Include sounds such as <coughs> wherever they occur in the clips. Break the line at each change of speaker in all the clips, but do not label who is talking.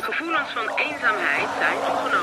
Gevoelens van eenzaamheid zijn toegenomen.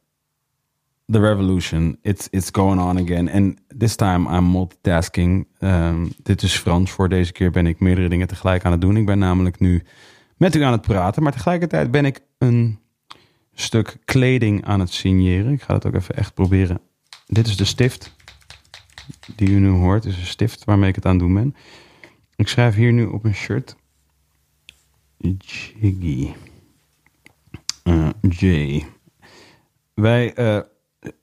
The revolution. It's, it's going on again. And this time I'm multitasking. Ehm, dit is Frans. Voor deze keer ben ik meerdere dingen tegelijk aan het doen. Ik ben namelijk nu met u aan het praten. Maar tegelijkertijd ben ik een stuk kleding aan het signeren. Ik ga het ook even echt proberen. Dit is de stift die u nu hoort. Dit is een stift waarmee ik het aan het doen ben. Ik schrijf hier nu op een shirt. Jiggy. Eh, J. Wij eh,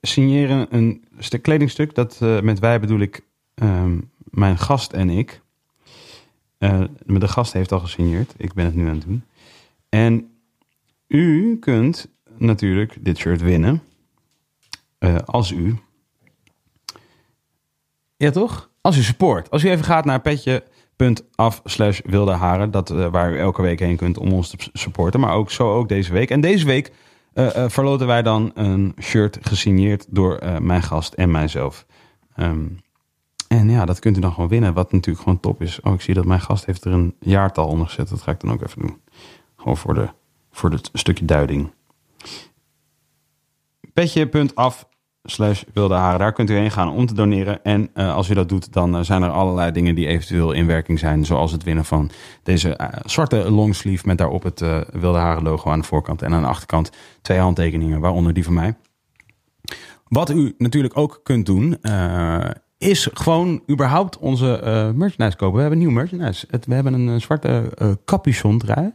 signeren een stuk kledingstuk. Dat, eh, met wij bedoel ik ehm, mijn gast en ik. Eh, maar de gast heeft al gesigneerd. Ik ben het nu aan het doen. En u kunt natuurlijk dit shirt winnen. Eh, als u. Ja, toch? Als u support. Als u even gaat naar petje.af slash wilde haren. Dat, eh, waar u elke week heen kunt om ons te s- supporten. Maar ook zo ook deze week. En deze week eh, eh, verloten wij dan een shirt gesigneerd door eh, mijn gast en mijzelf. Ehm, en ja, dat kunt u dan gewoon winnen. Wat natuurlijk gewoon top is. Oh, ik zie dat mijn gast heeft er een jaartal onder gezet. Dat ga ik dan ook even doen. Gewoon voor, de, voor het stukje duiding. Petje.af slash wilde haren. Daar kunt u heen gaan om te doneren. En eh, als u dat doet, dan eh, zijn er allerlei dingen die eventueel in werking zijn. Zoals het winnen van deze eh, zwarte longsleeve met daarop het eh, wilde haren logo aan de voorkant. En aan de achterkant twee handtekeningen, waaronder die van mij. Wat u natuurlijk ook kunt doen, eh, is gewoon überhaupt onze eh, merchandise kopen. We hebben nieuw merchandise. Het, we hebben een eh, zwarte eh capuchon trui.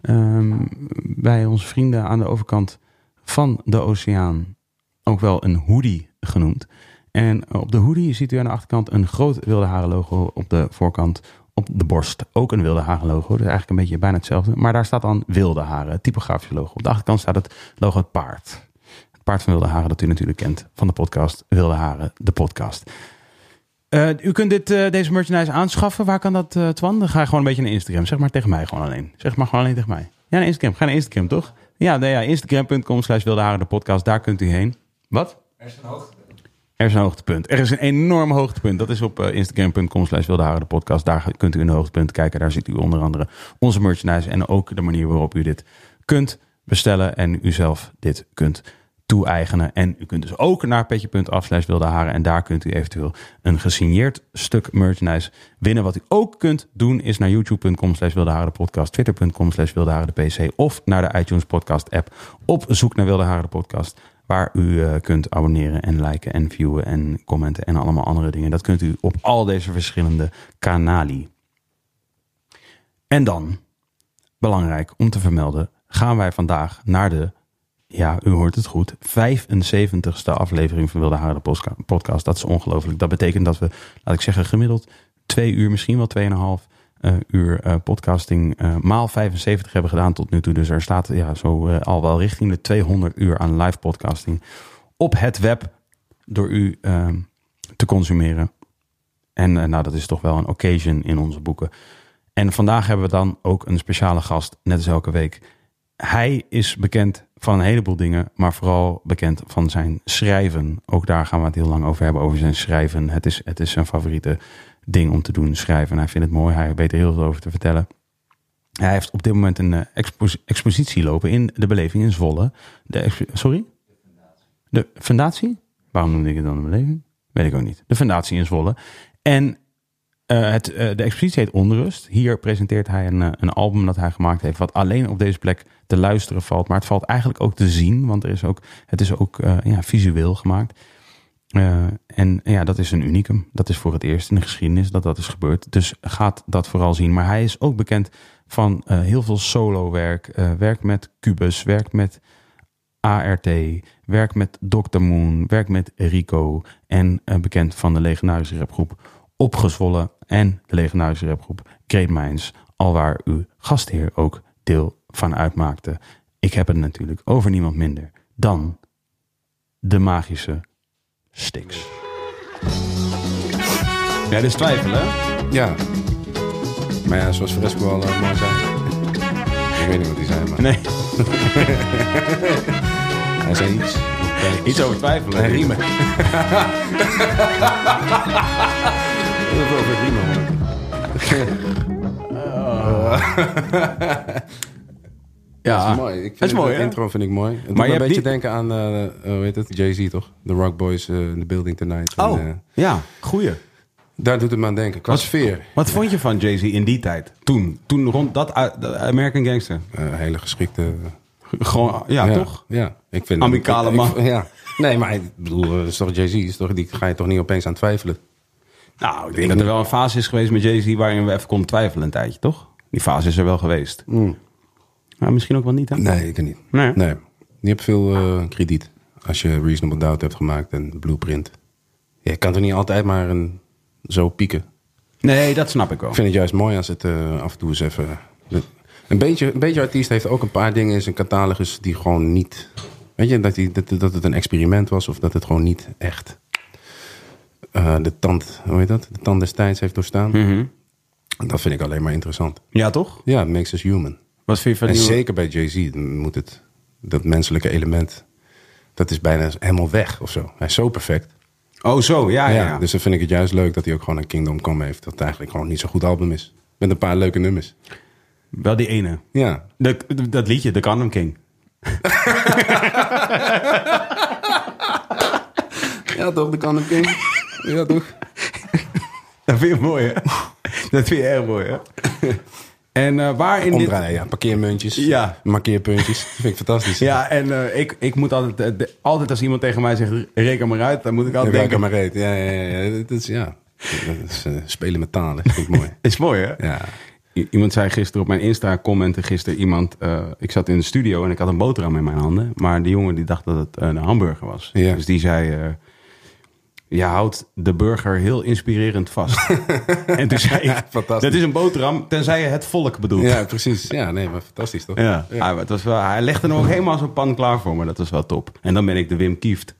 Ehm, bij onze vrienden aan de overkant van de oceaan. Ook wel een hoodie genoemd. En op de hoodie ziet u aan de achterkant een groot wilde haren logo. Op de voorkant op de borst ook een wilde haren logo. Dus eigenlijk een beetje bijna hetzelfde. Maar daar staat dan wilde haren, het typografische logo. Op de achterkant staat het logo het paard. Het paard van wilde haren dat u natuurlijk kent van de podcast Wilde Haren, de podcast. Eh, u kunt dit, eh, deze merchandise aanschaffen. Waar kan dat, eh, Twan? Dan ga je gewoon een beetje naar Instagram. Zeg maar tegen mij gewoon alleen. Zeg maar gewoon alleen tegen mij. Ja, naar Instagram. Ga naar Instagram, toch? Ja, nee, ja instagram.com slash wilde haren de podcast. Daar kunt u heen. Wat? Er is een hoogtepunt. Er is een enorm hoogtepunt. Dat is op eh, instagram.com slash Wilde Haren de podcast. Daar kunt u in de hoogtepunt kijken. Daar ziet u onder andere onze merchandise en ook de manier waarop u dit kunt bestellen en u zelf dit kunt toe-eigenen. En u kunt dus ook naar petje.af slash Wilde Haren en daar kunt u eventueel een gesigneerd stuk merchandise winnen. Wat u ook kunt doen is naar youtube.com slash Wilde Haren de podcast, twitter.com slash Wilde Haren de pc of naar de iTunes podcast app op zoek naar Wilde Haren de podcast waar u eh, kunt abonneren en liken en viewen en commenten en allemaal andere dingen. Dat kunt u op al deze verschillende kanalen. En dan, belangrijk om te vermelden, gaan wij vandaag naar de, ja, u hoort het goed, 75ste aflevering van Wilde Haren de Postka- Podcast. Dat is ongelooflijk. Dat betekent dat we, laat ik zeggen, gemiddeld twee uur, misschien wel tweeënhalf eh uur eh, podcasting eh, maal 75 hebben gedaan tot nu toe. Dus er staat ja, zo eh, al wel richting de 200 uur aan live podcasting op het web door u eh, te consumeren. En eh, nou, dat is toch wel een occasion in onze boeken. En vandaag hebben we dan ook een speciale gast, net als elke week. Hij is bekend van een heleboel dingen, maar vooral bekend van zijn schrijven. Ook daar gaan we het heel lang over hebben, over zijn schrijven. Het is, het is zijn favoriete ding om te doen, schrijven. Hij vindt het mooi, hij weet er heel veel over te vertellen. Hij heeft op dit moment een eh, expos- expositie lopen in de beleving in Zwolle. De expo- sorry? De fundatie? Waarom noemde ik het dan de beleving? Weet ik ook niet. De fundatie in Zwolle. En
eh, het, eh, de expositie heet Onrust. Hier presenteert hij een, eh, een album dat hij gemaakt heeft, wat alleen op deze plek te luisteren valt. Maar het valt eigenlijk ook te zien, want er is ook, het is ook eh, ja, visueel gemaakt. Eh, en ja, dat is een unicum. Dat is voor het eerst in de geschiedenis dat dat is gebeurd. Dus gaat dat vooral zien. Maar hij is ook bekend van eh, heel veel solo-werk. Eh, werk met Cubus, werk met ART, werk met Dr. Moon, werk met Rico. En eh, bekend van de legendarische rapgroep Opgezwollen en de legendarische rapgroep Great Minds. Alwaar uw gastheer ook deel van uitmaakte. Ik heb het natuurlijk over niemand minder dan de magische Stix. Ja, dit is twijfelen.
Ja. Maar ja, zoals Fresco al eh, mooi zei. Ik weet niet wat hij zei, maar
Nee,
hij zei iets.
iets over twijfelen.
Nee, Ah. riemen. Heel veel over riemen, man.
Ja,
Dat is mooi. Ik vind
Het Ah. is mooi,
de
hè?
intro vind ik mooi. Het
Maar
maar
je
een
hebt
beetje
die-
denken aan, eh eh, hoe heet het, Jay-Z toch? The Rock Boys eh, in the building tonight. En,
Oh,
eh,
ja, goeie.
daar doet het me aan denken. Qua sfeer.
Wat vond je van Jay-Z in die tijd? Toen, toen rond dat uit- de American Gangster.
Eh, hele geschikte
G- Gewoon, ja, Ah, toch?
Ja, ik vind
Amicale
ik- ik-
man.
ja. Nee, maar ik bedoel, eh, is toch Jay-Z, is toch, die ga je toch niet opeens aan twijfelen.
Nou, ik denk dat er wel een fase is geweest met Jay-Z waarin we even konden twijfelen een tijdje, toch? Die fase is er wel geweest. Maar misschien ook wel niet, hè?
Mm. Nee, ik niet.
Nee.
nee. Je hebt veel eh, krediet als je Reasonable Doubt hebt gemaakt en Blueprint. Je kan toch niet altijd maar een, zo pieken.
Nee, dat snap ik wel.
Ik vind het juist mooi als het eh, af en toe eens even... Een beetje, een beetje artiest heeft ook een paar dingen in zijn catalogus die gewoon niet... Weet je, dat, die, dat, dat het een experiment was of dat het gewoon niet echt eh, de tand, hoe heet dat? De tand destijds heeft doorstaan. Dat vind ik alleen maar interessant.
Ja, toch?
Ja, it makes us human.
Wat vind je van
En
die...
zeker bij Jay-Z moet het, dat menselijke element, dat is bijna helemaal weg of zo. Hij is zo perfect.
Oh, zo, ja, ja.
Ja, Dus dan vind ik het juist leuk dat hij ook gewoon een Kingdom Come heeft, dat het eigenlijk gewoon niet zo'n goed album is. Met een paar leuke nummers.
Wel die ene.
Ja,
Dat, dat liedje, The Condom King.
Ja, toch, de Condom King. ja,
<laughs>
toch?
Dat vind je
<laughs>
mooi, hè? Dat vind je erg mooi, hè? En eh, waar in dit...
Omdraaien, ja. Parkeermuntjes.
Ja.
Markeerpuntjes. Dat vind ik fantastisch.
Ja, en eh, ik, ik moet altijd... eh, de- altijd als iemand tegen mij zegt, reken maar uit, dan moet ik
Ja,
altijd
Welke
denken...
maar reet. Ja, ja, ja, ja. Dat is, ja. Dat is, eh, spelen met talen. vind ik mooi.
<laughs> Is mooi, hè?
Ja.
I- Iemand zei gisteren op mijn Insta, commenten gisteren iemand... eh, ik zat in de studio en ik had een boterham in mijn handen. Maar die jongen die dacht dat het een hamburger was.
Ja.
Dus die zei... eh, je houdt de burger heel
<laughs>
inspirerend vast. en toen zei ik,
Fantastisch.
dat is een boterham, tenzij je het volk bedoelt.
ja, precies. Ja, nee, maar fantastisch toch?
Ja, Ah, maar het was wel, hij legde hem ook helemaal zo'n pan klaar voor me. Dat was wel top. En dan ben ik de Wim Kieft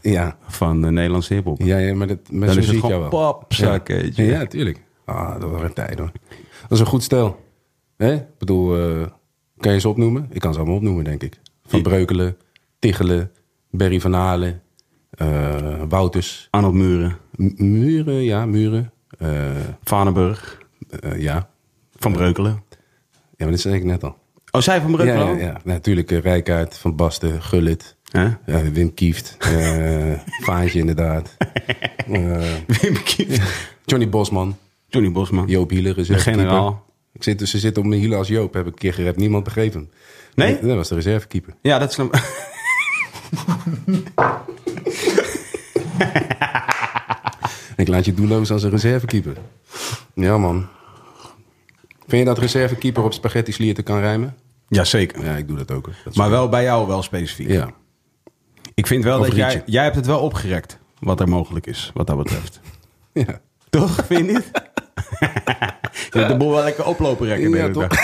Ja,
van de Nederlandse hiphop.
ja, ja maar dat, maar
Dan
zo
is dus het
zie ik
gewoon
jou wel.
papzak,
Ja.
weet je.
Ja, tuurlijk. Ah, dat was een tijd hoor. Dat is een goed stel. Hè? Ik bedoel, eh, kan je ze opnoemen? Ik kan ze allemaal opnoemen, denk ik. Van
Ja.
Breukelen, Tichelen, Berry van Halen, eh, Wouters.
Arnold Muren,
M- Muren, ja, muren. Eh,
Vanenburg,
eh, ja.
Van Breukelen.
ja, maar dat zei ik net al.
Oh, zij van
Ja,
Breukelen?
ja,
<laughs>
ja. Natuurlijk eh, Rijkaard, Van Basten, Gullit,
Hè?
eh, Wim Kieft, eh, Vaantje inderdaad. Eh,
Wim Kieft.
Johnny Bosman,
Johnny Bosman.
Joop Hieler is eh,
De generaal.
Ik zit, dus, ze zitten op mijn hielen als Joop, heb ik een keer gerept. Niemand begreep hem.
Nee?
Dat was de reservekeeper.
Ja, dat is <laughs> hem.
Ik laat je doelloos als een reservekeeper. Ja, man. Vind je dat reservekeeper op spaghetti slierten kan rijmen?
Jazeker.
Ja, ik doe dat ook. hoor. Dat is-
Maar wel bij jou wel specifiek.
Ja.
Ik vind wel
Of
dat jij,
Rietje.
jij hebt het wel opgerekt. Wat er mogelijk is, wat dat betreft.
ja.
<laughs> Toch? Vind je niet? <laughs> Je hebt de boel wel lekker oplopen rekken. de
Ja,
hele
toch?
dag.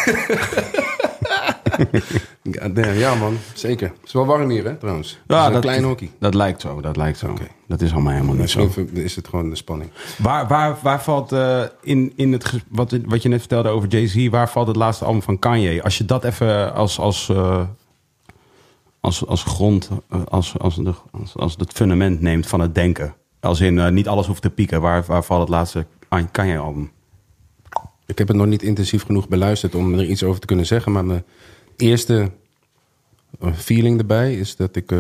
God damn, ja man, zeker. Het is wel warm hier hè, trouwens. Het is
Ja,
een klein hockey.
Dat lijkt zo, dat lijkt zo.
Oké.
Dat is allemaal helemaal niet zo.
Misschien is het gewoon de spanning.
Waar, waar, waar valt eh, in, in het, ges- wat, wat je net vertelde over Jay-Z, waar valt het laatste album van Kanye? Als je dat even als, als, eh, als, als grond, eh, als, als, de- als, als het fundament neemt van het denken. Als in eh, niet alles hoeft te pieken, waar, waar valt het laatste An- Kanye-album?
Ik heb het nog niet intensief genoeg beluisterd om er iets over te kunnen zeggen. Maar mijn eerste eh, feeling erbij is dat ik eh,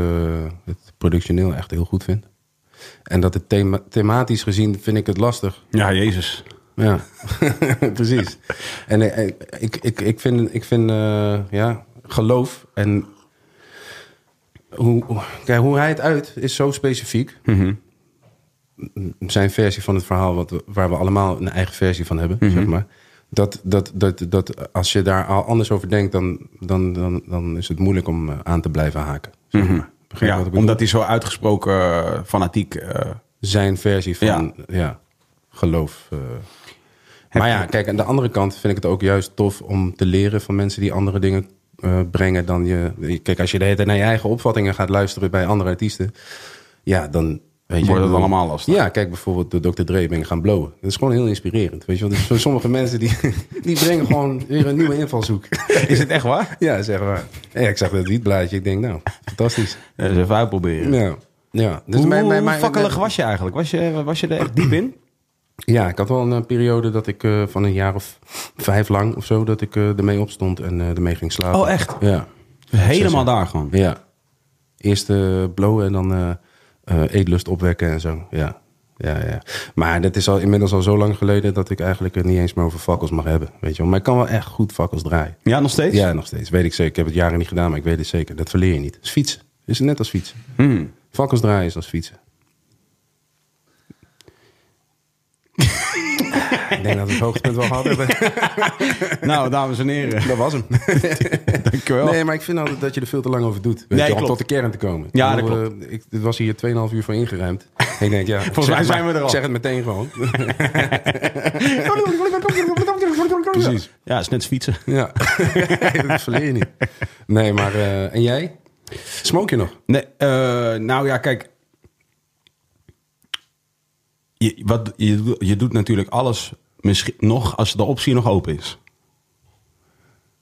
het productioneel echt heel goed vind. En dat het thema- thematisch gezien vind ik het lastig.
Ja, Jezus.
Ja, <laughs> precies. En eh, eh, ik, ik, ik vind, ik vind eh, ja, geloof en hoe, hoe- kijk, hoe hij het uit is zo specifiek. Zijn versie van het verhaal, wat, we- waar we allemaal een eigen versie van hebben, zeg maar. Dat, dat, dat, dat als je daar al anders over denkt, dan, dan, dan, dan is het moeilijk om eh, aan te blijven haken. Zeg maar. Begrijp je
Ja,
wat ik bedoel?
omdat hij zo uitgesproken eh, fanatiek... eh,
zijn versie van
Ja.
ja. geloof. eh. maar ja, kijk, aan de andere kant vind ik het ook juist tof om te leren van mensen die andere dingen eh, brengen dan je. Kijk, als je de hele tijd naar je eigen opvattingen gaat luisteren bij andere artiesten, ja, dan. Weet je,
Wordt het
dan-
allemaal lastig.
Ja, kijk bijvoorbeeld de Dr. Dre ben ik gaan blowen. Dat is gewoon heel inspirerend. Weet je wel, dus voor sommige mensen die, <laughs> die brengen gewoon weer een nieuwe invalshoek.
<laughs> is het echt waar?
ja, zeg maar. Ja, ik zag dat wietblaadje. Ik denk, nou, fantastisch.
Ja, dus even uitproberen.
Ja, ja. Dus
hoe
mijn- mijn-
hoe
mijn-
fakkelig was je eigenlijk? Was je, was je er echt diep
<clears throat>
in?
Ja, ik had wel een eh, periode dat ik eh, van een jaar of vijf lang of zo, dat ik eh, ermee opstond en eh, ermee ging slapen.
Oh, echt?
Ja.
Helemaal daar gewoon.
Ja. Eerst eh blowen en dan eh, eh, eetlust opwekken en zo. Ja. Ja, ja. Maar dat is al, inmiddels al zo lang geleden dat ik eigenlijk het niet eens meer over fakkels mag hebben. Weet je wel. Maar ik kan wel echt goed fakkels draaien.
Ja, nog steeds?
Ja, nog steeds. Weet ik zeker. Ik heb het jaren niet gedaan, maar ik weet het zeker. Dat verleer je niet. Het is fietsen. Het is net als fietsen.
Hmm.
Fakkels draaien is als
<laughs>
fietsen. ik denk dat we het hoogtepunt wel gehad hebben.
<laughs> <laughs> Nou, dames
<laughs>
en heren.
Dat was hem.
Dankjewel.
Nee, maar ik vind altijd dat je er veel te lang over doet. Weet je,
Nee,
om
klopt.
tot de kern te komen.
Ja,
Ik
dat
bedoel, eh, Ik, dit was hier 2,5 uur voor
<laughs>
ingeruimd. ik denk, ja.
Volgens mij zijn we er al.
Ik zeg het meteen
<laughs>
gewoon. <laughs>
Precies. Ja, is net als fietsen.
ja. <laughs> dat verleer je niet. Nee, maar... eh, en jij? Smoke je nog?
Nee, eh, nou ja, kijk. Je, wat, je, doet- je doet natuurlijk alles misschien nog als de optie nog open is.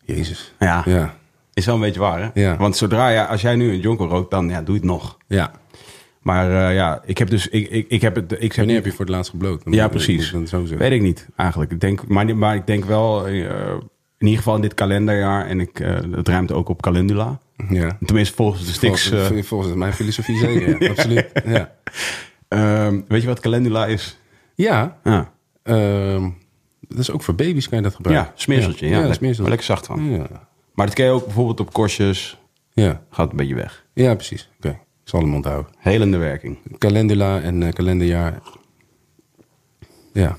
Jezus.
Ja.
Ja.
Is wel een beetje waar, hè?
Ja.
Want zodra je, als jij nu een jonker rookt, dan ja, doe je het nog.
Ja.
Maar eh, ja, ik heb dus, ik, ik, ik heb het, ik heb
Wanneer heb je voor het laatst gebloot? Dan
Ja,
moet- moet
precies.
ik Dan zo zeggen.
Weet ik niet, eigenlijk. Ik denk, maar, die- maar ik denk wel, eh, in ieder geval in dit kalenderjaar, en ik, eh het ruimt ook op calendula.
Ja.
Tenminste, volgens de Stix.
Mhm. volgens,
eh,
volgens mijn filosofie zeker, ja. <laughs> absoluut. Ja,
ehm, weet je wat calendula is?
ja
Ja,
ehm, dat is ook voor baby's kan je dat gebruiken.
ja smeerseltje. Ja,
ja,
lekker,
smeerseltje.
maar lekker zacht van.
Ja.
Maar dat ken je ook bijvoorbeeld op korstjes.
Ja.
Gaat een beetje weg.
ja, precies. Oké, ik zal hem onthouden.
Helende werking.
Calendula en eh, kalenderjaar. Ja.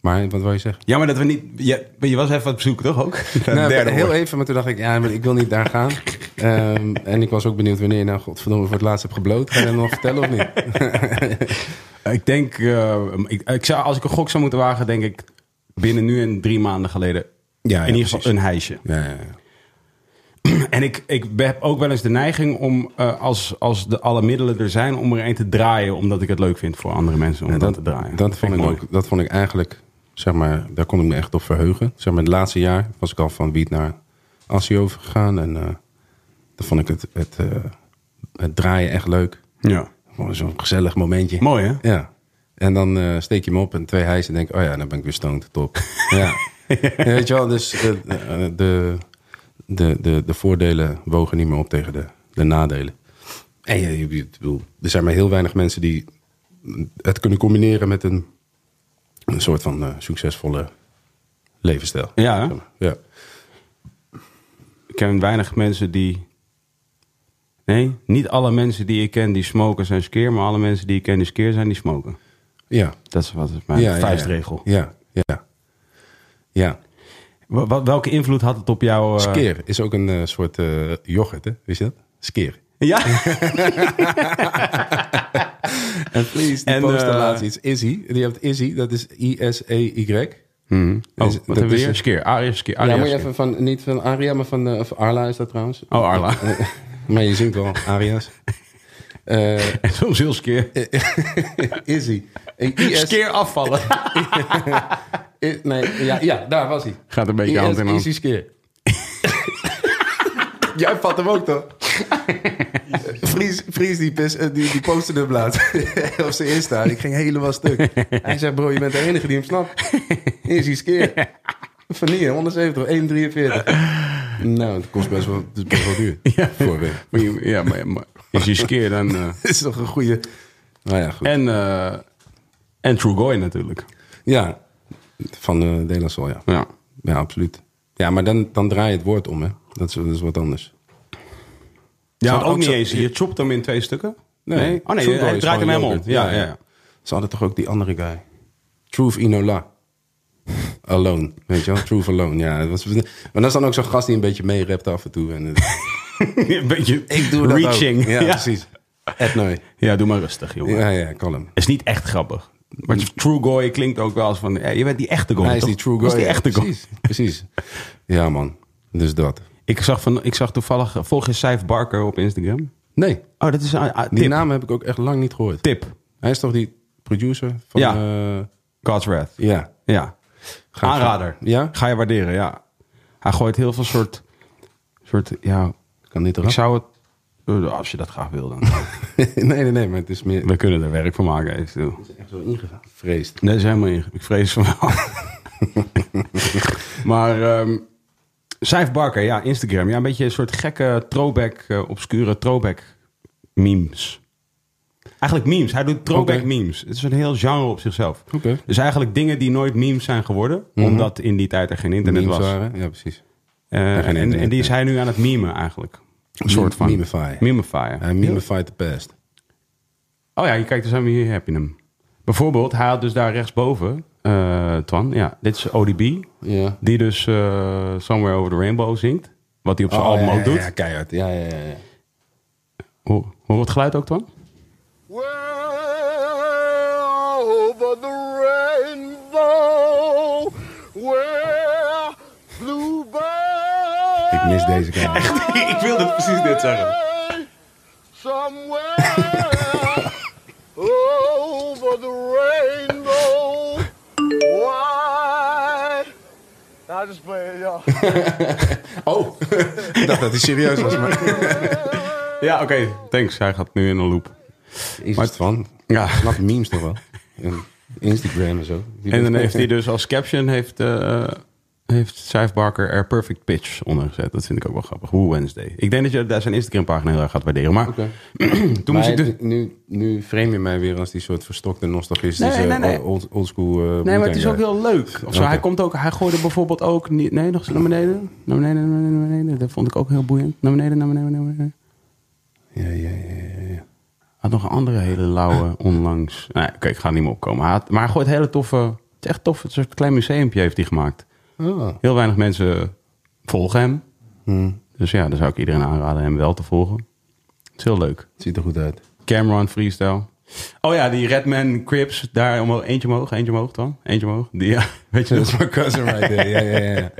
Maar wat wil je zeggen?
Ja, maar dat we niet... Je, je was even aan het bezoeken, toch ook? <laughs>
Nou,
Derde
heel
woord.
even, maar toen dacht ik, ja, maar ik wil niet daar
<laughs>
gaan. Ehm, en ik was ook benieuwd wanneer je nou, godverdomme, voor het laatst hebt gebloot. Ga je dat nog vertellen of niet?
<laughs>
e-
Ik denk... eh, ik, ik zou, als ik een gok zou moeten wagen, denk ik... Binnen nu en drie maanden geleden...
ja,
in ieder geval
precies.
een hijsje.
Ja, ja, ja.
En ik, ik heb ook wel eens de neiging om, eh, als, als de, alle middelen er zijn, om er een te draaien. Omdat ik het leuk vind voor andere mensen om
Ja,
dat,
dat,
te draaien.
Dat vond, ik
mooi.
ook, dat vond ik eigenlijk, zeg maar, daar kon ik me echt op verheugen. Zeg maar, het laatste jaar was ik al van wiet naar Assie overgegaan. En eh dan vond ik het, het, eh, het draaien echt leuk.
Ja.
Gewoon zo'n gezellig momentje.
Mooi, hè?
Ja. En dan eh, steek je hem op en twee hijs en denk oh ja, dan ben ik weer stoned, top. ja. Ja, Weet je wel, dus eh, eh, de, de, de, de voordelen wogen niet meer op tegen de, de nadelen. En je, je- ik bedoel, er zijn maar heel weinig mensen die het kunnen combineren met een, een soort van eh, succesvolle levensstijl.
Ja, hè?
ja.
Ik ken weinig mensen die... Nee, niet alle mensen die ik ken die smoken zijn skeer. Maar alle mensen die ik ken die skeer zijn, die smoken.
Ja.
Dat is wat is mijn
ja, ja,
vuistregel.
Ja, ja. Ja.
Wa- wa- Welke invloed had het op jou? eh?
Skeer is ook een eh, soort eh, yoghurt, hè? Wist je dat? Skeer.
<laughs> Ja?
En please, die
En,
poster
eh,
laatst iets. Izzy. Die hebt Izzy, dat is I-S-E-Y.
Oh,
Dus dat
wat hebben we
is-
hier? Skeer, Aria Skeer.
Ja,
Aria
moet je
Skeer.
even van, niet van Aria, maar van eh, of Arla is dat trouwens.
Oh, Arla.
<laughs> maar je zingt wel
<laughs>
Aria's. Eh
En <laughs> soms heel skeer.
Izzy. Eh, IS
Skeer
<laughs>
afvallen.
I- nee, ja, ja, daar was hij.
Gaat een beetje
IS
hand in hand.
Izzy Skeer. <laughs> Jij vat hem ook <laughs> toch? Fries, Fries die, pis, eh, die, die postte hem laatst. <laughs> op zijn Insta. Ik ging helemaal stuk. Hij zei, bro, je bent de enige die hem snapt. Izzy Skeer. Van hier, 170, 1,43. Nou, het kost best wel, het is best wel duur.
<laughs> Ja.
Voor weer. <laughs>
Maar je- Ja, maar, maar als je skeer dan... eh,
Dit is toch een goede... Nou ja, goed.
En, eh, En True Goy natuurlijk.
Ja, van uh, De La Soul, ja.
Ja.
Ja, absoluut. Ja, maar dan, dan draai je het woord om, hè. Dat is, dat is wat anders.
Ja, ook
ook
niet
zo-
eens. Je chopt hem in twee stukken?
Nee.
Oh nee,
True
je
Goy
hij
is
draait
gewoon
hem helemaal om.
yoghurt.
Ja, ja,
Ja,
ja.
Ze hadden toch ook die andere guy? Truth Inola. Alone, weet je wel? Truth Alone, ja. Dat was, maar dat is dan ook zo'n gast die een beetje meerept af en toe. En, het-
<laughs> Een beetje
ik doe dat ook.
reaching.
Ja,
<laughs> ja.
precies. Etnoy.
Ja, doe maar rustig, jongen.
Ja, ja, kalm.
Is niet echt grappig. Maar True Goy klinkt ook wel als van... Ja, je bent die echte goy,
Hij is
toch?
die true
Dat
guy.
is die
ja,
echte goy.
precies, precies. Ja, man. Dus dat.
Ik zag, van, ik zag toevallig... Volg je Saif Barker op Instagram?
Nee,
Oh, dat is een ah,
die
tip.
naam heb ik ook echt lang niet gehoord.
Tip.
Hij is toch die producer van...
Ja.
eh,
God's Wrath.
ja.
Ja.
Ga ik
Aanrader.
van- Ja?
Ga je waarderen, ja. Hij gooit heel veel soort... soort ja,
Kan dit
ik
eraf?
zou het... eh, Als je dat graag wil, dan... <laughs>
<laughs> nee, nee, nee, maar het is meer...
We kunnen er werk van maken, eventueel.
echt zo ingevreesd.
Nee, dat is helemaal ingewikkeld. Ik vrees van
<laughs>
wel. maar ehm Saif Barker, ja, Instagram. Ja, een beetje een soort gekke throwback, eh, obscure throwback memes. Eigenlijk memes. Hij doet throwback
Oké.
memes. Het is een heel genre op zichzelf.
Oké. Mhm.
Dus eigenlijk dingen die nooit memes zijn geworden. Omdat in die tijd er geen internet
Memes
was.
waren. Ja, precies.
Eh,
Ja, geen
en,
internet,
en die is
nee.
hij nu aan het memen eigenlijk. Een soort van.
Memify.
Memify.
Hij mimified the past.
Oh ja, je kijkt, dus aan hier heb je hem. Bijvoorbeeld, hij had dus daar rechtsboven, eh Twan, ja, dit is ODB,
Ja.
die dus eh, Somewhere Over the Rainbow zingt, wat hij op zijn
Oh,
album
ja,
ook
ja,
doet.
Ja, keihard. Ja, ja, ja. ja.
Hoor, hoor het geluid ook, Twan?
Well, over the rainbow, where bluebirds
Ik mis deze guy.
Ik wilde precies dit zeggen.
somewhere over the rainbow. Why? Nah, just play it, y'all.
Oh, <laughs> ik dacht dat hij serieus was. Maar...
Ja, oké, thanks. Hij gaat nu in een loop.
Is het van?
Ja.
Snap memes toch wel? En Instagram en zo. Die
En dan
weet-
heeft hij dus als caption, heeft, eh heeft Saif Barker er perfect pitch onder gezet. Dat vind ik ook wel grappig. Hoe Wednesday. Ik denk dat je daar zijn Instagram pagina heel erg gaat waarderen. Maar
Oké.
<clears throat> toen moest
Maar
ik dus...
nu, nu frame je mij weer als die soort verstokte nostalgistische
Nee, nee, nee.
old, oldschool eh
Nee, maar het is ook
Wu-Tang guy.
heel leuk. Of zo.
Oké.
Hij komt ook, hij gooide bijvoorbeeld ook niet. Nee, nog eens naar beneden. Naar beneden, naar beneden, naar beneden. Dat vond ik ook heel boeiend. Naar beneden, naar beneden, naar beneden.
Ja, ja, ja, ja, ja.
Hij had nog een andere hele lauwe onlangs. Nee, oké, ik ga er niet meer opkomen. Hij had- maar hij gooit hele toffe. Het is echt tof. Het is een soort klein museumpje heeft hij gemaakt.
Ah.
Heel weinig mensen volgen hem.
Hmm.
Dus ja, dan zou ik iedereen aanraden hem wel te volgen. Het is heel leuk.
Het ziet er goed uit.
Cameron Freestyle. Oh ja, die Redman Crips. Daar omhoog. Eentje omhoog, eentje omhoog dan. Eentje omhoog. Die, ja, <laughs> weet je
Dat
dat?
is mijn cousin right there. Ja, ja, ja.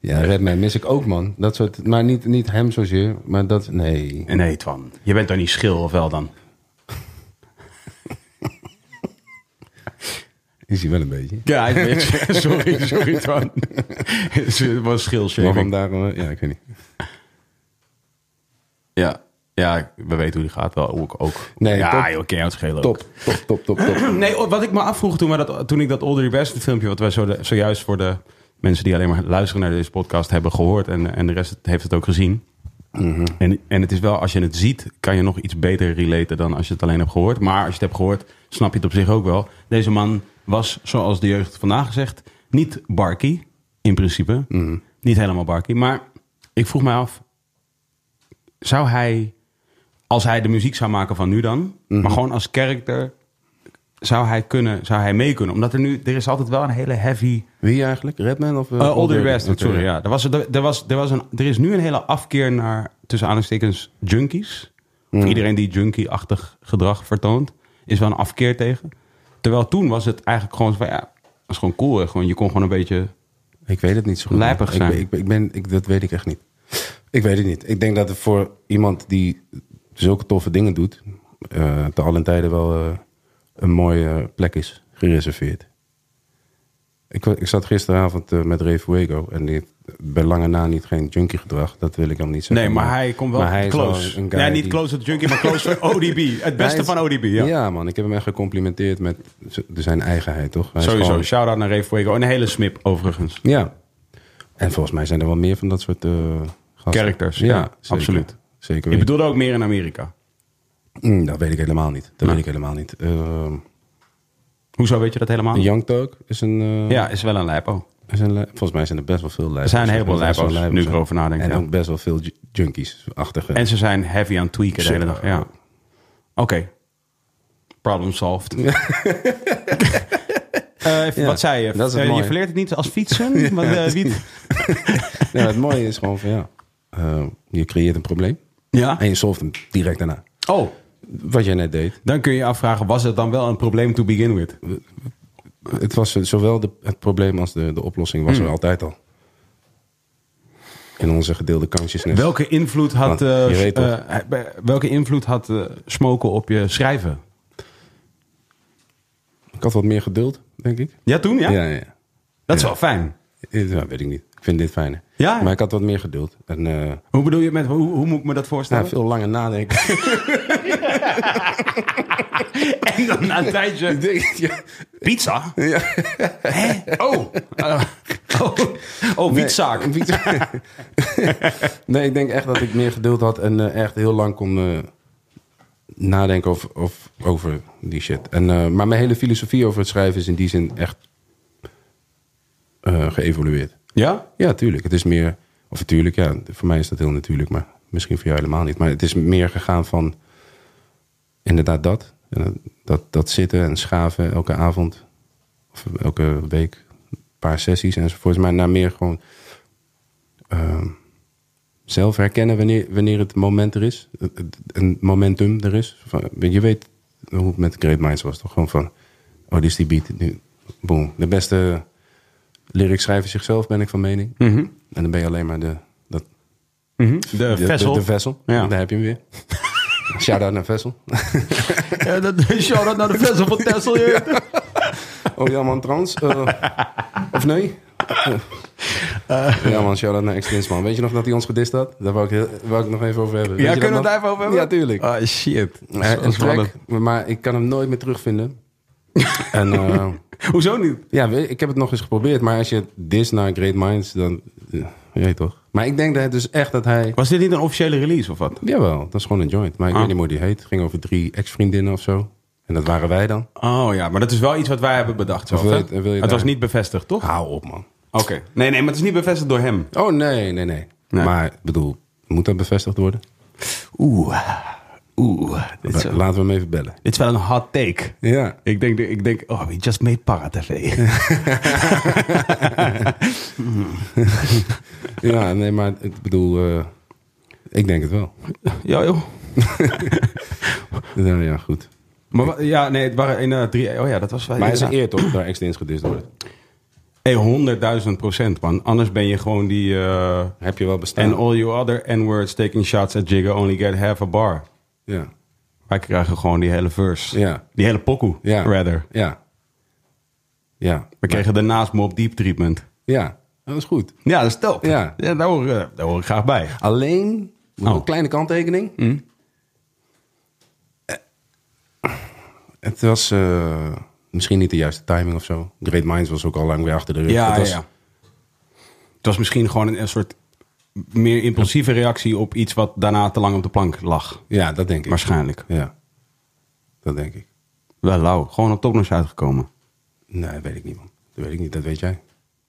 Ja, Redman mis ik ook, man. Dat soort, maar niet, niet hem zozeer, maar dat... Nee.
Nee, Twan. Je bent toch niet schil, of wel dan?
Is hij wel een beetje.
Ja, ik <laughs> weet- sorry, sorry Twan. <laughs> Het was
Waarom
schilshaming.
daar... eh, Ja, ik weet niet.
Ja. ja, we weten hoe die gaat wel. Ook. ook.
Nee,
ja,
top.
joh, ken je het schelen ook.
Top, top, top, top, top.
Nee, o- wat ik me afvroeg toen, we dat, toen ik dat Audrey West filmpje... wat wij zo de- zojuist voor de mensen die alleen maar luisteren naar deze podcast... hebben gehoord en, en de rest heeft het ook gezien. En, en het is wel, als je het ziet, kan je nog iets beter relaten dan als je het alleen hebt gehoord. Maar als je het hebt gehoord, snap je het op zich ook wel. Deze man was, zoals de jeugd vandaag zegt, niet barkie. In principe. Niet helemaal barkie. Maar ik vroeg mij af, zou hij, als hij de muziek zou maken van nu dan, maar gewoon als character, zou hij, kunnen, zou hij mee kunnen? Omdat er nu, er is altijd wel een hele heavy
Wie eigenlijk? Redman of... eh,
Oh,
eh Old
Dirty?
West,
Oké,
sorry. Ja. Er, was, er, er was, er, was een, er is nu een hele afkeer naar, tussen aanhalingstekens, junkies. Of
Hmm.
iedereen die junkie-achtig gedrag vertoont, is wel een afkeer tegen. Terwijl toen was het eigenlijk gewoon zo van, ja, dat is gewoon cool. hè. Gewoon, je kon gewoon een beetje...
Ik weet het niet zo goed.
Lijpig zijn.
Ik, ben- ik, ben- ik ben, ik, dat weet ik echt niet. Ik weet het niet. Ik denk dat het voor iemand die zulke toffe dingen doet... eh, te allen tijden wel eh, een mooie eh, plek is gereserveerd. Ik, wa- ik zat gisteravond eh, met Ray Fuego en die heeft bij lange na niet geen junkie gedrag. Dat wil ik hem niet zeggen.
Nee, maar hij komt wel
maar hij is
close.
wel een guy
nee, niet
die-
close tot junkie, maar close <laughs> tot ODB. Het beste
Hij is-
van ODB, ja.
man. Ik heb hem echt gecomplimenteerd met z- zijn eigenheid, toch? Hij is
Sowieso,
gewoon-
Oh, shout-out naar Ray Fuego. En een hele smip, overigens.
Ja. En volgens mij zijn er wel meer van dat soort eh gasten.
Characters, ja,
zeker.
absoluut.
Zeker
Je
weten.
bedoelde ook meer in Amerika.
Mm, dat weet ik helemaal niet. Dat
Nee.
weet ik helemaal niet. Ehm,
Hoezo weet je dat helemaal?
Young Thug is een... eh,
Ja, is wel een lijpo.
is een li- volgens mij zijn er best wel veel lijpers.
Er zijn een heleboel
best wel
lijpers, nu ik
zijn.
erover nadenk,
En
ja.
ook best wel veel ju- junkies-achtige.
En ze zijn heavy aan het tweaken de hele dag. Ja. Oké.
Zeker.
Problem solved. <laughs> Eh,
Ja,
wat zei je?
dat is het
Eh, je
mooie.
verleert het niet als
<laughs>
fietsen. want, eh, wie-
<laughs> Ja, het mooie is gewoon van ja, eh, je creëert een probleem
ja.
en je solft hem direct daarna.
Oh,
Wat jij net deed,
dan kun je je afvragen, was het dan wel een probleem to begin with?
het was eh, zowel de, het probleem als de, de oplossing was
Hmm.
er altijd al. In onze gedeelde kansjes.
Welke invloed had,
Want je
eh,
weet toch.
eh, welke invloed had eh, smoken op je schrijven?
Ik had wat meer geduld, denk ik.
Ja, toen ja?
ja, ja.
Dat is
Ja.
wel fijn.
Eh, Ja, weet ik niet. Ik vind dit fijner.
Ja?
Maar ik had wat meer geduld. En eh,
Hoe bedoel je met, hoe, hoe moet ik me dat
ja,
voorstellen?
veel langer
<laughs>
nadenken.
en dan na een tijdje,
Ik denk, ja,
pizza?
ja.
Oh, eh, oh, oh, wietzaak.
Nee,
<laughs>
<laughs> wietzaak. nee, ik denk echt dat ik meer geduld had en eh, echt heel lang kon eh, nadenken over, of, over die shit. En, eh, maar mijn hele filosofie over het schrijven is in die zin echt eh, geëvolueerd.
Ja?
Ja, tuurlijk. Het is meer, of tuurlijk, ja, voor mij is dat heel natuurlijk, maar misschien voor jou helemaal niet. Maar het is meer gegaan van inderdaad dat. En dat- Dat, dat zitten en schaven elke avond of elke week een paar sessies enzovoort. Maar naar meer gewoon ehm, zelf herkennen wanneer, wanneer het moment er is. Het- het- Een momentum er is. Van, Je weet hoe het met Great Minds was toch? Gewoon van, oh dit is die beat. Nu, boom. De beste lyric schrijver zichzelf ben ik van mening. En dan ben je alleen maar de, dat,
De, vessel.
Mhm. de, de vessel.
Ja.
Daar heb je hem <laughs> weer. Shout-out naar Vessel. Eh,
Ja, dat, shout-out naar de vessel van Tessel. joh.
<laughs> Oh ja man, trans. <laughs> eh, of nee? Eh, ja man, shout-out naar ex man. Weet je nog dat hij ons gedist had? Daar wou ik, heel- wou ik nog even over hebben. Weet
Ja,
je
kunnen we
dat
het even
nog?
over hebben?
Ja, tuurlijk.
Ah, shit.
Eh,
Dat
een
is wel
track, maar ik kan hem nooit meer <laughs> terugvinden. en eh,
een- Hoezo niet?
ja, weet- ik heb het nog eens geprobeerd. Maar als je dis naar Great Minds, dan... eh, je weet toch? Maar ik denk dat het dus echt dat hij...
Was dit niet een officiële release of wat?
Jawel, dat is gewoon een joint. Maar ik
Ah.
weet niet meer hoe die heet. Het ging over drie ex-vriendinnen of zo. En dat waren wij dan.
Oh ja, maar dat is wel iets wat wij hebben bedacht. Zo,
Of wil je
hè?
het- wil je Oh, het
het was
daar-
niet Ah. bevestigd, toch?
Hou op, man.
Oké. Nee, nee, maar het is niet bevestigd door hem.
Oh, nee, nee, nee.
Nee.
Maar, ik bedoel, moet dat bevestigd worden?
Oeh. Oeh. Dit is,
Laten we hem even bellen.
dit is wel een hot take.
Ja.
Ik denk, ik denk, oh, we just made Paratv.
Ja, nee, maar ik bedoel, eh, ik denk het wel.
ja, joh.
Ja, ja, goed.
Maar wa- ja, nee, het waren een, drie. Oh ja, dat was wel.
Maar het is een
inderdaad.
eer toch, daar ex-dienst gedist worden.
Hey, 100.000 procent, man. Anders ben je gewoon die. eh,
Heb je wel bestaan.
And all you other N-words taking shots at Jigga only get half a bar.
Ja.
Wij krijgen gewoon die hele verse.
Ja.
Die hele pokoe,
Ja.
rather.
Ja. Ja.
We kregen daarnaast Mob Deep treatment.
Ja, dat is goed.
Ja, dat is top.
Ja.
daar, hoor, eh, daar hoor ik graag bij.
Alleen, nog
Oh. Mm.
een kleine kanttekening. Eh, Het was eh, misschien niet de juiste timing of zo. Great Minds was ook al lang weer achter de rug.
Ja,
het was,
ja. Het was misschien gewoon een, een soort meer impulsieve reactie op iets wat daarna te lang op de plank lag.
ja, dat denk ik.
Waarschijnlijk.
Ja, dat denk ik.
Wel lauw. Gewoon op topnotch uitgekomen.
Nee, dat weet ik niet, man. Dat weet ik niet, dat weet jij.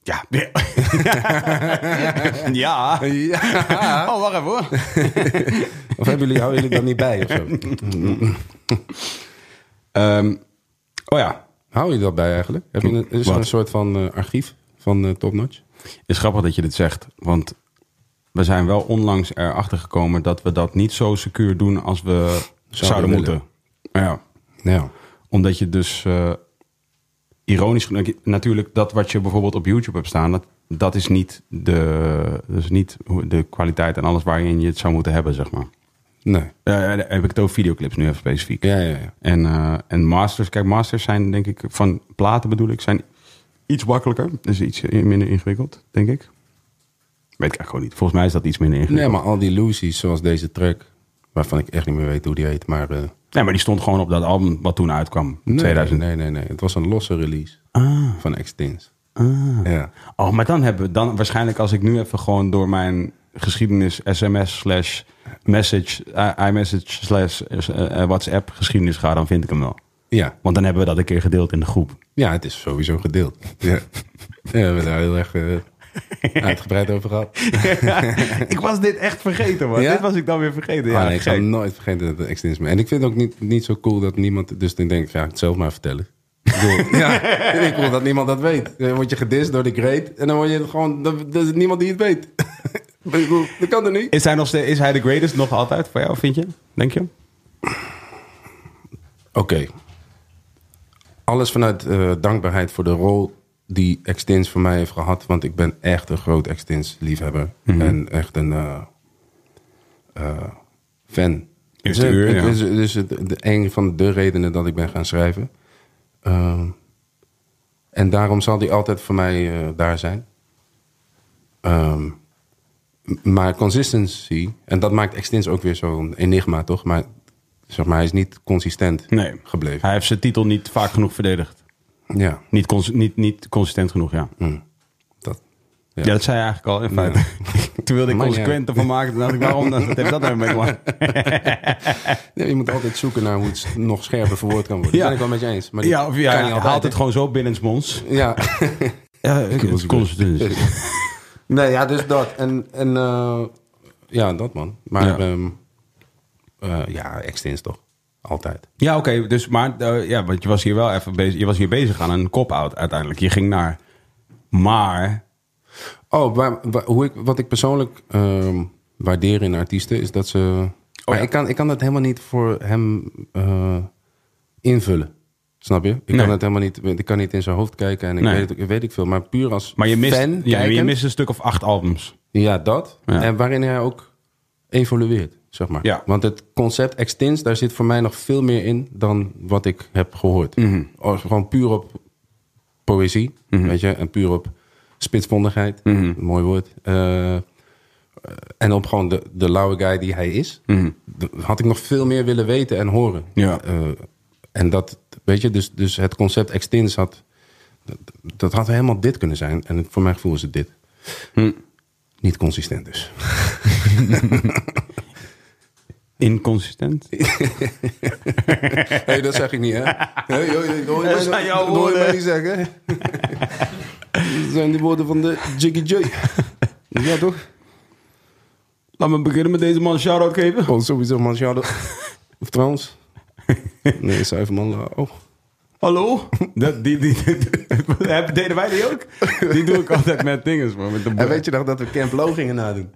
Ja. <laughs> ja.
<laughs>
Oh, wacht even hoor.
Of hebben jullie, houden jullie dat niet bij of
<laughs>
zo?
Ehm, oh ja,
Hou je dat bij eigenlijk? Heb je een, is er
Wat?
een soort van eh, archief van eh, Top Notch?
is grappig dat je dit zegt. Want we zijn wel onlangs erachter gekomen dat we dat niet zo secuur doen als we zouden,
willen.
moeten. Ja,
Nou Ja.
omdat je dus eh, ironisch genoeg- natuurlijk dat wat je bijvoorbeeld op YouTube hebt staan, dat, dat is niet, de, dat is niet hoe- de kwaliteit en alles waarin je het zou moeten hebben, zeg maar.
Nee.
Eh, eh, heb ik het over videoclips nu even specifiek.
Ja, ja, ja.
En, eh, en masters, kijk, masters zijn denk ik, van platen bedoel ik, zijn iets makkelijker. Dus iets eh, minder ingewikkeld, denk ik. Weet ik eigenlijk gewoon niet. Volgens mij is dat iets minder ingewikkeld.
Nee, maar al die illusies zoals deze track, waarvan ik echt niet meer weet hoe die heet, maar... eh,
Nee, maar die stond gewoon op dat album wat toen uitkwam.
nee,
2000.
Nee, nee, nee. Het was een losse release
Ah,
van Extins.
ah.
Ja.
Oh, maar dan hebben we dan waarschijnlijk als ik nu even gewoon door mijn geschiedenis sms slash message, eh, iMessage slash eh, eh, WhatsApp geschiedenis ga, dan vind ik hem wel.
Ja,
Want dan hebben we dat een keer gedeeld in de groep.
ja het is sowieso gedeeld. <laughs> Ja. Ja, we hebben daar heel erg eh,
<laughs>
uitgebreid over gehad.
ik was dit echt vergeten, man.
Ja?
Dit was ik dan weer vergeten. Ja,
Ah, nee, ik
gek.
zou nooit vergeten dat het extens is. En ik vind het ook niet, niet zo cool dat niemand... Dus dan denk ik, ga het zelf maar vertellen. Ik
<laughs>
bedoel, ja, vind ik cool dat niemand dat weet. Dan word je gedist door de great. En dan word je gewoon... dat- Er is niemand die het weet. <laughs> Ik bedoel, dat kan er niet.
Is hij, nog steeds, is hij de greatest nog altijd voor jou, vind je? Denk je?
Oké. Alles vanuit eh, dankbaarheid voor de rol die Extins voor mij heeft gehad. Want ik ben echt een groot Extins liefhebber.
Mhm.
En echt een eh, eh, fan.
Eerste
dus,
uur,
het-
ja.
dus, dus het, de, een van de redenen dat ik ben gaan schrijven. Ehm, en daarom zal die altijd voor mij eh, daar zijn. Ehm, m- maar consistency, en dat maakt Extins ook weer zo'n enigma, toch? Maar, zeg maar hij is niet consistent
Nee.
gebleven.
Hij heeft zijn titel niet vaak genoeg verdedigd.
Ja, Hmm.
Niet, cons- niet, niet consistent genoeg, ja.
dat.
Ja, dat zei je eigenlijk al in feite. <laughs> Toen wilde ik
Maakt
consequent
niet
ervan maken. Toen dacht ik, waarom? Dat heeft dat even mee te maken.
Nee, je moet altijd zoeken naar hoe het s- nog scherper verwoord kan <laughs> worden.
Ja.
Dat ben ik wel met je eens. Maar dat
Ja, of ja,
kan niet
hij haalt het
hè?
gewoon zo binnensmonds.
Ja.
Ja, consistent.
<laughs> nee, ja, dus dat. En, en eh, ja, dat man. Maar
Ja.
ja, ja extens toch? Altijd.
Ja, oké. dus, maar eh, ja, want je was hier wel even bezig. Je was hier bezig aan een cop-out uiteindelijk. Je ging naar. Maar.
Oh, waar, waar- hoe ik, wat ik persoonlijk ehm, waardeer in artiesten is dat ze... maar
ja.
ik, kan, ik kan dat helemaal niet voor hem eh, invullen. Snap je? Ik
Nee.
kan het helemaal niet... Ik kan niet in zijn hoofd kijken en ik
Nee.
weet, het ook- weet ik veel. Maar puur als
Maar je mist,
fan
ja, je
kijkend-
mist een stuk of acht albums.
Ja, dat.
Ja.
En waarin hij ook evolueert, zeg maar.
Ja.
Want het concept extins, daar zit voor mij nog veel meer in dan wat ik heb gehoord.
Mhm.
Oh, Gewoon puur op poëzie, weet je, en puur op spitsvondigheid, mooi woord. Eh, eh, en op gewoon de, de lauwe guy die hij is. Dat Had ik nog veel meer willen weten en horen.
Ja.
Eh, en dat, weet je, dus, dus het concept extins had... Dat, dat had helemaal dit kunnen zijn. En voor mijn gevoel is het dit. Mhm. Niet consistent <laughs> dus.
Inconsistent.
Hé, dat zeg ik niet, hè? Hé, joh, dat
Dat
hoor je mij-
zijn jouw
dat hoor je
woorden.
mij niet zeggen. <laughs> dat zijn de woorden van de Jiggy <laughs> J. ja, toch?
Laat me beginnen met deze man een shout-out geven.
Oh, sowieso, man. <laughs> Ja, dat- Of trouwens. Nee, Zuiverman. Oh.
Hallo? Dat, die, die, die- deden wij die ook? Die doe ik altijd met dinges, man. Met de
En weet je nog dat we Camp Low gingen nadoen?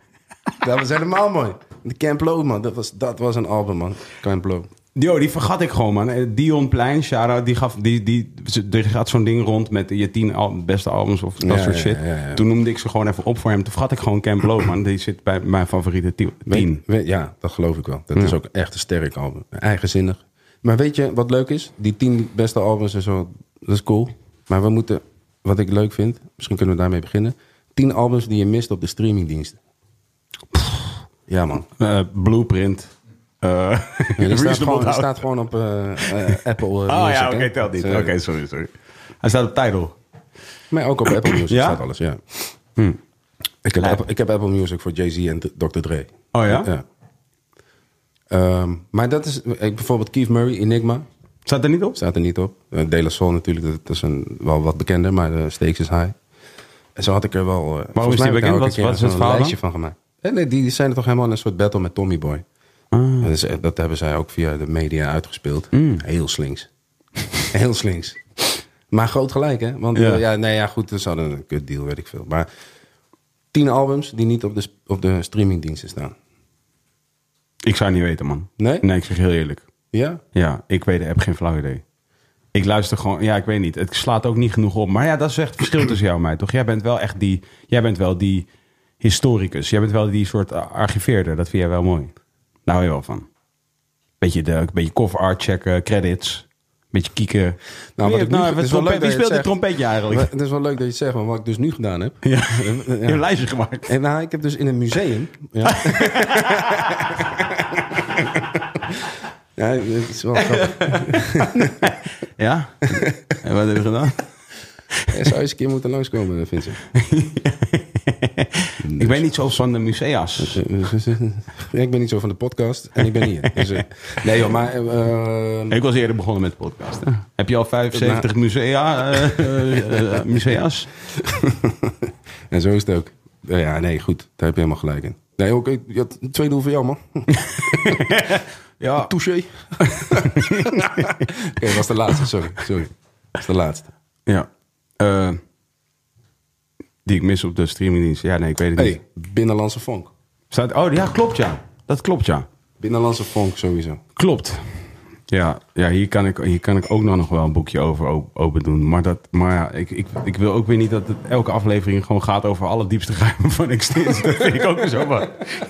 Dat was helemaal mooi. De Camp Low, man. Dat was, dat was een album, man. Camp Low.
Yo, die vergat ik gewoon, man. Eh, Dion Plein, Shara, die gaf, die, die, ze- er gaat zo'n ding rond met je tien al, beste albums of dat
Ja,
soort
ja,
shit.
ja, ja.
Toen noemde ik ze gewoon even op voor hem. Toen vergat ik gewoon Camp Low, man. Die zit bij mijn favoriete ti- tien.
Weet- ja, dat geloof ik wel. Dat is ook echt een sterk album. Eigenzinnig. Maar weet je wat leuk is? Die tien beste albums en zo, dat is cool. Maar we moeten, wat ik leuk vind, misschien kunnen we daarmee beginnen. Tien albums die je mist op de streamingdiensten. Ja, man.
Eh, Blueprint. Eh,
Ja, die staat
<laughs> Reasonable
gewoon, die
Doubt.
staat gewoon op eh,
<laughs>
eh, Apple eh,
Oh
Music,
ja,
hè?
oké, tel niet.
Dus,
Oké,
eh,
sorry, sorry. Hij staat op Tidal.
Maar ook op Apple Music
Ja?
staat alles, ja. Hm. Ik, heb
Lijp.
Apple, ik heb Apple Music voor Jay-Z en Dr. Dre.
Oh ja?
Ehm, maar dat is, ik, bijvoorbeeld Keith Murray, Enigma.
Staat er niet op?
Staat er niet op. Uh, De La Soul natuurlijk, dat is een, wel wat bekender, maar de Stakes is high. En zo had ik er wel... eh, volgens
is
mij
die
heb ik daar
bekend?
ook
Wat-
een keer
wat is het
zo'n
verhaal
lijstje van gemaakt. En nee, die, die zijn er toch helemaal in een soort battle met Tommy Boy.
Ah.
Dat, is, eh, dat hebben zij ook via de media uitgespeeld.
Mm.
Heel slinks. <laughs> Heel slinks. Maar groot gelijk, hè? Want
Ja.
ja, ja, nee, ja goed, ze hadden een kut deal, weet ik veel. Maar tien albums die niet op de, sp- op de streamingdiensten staan.
Ik zou het niet weten, man.
Nee?
Nee, ik zeg heel eerlijk.
Ja?
Ja, ik weet, heb geen flauw idee. Ik luister gewoon, ja, ik weet niet. Het slaat ook niet genoeg op. Maar ja, dat is echt het verschil tussen jou en mij, toch? Jij bent wel echt die, jij bent wel die historicus. Jij bent wel die soort eh, archiveerder. Dat vind jij wel mooi. Daar hou je wel van. Beetje, de, beetje cover art checken, credits. Beetje kieken. Nou,
wat ik nu- het
even
is wel
trompet- wie
leuk dat je het
speelt dit
zegt.
trompetje eigenlijk?
Maar Het is wel leuk dat je het zegt, want wat ik dus nu gedaan heb... <laughs>
ja. Je hebt een lijstje gemaakt.
En nou, ik heb dus in een museum.
<laughs>
Ja. ja, het is wel grappig. <laughs>
Ja? en wat heb je gedaan?
Hij zou eens een keer moeten langskomen, Vincent.
Ik weet niet zo van de musea's.
ik ben niet zo van de podcast en ik ben hier. Dus, eh, nee joh, maar... eh, <laughs> eh,
Ik was eerder begonnen met podcasten. Heb je al 75 musea, <laughs> eh, eh, eh, musea's?
en zo is het ook. Nou ja, nee, goed. Daar heb je helemaal gelijk in. Nee, oké. je had twee doel voor jou, man.
<laughs> Ja.
Touché. <laughs> Oké, dat was de laatste. Sorry, sorry. Dat was de laatste.
ja. Eh, die ik mis op de streamingdienst. Ja, nee, ik weet het niet.
hey, Binnenlandse Vonk.
Staat, oh ja, klopt ja. Dat klopt ja.
Binnenlandse Vonk sowieso.
Klopt. Ja, ja hier, kan ik, hier kan ik ook nog wel een boekje over op- open doen. Maar, dat, maar ja, ik, ik, ik wil ook weer niet dat het elke aflevering gewoon gaat over alle diepste geheimen van Extinction. Dat vind ik ook zo wat.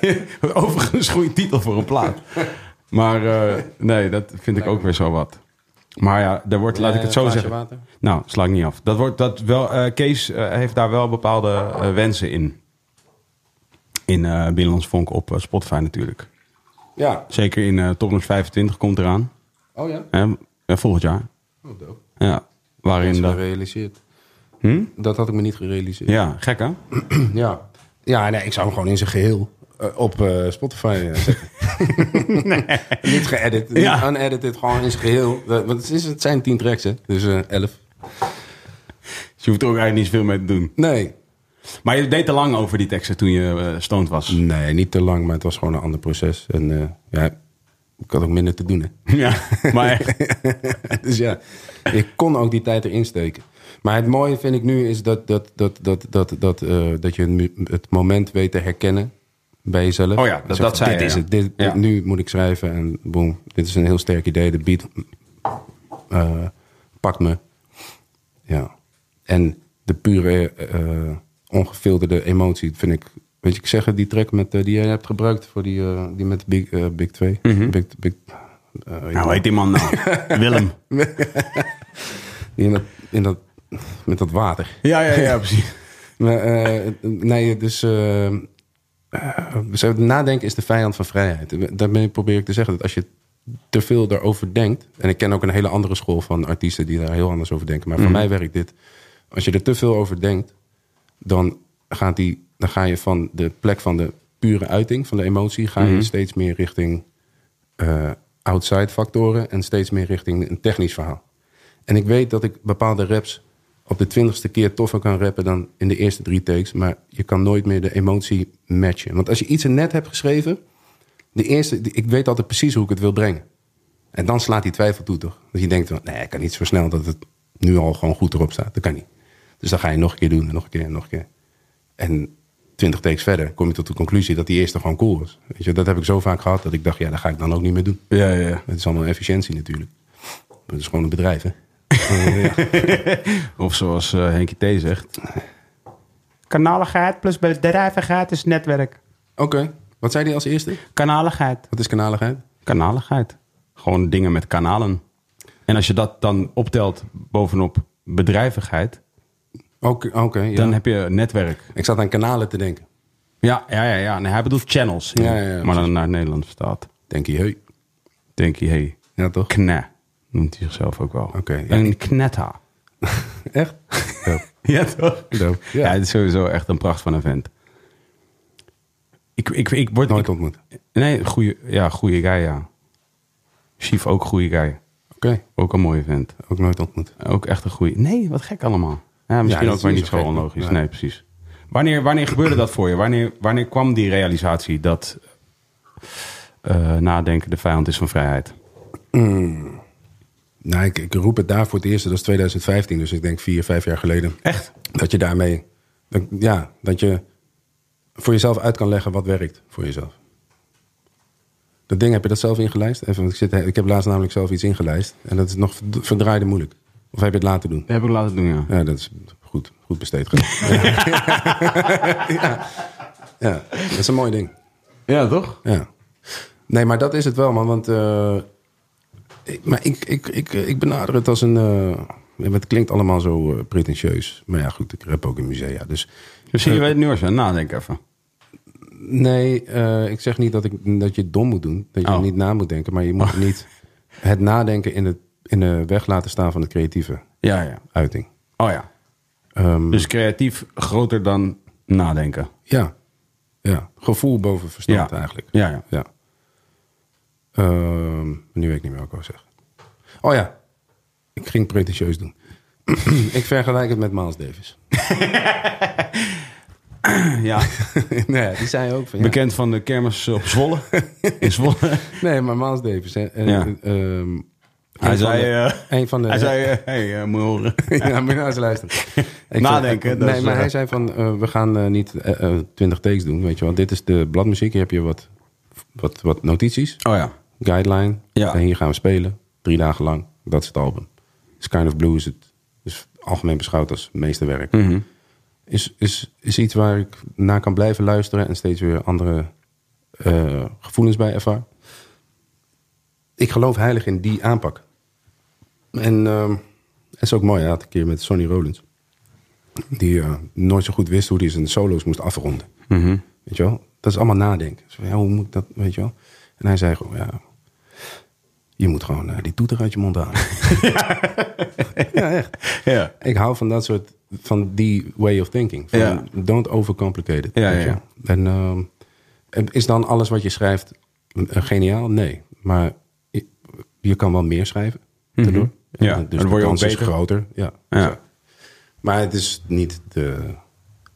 <laughs> Overigens, goede titel voor een plaat. Maar eh, nee, dat vind ik ook weer zo wat. Maar ja, daar wordt, laat ik het zo
Glaasje
zeggen.
water?
Nou, sla ik niet af. Dat wordt, dat wel, eh, Kees eh, heeft daar wel bepaalde eh, wensen in. In eh Binnenlands Vonk op eh, Spotify natuurlijk.
Ja.
Zeker in eh Topnotch 25 komt eraan.
Oh ja?
Hè? Ja, volgend jaar.
Oh, dope.
Ja,
Dat is
waarin dat...
gerealiseerd. Dat had ik me niet gerealiseerd.
Ja, gek hè?
Ja, ja nee, ik zou hem gewoon in zijn geheel eh, op eh, Spotify eh, zetten. niet geëdit, niet
Ja.
unedited, gewoon in zijn geheel. Dat- Want het, is, het zijn tien tracks, hè? Dus eh, elf.
Dus je hoeft er ook eigenlijk niet zoveel mee te doen.
Nee.
Maar je deed te lang over die teksten toen je eh stoned
<laughs>
was.
Nee, niet te lang, maar het was gewoon een ander proces. En eh, ja, ik had ook minder te doen, hè?
Ja,
<laughs>
maar echt.
<laughs> dus ja, ik kon ook die tijd erin steken. Maar het mooie vind ik nu is dat, dat, dat, dat, dat, dat, eh, dat je het mu- het moment weet te herkennen bij jezelf.
Oh ja, dat-
Zo van,
dat zei
Dit
je,
is
ja.
het. Dit,
Ja.
Nu moet ik schrijven en boem. Dit is een heel sterk idee. De beat eh, pakt me. Ja. En de pure eh, ongefilterde emotie vind ik... Weet je, ik zeg het, die track met, eh, die jij hebt gebruikt voor die, eh, die met Big, eh, big 2.
Mhm.
Big, big, eh, weet je
Nou, hoe heet die man
<laughs>
nou? Willem.
Die in dat, in dat, met dat water.
Ja, ja, ja, precies.
<laughs> Maar, eh, nee, dus. eh, eh, zo Dus nadenken is de vijand van vrijheid. Daarmee probeer ik te zeggen dat als je te veel daarover denkt. En ik ken ook een hele andere school van artiesten die daar heel anders over denken. Maar voor mij werkt dit. Als je er te veel over denkt, dan, gaat die, dan ga je van de plek van de pure uiting, van de emotie, ga je steeds meer richting eh, outside factoren en steeds meer richting een technisch verhaal. En ik weet dat ik bepaalde raps op de twintigste keer toffer kan rappen dan in de eerste drie takes. Maar je kan nooit meer de emotie matchen. Want als je iets er net hebt geschreven, de eerste, die- ik weet altijd precies hoe ik het wil brengen. En dan slaat die twijfel toe, toch? Dat je denkt, van, nee, ik kan niet zo snel dat het nu al gewoon goed erop staat. Dat kan niet. Dus dan ga je nog een keer doen, en nog een keer, en nog een keer. En twintig takes verder kom je tot de conclusie dat die eerste gewoon cool was. Weet je, dat heb ik zo vaak gehad dat ik dacht, ja, dat ga ik dan ook niet meer doen.
Ja, ja.
Het is allemaal efficiëntie natuurlijk. Maar Het is gewoon een bedrijf, hè?
Of zoals eh Henkie T. zegt.
Kanaligheid plus bedrijvigheid is netwerk.
Oké, wat zei hij als eerste?
Kanaligheid.
Wat is kanaligheid?
Kanaligheid. Gewoon dingen met kanalen. En als je dat dan optelt bovenop bedrijvigheid,
Oké, oké, ja.
dan heb je netwerk.
Ik zat aan kanalen te denken.
Ja, ja, ja. ja. Nee, hij bedoelt channels.
Ja, ja, ja,
maar dan naar het Nederlands vertaald.
Denk je, hey.
Denk je, hey,
Ja, toch?
kna, noemt hij zichzelf ook wel.
Oké, ja.
Een knetta.
Echt? <laughs> Ja.
Ja, toch?
Dope, ja.
Ja, het is sowieso echt een pracht van een vent. Ik, ik, ik word...
Nooit
ik-
ontmoet. Oké.
nee, goeie, ja, goeie guy, ja. Chief ook goeie guy. Ook een mooie vent.
Ook nooit ontmoet.
Ook echt een goeie... Nee, wat gek allemaal. Ja, misschien
dat
ook
is
weer
niet
niet
zo
zo
gek,
onlogisch.
ja.
Nee, precies. Wanneer, wanneer gebeurde dat voor je? Wanneer, wanneer kwam die realisatie dat eh, nadenken de vijand is van vrijheid?
Nou, ik, ik roep het daar voor het eerst, dat is 2015. Dus ik denk vier, vijf jaar geleden.
Echt?
Dat je daarmee... dat- ja, dat je voor jezelf uit kan leggen wat werkt voor jezelf. Dat ding, heb je dat zelf ingelijst? Even, want ik, zit, ik heb laatst namelijk zelf iets ingelijst. En dat is nog verd- verdraaide moeilijk. Of heb je het laten doen?
Dat heb ik laten doen, ja.
Ja, dat is goed, goed besteed
<laughs>
geld. <laughs> ja. ja, dat is een mooi ding.
Ja, toch?
Ja. Nee, maar dat is het wel, man. Want eh, ik, maar ik, ik, ik, ik benader het als een... eh, het klinkt allemaal zo eh, pretentieus. Maar ja, goed, ik rap ook in musea. Dus
Dus
Eh,
zie je het nu eens aan nadenken even.
nee, eh, ik zeg niet dat, ik, dat je het dom moet doen. Dat je
Oh.
niet na moet denken. Maar je
<laughs>
moet niet het nadenken in, het, in de weg laten staan van de creatieve
Ja, ja.
uiting.
Oh ja.
Ehm,
Dus creatief groter dan nadenken.
ja. ja, gevoel boven verstand
Ja.
eigenlijk.
Ja, ja.
Ja. Ehm, nu weet ik niet meer wat ik wil zeggen. Oh ja, ik ging pretentieus doen. <clears throat> ik vergelijk het met Miles Davis.
<laughs> ja.
<laughs> nee, die zei ook van ja.
Bekend van de kermis op
<laughs>
Zwolle. In Zwolle.
Nee, maar Miles Davis. Hè, en,
Ja.
ehm, een
Hij
van
zei...
de-
eh,
een van de,
hij zei, eh, hey, eh, moet je horen.
<laughs> ja, moet je nou eens luisteren. Ik
Nadenken,
zei-
dat
nee,
is,
maar
eh,
hij zei van, eh, we gaan eh, niet twintig takes doen, weet je wel. Dit is de bladmuziek, hier heb je wat, wat, wat notities,
Oh ja.
guideline.
Ja.
En hier gaan we spelen, drie dagen lang. Dat is het album. Is Kind of Blue is het, is algemeen beschouwd als meesterwerk. Is, is, is iets waar ik naar kan blijven luisteren en steeds weer andere eh, gevoelens bij ervaar. Ik geloof heilig in die aanpak. En ehm, dat is ook mooi. Hij had een keer met Sonny Rollins. Die eh, nooit zo goed wist hoe hij zijn solo's moest afronden. Weet je wel? Dat is allemaal nadenken. Zo, ja, hoe moet ik dat, weet je wel? En hij zei gewoon, ja... Je moet gewoon eh, die toeter uit je mond
<laughs>
halen. ja, echt.
Ja.
Ik hou van dat soort, van die way of thinking. Van,
Ja.
Don't overcomplicate it.
Ja,
weet je
ja.
wel. En ehm, en is dan alles wat je schrijft eh, geniaal? Nee. Maar je, je kan wel meer schrijven. daardoor. En
Mhm. Ja,
dus
dan
de
word je ook
kans is
beter.
groter. Ja.
Ja.
Maar het is niet de,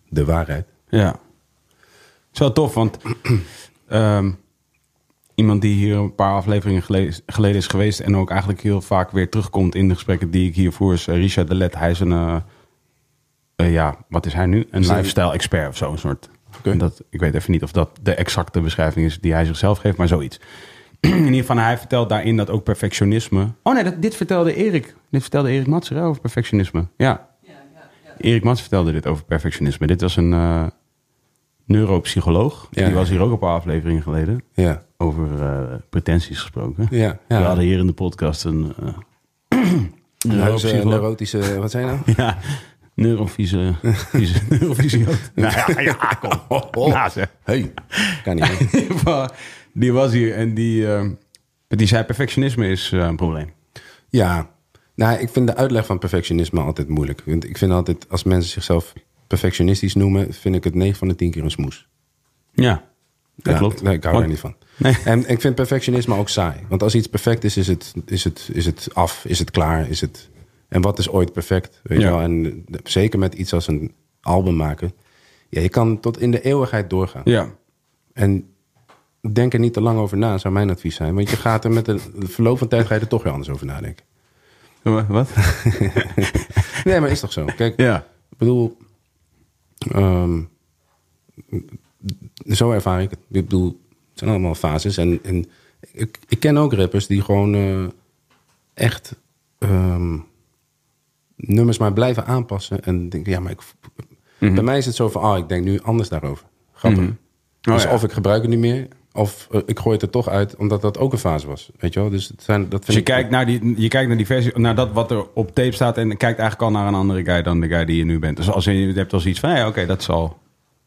de waarheid.
Ja. Het is wel tof, want <clears throat> ehm, iemand die hier een paar afleveringen gele- geleden is geweest en ook eigenlijk heel vaak weer terugkomt in de gesprekken die ik hier voer, is eh, Richard de Let. Hij is een, eh, eh, ja, wat is hij nu? Een
Is hij-
lifestyle-expert of zo, een soort.
Oké.
Dat, ik weet even niet of dat de exacte beschrijving is die hij zichzelf geeft, maar zoiets. <clears throat> In ieder geval, hij vertelt daarin dat ook perfectionisme. Oh nee, dat, dit vertelde Erik. Dit vertelde Erik Matser over perfectionisme. Ja. Erik Mats vertelde dit over perfectionisme. Dit was een eh, neuropsycholoog.
Ja,
die
ja.
was hier ook een paar afleveringen geleden.
Ja.
Over eh, pretenties gesproken.
Ja, ja.
We hadden hier in de podcast een eh, <clears throat>
Neurotische,
neuropsycholoog.
neurotische, wat zijn nou?
Ja, neurovisie. <laughs> Neurofysioot. nou <laughs> ja, ja, kom.
<laughs>
Nou, zeg.
Oh. Hey, kan niet. hè?
Die wa- die was hier en die, eh, die zei perfectionisme is eh, een probleem.
Ja, nou, ik vind de uitleg van perfectionisme altijd moeilijk. Want ik vind altijd, als mensen zichzelf perfectionistisch noemen, vind ik het 9 van de 10 keer een smoes.
Ja, dat
Ja,
klopt.
nee, ik hou
Want-
daar niet van.
Nee.
En ik vind perfectionisme ook saai. Want als iets perfect is, is het, is het, is het af, is het klaar, is het... En wat is ooit perfect? Weet
Ja.
je wel? En eh, zeker met iets als een album maken. Ja, je kan tot in de eeuwigheid doorgaan.
Ja,
En denk er niet te lang over na, zou mijn advies zijn. Want je gaat er met de verloop van tijd ga je er toch weer anders over nadenken.
Wa- wat?
Nee, maar is toch
<laughs>
zo? Kijk,
ja.
Ik bedoel, ehm, zo ervaar ik het. Ik bedoel, het zijn allemaal fases. En, en ik, ik ken ook rappers die gewoon eh, echt ehm, nummers maar blijven aanpassen. En denken, ja, maar ik,
Mhm.
bij mij is het zo van, ah, ik denk nu anders daarover. Grappig. dus
Oh, ja.
of ik gebruik het niet meer, of eh, ik gooi het er toch uit, omdat dat ook een fase was. Weet je wel? Dus het zijn, dat vind
Dus je
ik,
kijkt, naar die, je kijkt naar die versie, naar dat wat er op tape staat en kijkt eigenlijk al naar een andere guy dan de guy die je nu bent. Dus als je, je hebt als iets van, hey, oké, dat is al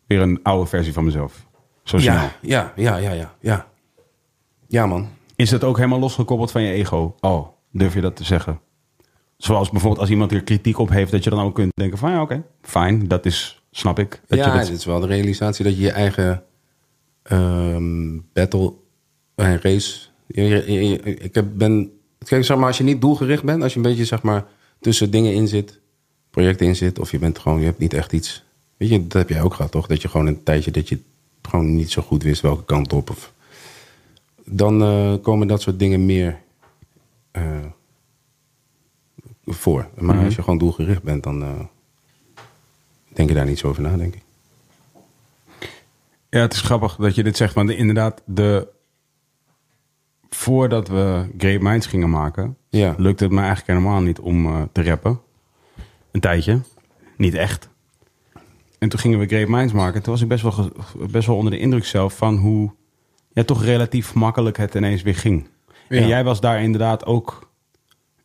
weer een oude versie van mezelf. Zo snel.
Ja, ja, ja, ja, ja, ja. Ja, man.
Is dat ook helemaal losgekoppeld van je ego? Oh, durf je dat te zeggen? Zoals bijvoorbeeld als iemand er kritiek op heeft, dat je dan ook kunt denken van, ja, oké, fijn, dat is, snap ik. Dat
ja, dus-
je dat-
het is wel de realisatie dat je je eigen ehm, battle en race. je- je- je- je- ik heb- ben. Kijk, zeg maar, als je niet doelgericht bent, als je een beetje zeg maar tussen dingen in zit, projecten in zit, of je bent gewoon, je hebt niet echt iets. Weet je, dat heb jij ook gehad, toch? Dat je gewoon een tijdje dat je gewoon niet zo goed wist welke kant op. Of, dan eh, komen dat soort dingen meer eh, voor. Maar
Mhm.
als je gewoon doelgericht bent, dan eh, denk je daar niet zo over na, denk ik.
Ja, het is grappig dat je dit zegt. Want inderdaad, de... voordat we Great Minds gingen maken...
Ja.
lukte het me eigenlijk helemaal niet om eh, te rappen. Een tijdje. Niet echt. En toen gingen we Great Minds maken. Toen was ik best wel, ge- best wel onder de indruk zelf van hoe... Ja, toch relatief makkelijk het ineens weer ging.
Ja.
En jij was daar inderdaad ook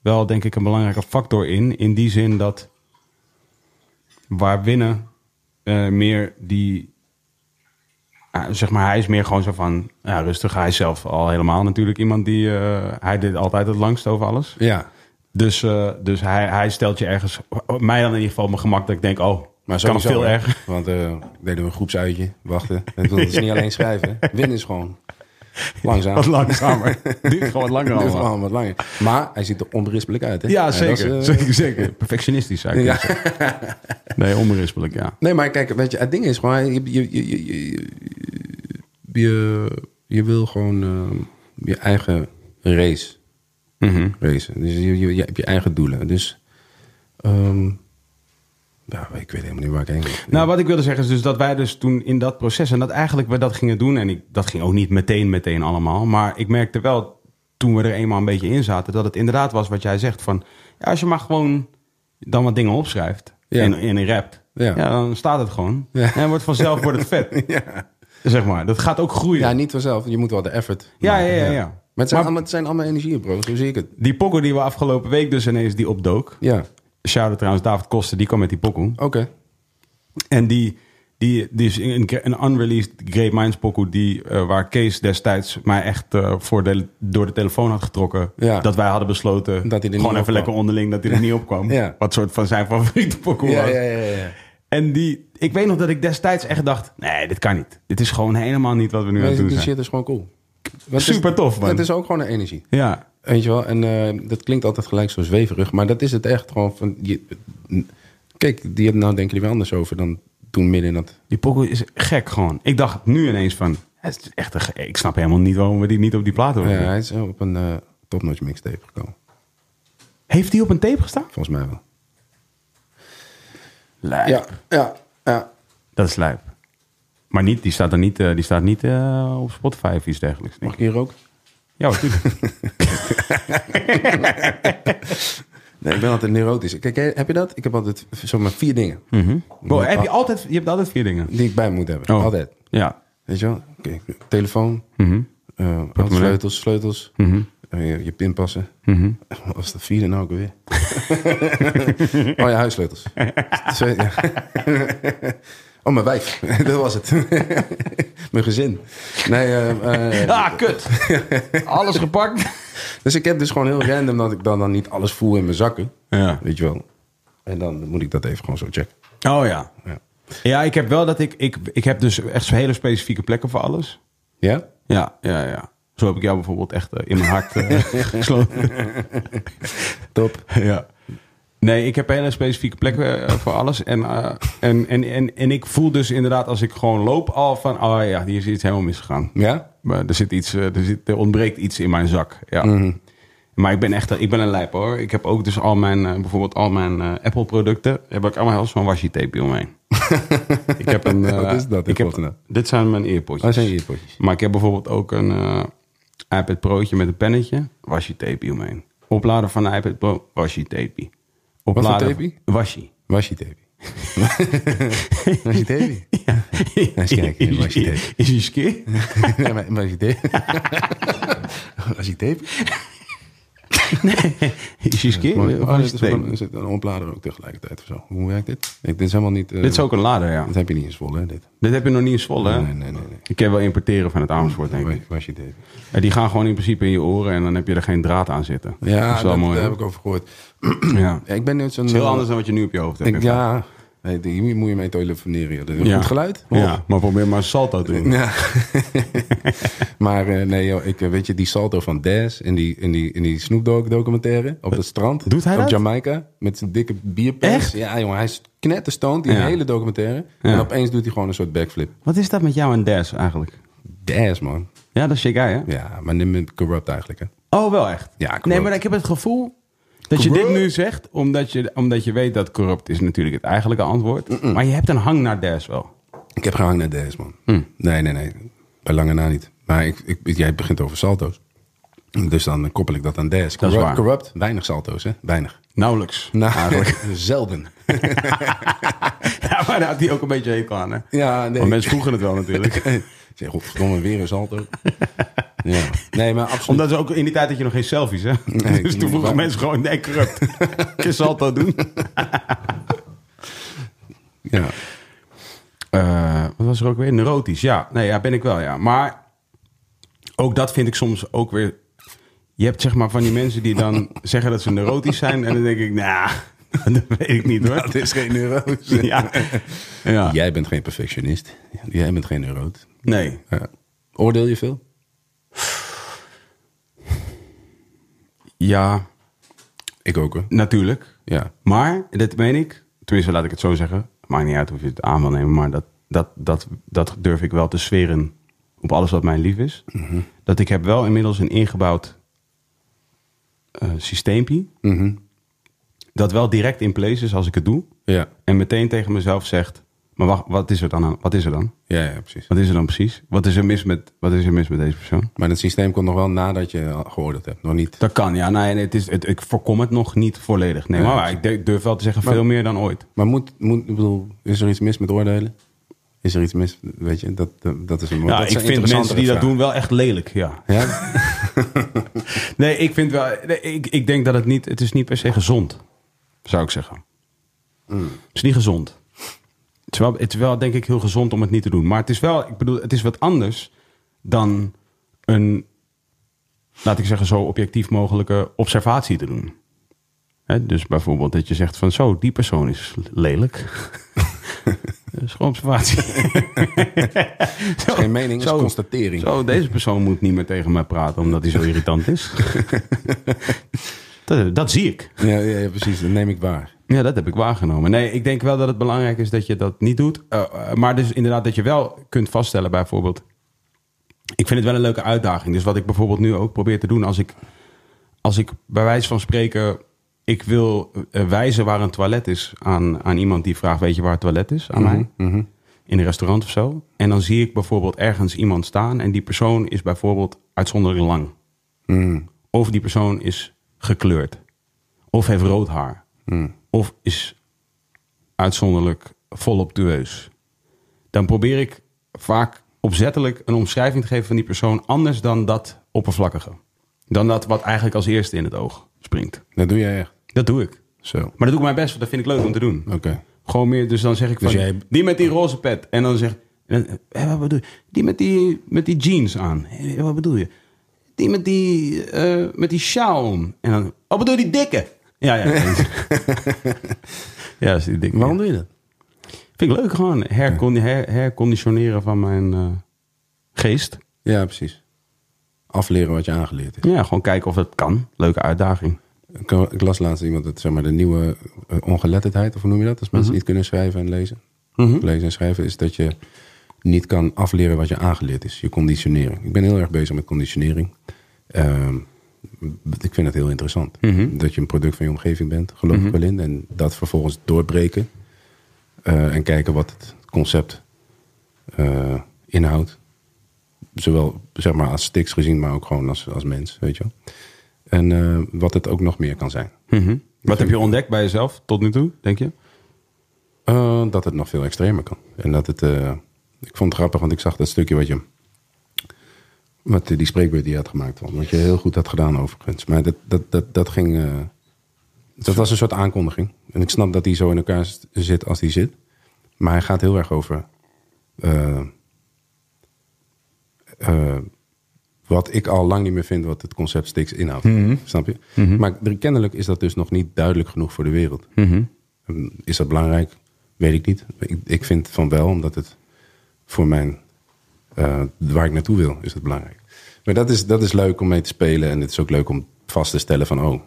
wel, denk ik, een belangrijke factor in. In die zin dat waar winnen eh, meer die Ah, zeg maar, hij is meer gewoon zo van ja, rustig. Hij is zelf al helemaal natuurlijk iemand die. eh, hij deed altijd het langst over alles.
Ja.
Dus, eh, dus hij, hij stelt je ergens, mij dan in ieder geval op mijn gemak, dat ik denk, <laughs> oh, kan
Maar sowieso,
veel
hè.
erger.
<laughs> Want eh, deden we een groepsuitje, wachten. En toen is niet alleen schrijven. hè. Winnen is gewoon langzaam.
Wat
<laughs>
langzamer. Duurt gewoon wat langer <laughs>
Duurt
allemaal.
gewoon wat langer. Maar hij ziet er onberispelijk uit, hè?
Ja,
dat is,
zeker.
eh,
zeker, zeker. Perfectionistisch zou ik
Ja.
kunnen zeggen. Nee, onberispelijk, ja.
Nee, maar kijk, weet je, het ding is gewoon, je, je, je, je, je, je, je wil gewoon eh, je eigen race
Mhm.
racen. Dus je, je, je hebt je eigen doelen. Dus, ehm, ja, ik weet helemaal niet waar ik heen wil.
Nou, wat ik wilde zeggen is dus dat wij dus toen in dat proces... en dat eigenlijk we dat gingen doen... en ik, dat ging ook niet meteen meteen allemaal... maar ik merkte wel toen we er eenmaal een beetje in zaten... dat het inderdaad was wat jij zegt van... Ja, als je maar gewoon dan wat dingen opschrijft
Ja.
en, en rapt... Ja.
Ja.
dan staat het gewoon.
Ja.
En wordt vanzelf wordt het vet,
<laughs> ja.
zeg maar. Dat gaat ook groeien.
ja, niet vanzelf. Je moet wel de effort
Ja,
maken,
ja, ja, ja.
Maar het zijn,
Maar-
allemaal, het zijn allemaal energieën, bro. Zo zie ik het.
Die pokoe die we afgelopen week dus ineens die opdook...
Ja,
Shout-out trouwens, David Koster, die kwam met die pokoe.
oké.
En die, die, die is een, een unreleased Great Minds pokoe... Die, eh, waar Kees destijds mij echt eh, voor de, door de telefoon had getrokken...
Ja.
dat wij hadden besloten,
Dat hij er niet
gewoon even
opkwam.
lekker onderling... dat hij er niet
<laughs>
op kwam.
Ja.
Wat soort van zijn favoriete pokoe was.
ja.
En die, ik weet nog dat ik destijds echt dacht... nee, dit kan niet. Dit is gewoon helemaal niet wat we nu aan het doen
die
zijn.
shit is gewoon cool. Want het is-
Super tof, man.
Het is ook gewoon een energie.
Ja,
Weet je wel, en eh, dat klinkt altijd gelijk zo zweverig, maar dat is het echt gewoon van... Je, kijk, die, nou denken die wel anders over dan toen midden in dat...
die pokoe is gek gewoon. Ik dacht nu ineens van... Het is echt een ge- ik snap helemaal niet waarom we die niet op die plaat
Ja,
horen.
hij is op een eh topnotch mixtape gekomen,
Heeft die op een tape gestaan?
volgens mij wel.
Lijp.
Ja, ja, ja.
Dat is lijp. Maar niet, die staat er niet, eh, die staat niet eh, op Spotify of iets dergelijks.
Mag
denk
ik
ik.
hier ook?
Ja, natuurlijk.
<laughs> Nee, ik ben altijd neurotisch. Kijk, hè, heb je dat? Ik heb altijd zomaar vier dingen
Wow, heb je, altijd, je hebt altijd vier dingen.
die ik bij me moet hebben.
Oh. Mhm.
Altijd.
Ja.
Weet je wel? Oké, telefoon, eh, sleutels, sleutels,
Mhm.
eh, je, je pinpassen. Wat <laughs> was de vierde nou ook weer? <laughs> oh ja,
<laughs>
huissleutels. Twee- ja. <laughs> oh, mijn wijf. <laughs> Dat was het. mijn gezin. Nee,
<laughs>
eh, eh,
Ah,
<laughs>
kut. Alles gepakt.
dus ik heb dus gewoon heel random dat ik dan, dan niet alles voel in mijn zakken.
Ja.
Weet je wel? En dan moet ik dat even gewoon zo checken.
Oh ja.
Ja?
Ja, ik heb wel dat ik... Ik, ik heb dus echt hele specifieke plekken voor alles.
ja?
Ja, ja, ja. Zo heb ik jou bijvoorbeeld echt eh, in mijn hart eh, <laughs> gesloten.
Top.
<laughs> ja. Nee, ik heb hele specifieke plekken eh, voor alles. En, eh, en, en, en, en ik voel dus inderdaad als ik gewoon loop al van... Oh ja, hier is iets helemaal misgegaan.
Ja?
Maar er, zit iets, eh, er, zit, er ontbreekt iets in mijn zak. Ja.
Mhm.
Maar ik ben echt ik ben een lijp hoor. Ik heb ook dus al mijn, eh, bijvoorbeeld al mijn Apple producten. Heb ik allemaal heel zo'n washi tape
<laughs>
omheen. ik heb een, eh,
Wat is dat in
ik heb,
godsnaam?
dit zijn mijn earpodjes.
Oh, zijn je potjes.
Maar ik heb bijvoorbeeld ook een eh, iPad Pro'tje met een pennetje. Washi tape omheen. Opladen van de iPad Pro. Washi tape.
voor
Opladen
tape?
Washi. <laughs>
Was je TV? <laughs> Was je TV? Eens kijken, washi tape.
Is je ski?
<laughs> Ja, maar, maar als je <laughs> tape. als je tape.
Is je ski?
Mooi.
Of
Oh,
is het
is het
tape?
gewoon- is het een oplader ook tegelijkertijd of zo? Hoe werkt dit? Ik, dit is helemaal niet. eh,
Dit is ook een lader, ja.
Dat heb je niet eens vol, hè? Dit.
Dit heb je nog niet in Zwolle, hè?
Nee, nee, nee, nee.
Ik kan wel importeren van het Amersfoort, denk ik.
Waar- waar is je tape?
En die gaan gewoon in principe in je oren en dan heb je er geen draad aan zitten.
Ja,
dat is wel
dat-
mooi.
daar
hoor.
heb ik over gehoord. <clears throat>
Ja.
Ja, ik ben net zo'n.
Het is heel
eh,
anders dan wat je nu op je hoofd hebt.
Ik, ja. Nee, die- hier moet je mee telefoneren. joh. Dat is een goed geluid. hoor.
Ja, maar probeer maar een salto te
<laughs>
doen.
Ja. maar eh, nee, joh, ik, eh, weet je, die salto van Daz in die, in die, in die Snoop Dogg documentaire op het strand.
Eh, Doet hij
Op
dat?
Jamaica, met zijn dikke bierpens.
Echt?
Ja, jongen, hij is knetterstoond, die
Ja.
hele documentaire.
Ja.
En opeens doet hij gewoon een soort backflip.
Wat is dat met jou en Des eigenlijk?
Daz, man.
Ja, dat is jij, hè?
Ja, maar neem het corrupt eigenlijk, hè.
Oh, wel echt?
Ja, corrupt.
Nee, maar ik heb het gevoel dat je dit nu zegt omdat je, omdat je weet dat corrupt is natuurlijk het eigenlijke antwoord. Maar je hebt een hang naar Des wel.
Ik heb gehangen naar Daz, man.
Hm.
Nee, nee, nee. Bij lange na niet. Maar ik, ik, jij begint over salto's. Dus dan koppel ik dat aan Daz.
is
Corrupt,
waar.
corrupt, weinig salto's, hè. Weinig.
Nauwelijks. <laughs>
Nou, eigenlijk <laughs> zelden.
Ja, maar daar had hij ook een beetje hekel aan, hè?
Ja, nee.
Want mensen vroegen het wel
<laughs>
natuurlijk.
zeg, godverdomme, weer een salto. <laughs> ja. Nee, maar absoluut.
Omdat ze ook in die tijd dat je nog geen selfies, hè?
<laughs>
Nee,
dus toen
niet
vroegen
waar.
mensen gewoon, nee,
<laughs>
corrupt. Je salto doen.
Ja.
Eh, wat was er ook weer? Neurotisch, ja. Nee, ja, ben ik wel, ja. Maar ook dat vind ik soms ook weer...
je hebt zeg maar van die mensen die <laughs> dan zeggen dat ze neurotisch zijn. En dan denk ik, nou, <laughs> dat weet ik niet hoor.
Dat is geen neurose.
<laughs> Ja. ja.
Jij bent geen perfectionist. Jij bent geen neuroot.
Nee.
Ja. Oordeel je veel?
Ja,
Ik ook hoor.
natuurlijk.
Ja.
Maar, dat meen ik, tenminste laat ik het zo zeggen. Maakt niet uit of je het aan wil nemen, maar dat, dat, dat, dat durf ik wel te zweren op alles wat mij lief is.
Mhm.
Dat ik heb wel inmiddels een ingebouwd eh systeempje.
Mhm.
Dat wel direct in place is als ik het doe.
Ja.
En meteen tegen mezelf zegt, maar wacht, wat is er dan? aan- Wat is er dan?
Ja, ja, precies.
Wat is er dan precies? Wat is er mis met, wat is er mis met deze persoon?
Maar het systeem komt nog wel nadat je al geoordeeld hebt. Nog niet.
Dat kan, ja. Nee, nee, het is, het, ik voorkom het nog niet volledig. Nee,
Ja,
maar,
precies.
ik durf- durf wel te zeggen, veel meer dan ooit.
Maar moet, moet, ik bedoel, is er iets mis met oordelen? Is er iets mis? Weet je, dat, dat, dat is een
Ja,
dat
ik
zijn
vind mensen die dat doen
interessantere
wel echt lelijk, ja.
vragen. Ja?
Nee, ik vind wel... nee, ik, ik denk dat het niet... Het is niet per se gezond, zou ik zeggen. Het is niet gezond. Het is, wel, het is wel, denk ik, heel gezond om het niet te doen. Maar het is wel... Ik bedoel, het is wat anders dan een... Laat ik zeggen, zo objectief mogelijke observatie te doen. Hè, dus bijvoorbeeld dat je zegt van... Zo, die persoon is lelijk. dat is gewoon observatie.
Geen mening, is <laughs>
Zo.
constatering.
Zo, deze persoon moet niet meer tegen mij praten omdat hij zo irritant is. dat, dat zie ik.
Ja, ja, ja, precies. Dat neem ik waar.
Ja, dat heb ik waargenomen. Nee, ik denk wel dat het belangrijk is dat je dat niet doet. Eh, eh, maar dus inderdaad dat je wel kunt vaststellen bijvoorbeeld. Ik vind het wel een leuke uitdaging. Dus wat ik bijvoorbeeld nu ook probeer te doen als ik, als ik bij wijze van spreken... Ik wil eh, wijzen waar een toilet is aan, aan iemand die vraagt... weet je waar het toilet is? Aan mij in een restaurant of zo. En dan zie ik bijvoorbeeld ergens iemand staan en die persoon is bijvoorbeeld uitzonderlijk lang. Of die persoon is gekleurd. Of heeft rood haar. Of is uitzonderlijk volop dueus. Dan probeer ik vaak opzettelijk een omschrijving te geven van die persoon anders dan dat oppervlakkige. Dan dat wat eigenlijk als eerste in het oog springt.
Dat doe jij echt.
Dat doe ik.
Zo. Oké.
Maar dat doe ik mijn best, want dat vind ik leuk om te doen. Gewoon meer, dus dan zeg ik van,
Dus jij-
die met die roze pet. En dan zeg en dan, "Hé, wat bedoel je? Die met die, met die jeans aan. Hé, wat bedoel je? Die met die, eh, met die sjaal om. En dan, oh bedoel je die dikke? Ja, ja.
<laughs>
ja, is die dikke.
Waarom doe je dat?
Vind ik leuk gewoon, hercon- her- herconditioneren van mijn eh, geest.
Ja, precies. Afleren wat je aangeleerd is.
Ja, gewoon kijken of dat kan. Leuke uitdaging.
Ik, ik las laatst iemand dat zeg maar de nieuwe eh, ongeletterdheid, of hoe noem je dat? Als mensen niet kunnen schrijven en lezen. Lezen en schrijven is dat je niet kan afleren wat je aangeleerd is. Je conditionering. Ik ben heel erg bezig met conditionering. Ehm, b- ik vind het heel interessant. Dat je een product van je omgeving bent, geloof ik wel in. En dat vervolgens doorbreken. eh, en kijken wat het concept eh, inhoudt. Zowel zeg maar als stiks gezien, maar ook gewoon als, als mens, weet je wel. En eh, wat het ook nog meer kan zijn.
Wat heb je ontdekt bij jezelf tot nu toe, denk je?
Eh, dat het nog veel extremer kan. En dat het. eh, ik vond het grappig, want ik zag dat stukje wat je. Wat eh, die spreekbeurt die je had gemaakt. Tom, Wat je heel goed had gedaan overigens. Maar dat, dat, dat, dat ging. eh, dat was een soort aankondiging. En ik snap dat hij zo in elkaar s- zit als hij zit. Maar hij gaat heel erg over. eh, eh, wat ik al lang niet meer vind wat het concept Stix inhoudt.
Mhm.
Snap je? Maar er- kennelijk is dat dus nog niet duidelijk genoeg voor de wereld.
Mhm.
Ehm, Is dat belangrijk? Weet ik niet. Ik, ik vind van wel, omdat het voor mijn. eh, waar ik naartoe wil, is het belangrijk. Maar dat is, dat is leuk om mee te spelen. En het is ook leuk om vast te stellen van. Oh,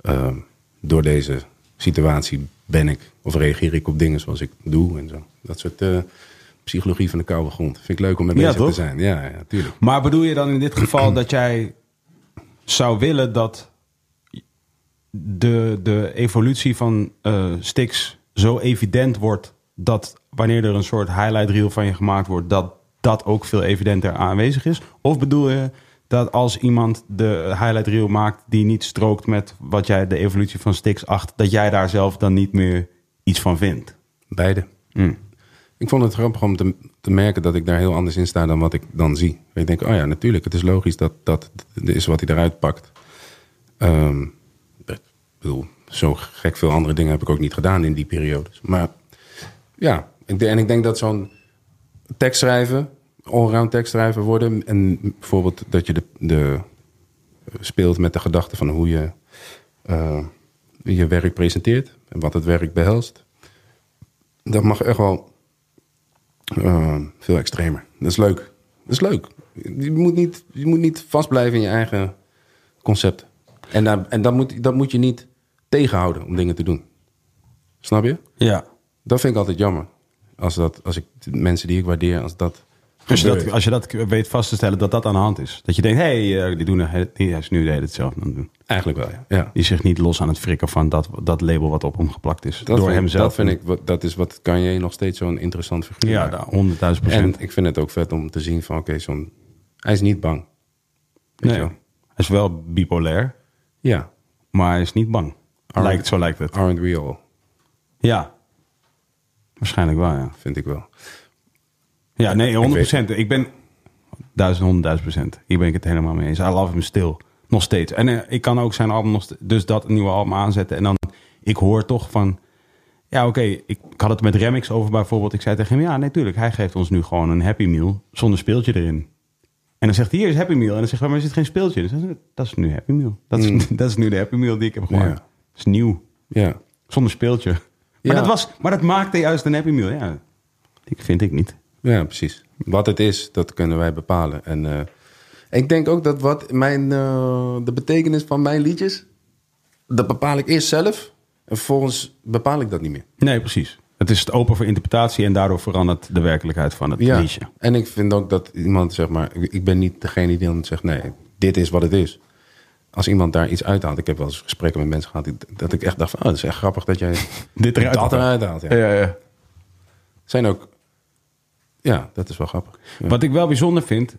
eh, door deze situatie ben ik. of reageer ik op dingen zoals ik doe en zo. Dat soort. eh, Psychologie van de koude grond. Vind ik leuk om mee
Ja,
bezig te
toch?
zijn. Ja, ja, tuurlijk.
Maar bedoel je dan in dit geval dat jij zou willen dat de, de evolutie van eh Stix zo evident wordt dat wanneer er een soort highlight reel van je gemaakt wordt, dat dat ook veel evidenter aanwezig is? Of bedoel je dat als iemand de highlight reel maakt die niet strookt met wat jij de evolutie van Stix acht, dat jij daar zelf dan niet meer iets van vindt?
Beide. Ik vond het grappig om te, te merken dat ik daar heel anders in sta dan wat ik dan zie. Ik denk, oh ja, natuurlijk, het is logisch dat dat is wat hij eruit pakt. Ehm, ik bedoel, zo gek veel andere dingen heb ik ook niet gedaan in die periodes. Maar ja, ik de- en ik denk dat zo'n tekst schrijven, allround tekst schrijven worden. En bijvoorbeeld dat je de, de speelt met de gedachte van hoe je eh, je werk presenteert en wat het werk behelst. Dat mag echt wel eh, veel extremer. Dat is leuk. Dat is leuk. Je moet niet, je moet niet vastblijven in je eigen concept. En, daar, en dat, moet, dat moet je niet tegenhouden om dingen te doen. Snap je?
Ja.
Dat vind ik altijd jammer. Als, dat, als ik de mensen die ik waardeer, als dat.
Als Dus je, dat,
gebeurt.
als je dat weet vast te stellen, dat dat aan de hand is. Dat je denkt, hé, hey, eh, die doen er- die hij is nu de hele tijd zelf aan het doen.
Eigenlijk wel, ja. ja.
Die zich niet los aan het frikken van dat, dat label wat op hem geplakt is. door
vind,
hemzelf.
Dat vind ik, wat- dat is wat Kanye nog steeds zo'n interessant figuur
Ja,
maakt.
daar 100.000
En
procent.
ik vind het ook vet om te zien van, oké, zo'n... Hij is niet bang. Weet
Nee.
je wel?
Hij is wel bipolair,
Ja,
maar hij is niet bang. Lijkt, zo lijkt het.
aren't we all,
Ja. Waarschijnlijk wel, ja.
vind ik wel.
Ja, nee, 100
weet
procent. Ik ben duizend, honderdduizend procent. Hier ben ik het helemaal mee eens. I love hem stil. Nog steeds. En eh, ik kan ook zijn album nog st- dus dat nieuwe album aanzetten. En dan, ik hoor toch van... Ja, oké, ik, ik had het met Remix over bijvoorbeeld. Ik zei tegen hem, ja, natuurlijk, hij geeft ons nu gewoon een Happy Meal zonder speeltje erin. En dan zegt hij, hier is Happy Meal. En dan zegt hij, maar er zit geen speeltje in. Dan zegt hij, dat is nu Happy Meal. Dat is, <laughs> dat is nu de Happy Meal die ik heb gemaakt.
Hmm. Ja.
Dat is nieuw,
Ja,
zonder speeltje. Maar,
Ja.
dat was, maar dat maakte juist een Happy Meal, ja. Ik vind ik niet.
ja, precies. Wat het is, dat kunnen wij bepalen. En eh, ik denk ook dat wat mijn, eh, de betekenis van mijn liedjes... dat bepaal ik eerst zelf. En vervolgens bepaal ik dat niet meer.
Nee, precies. Het is het open voor interpretatie en daardoor verandert de werkelijkheid van het
Ja,
liedje.
en ik vind ook dat iemand, zeg maar... Ik ik ben niet degene die dan zegt, nee, dit is wat het is. Als iemand daar iets uithaalt... Ik heb wel eens gesprekken met mensen gehad... die- dat ik echt dacht van, oh, dat is echt grappig dat jij
Dit eruit.
dat eruit haalt. Ja.
ja, ja.
Zijn ook... Ja, dat is wel grappig. Ja.
Wat ik wel bijzonder vind,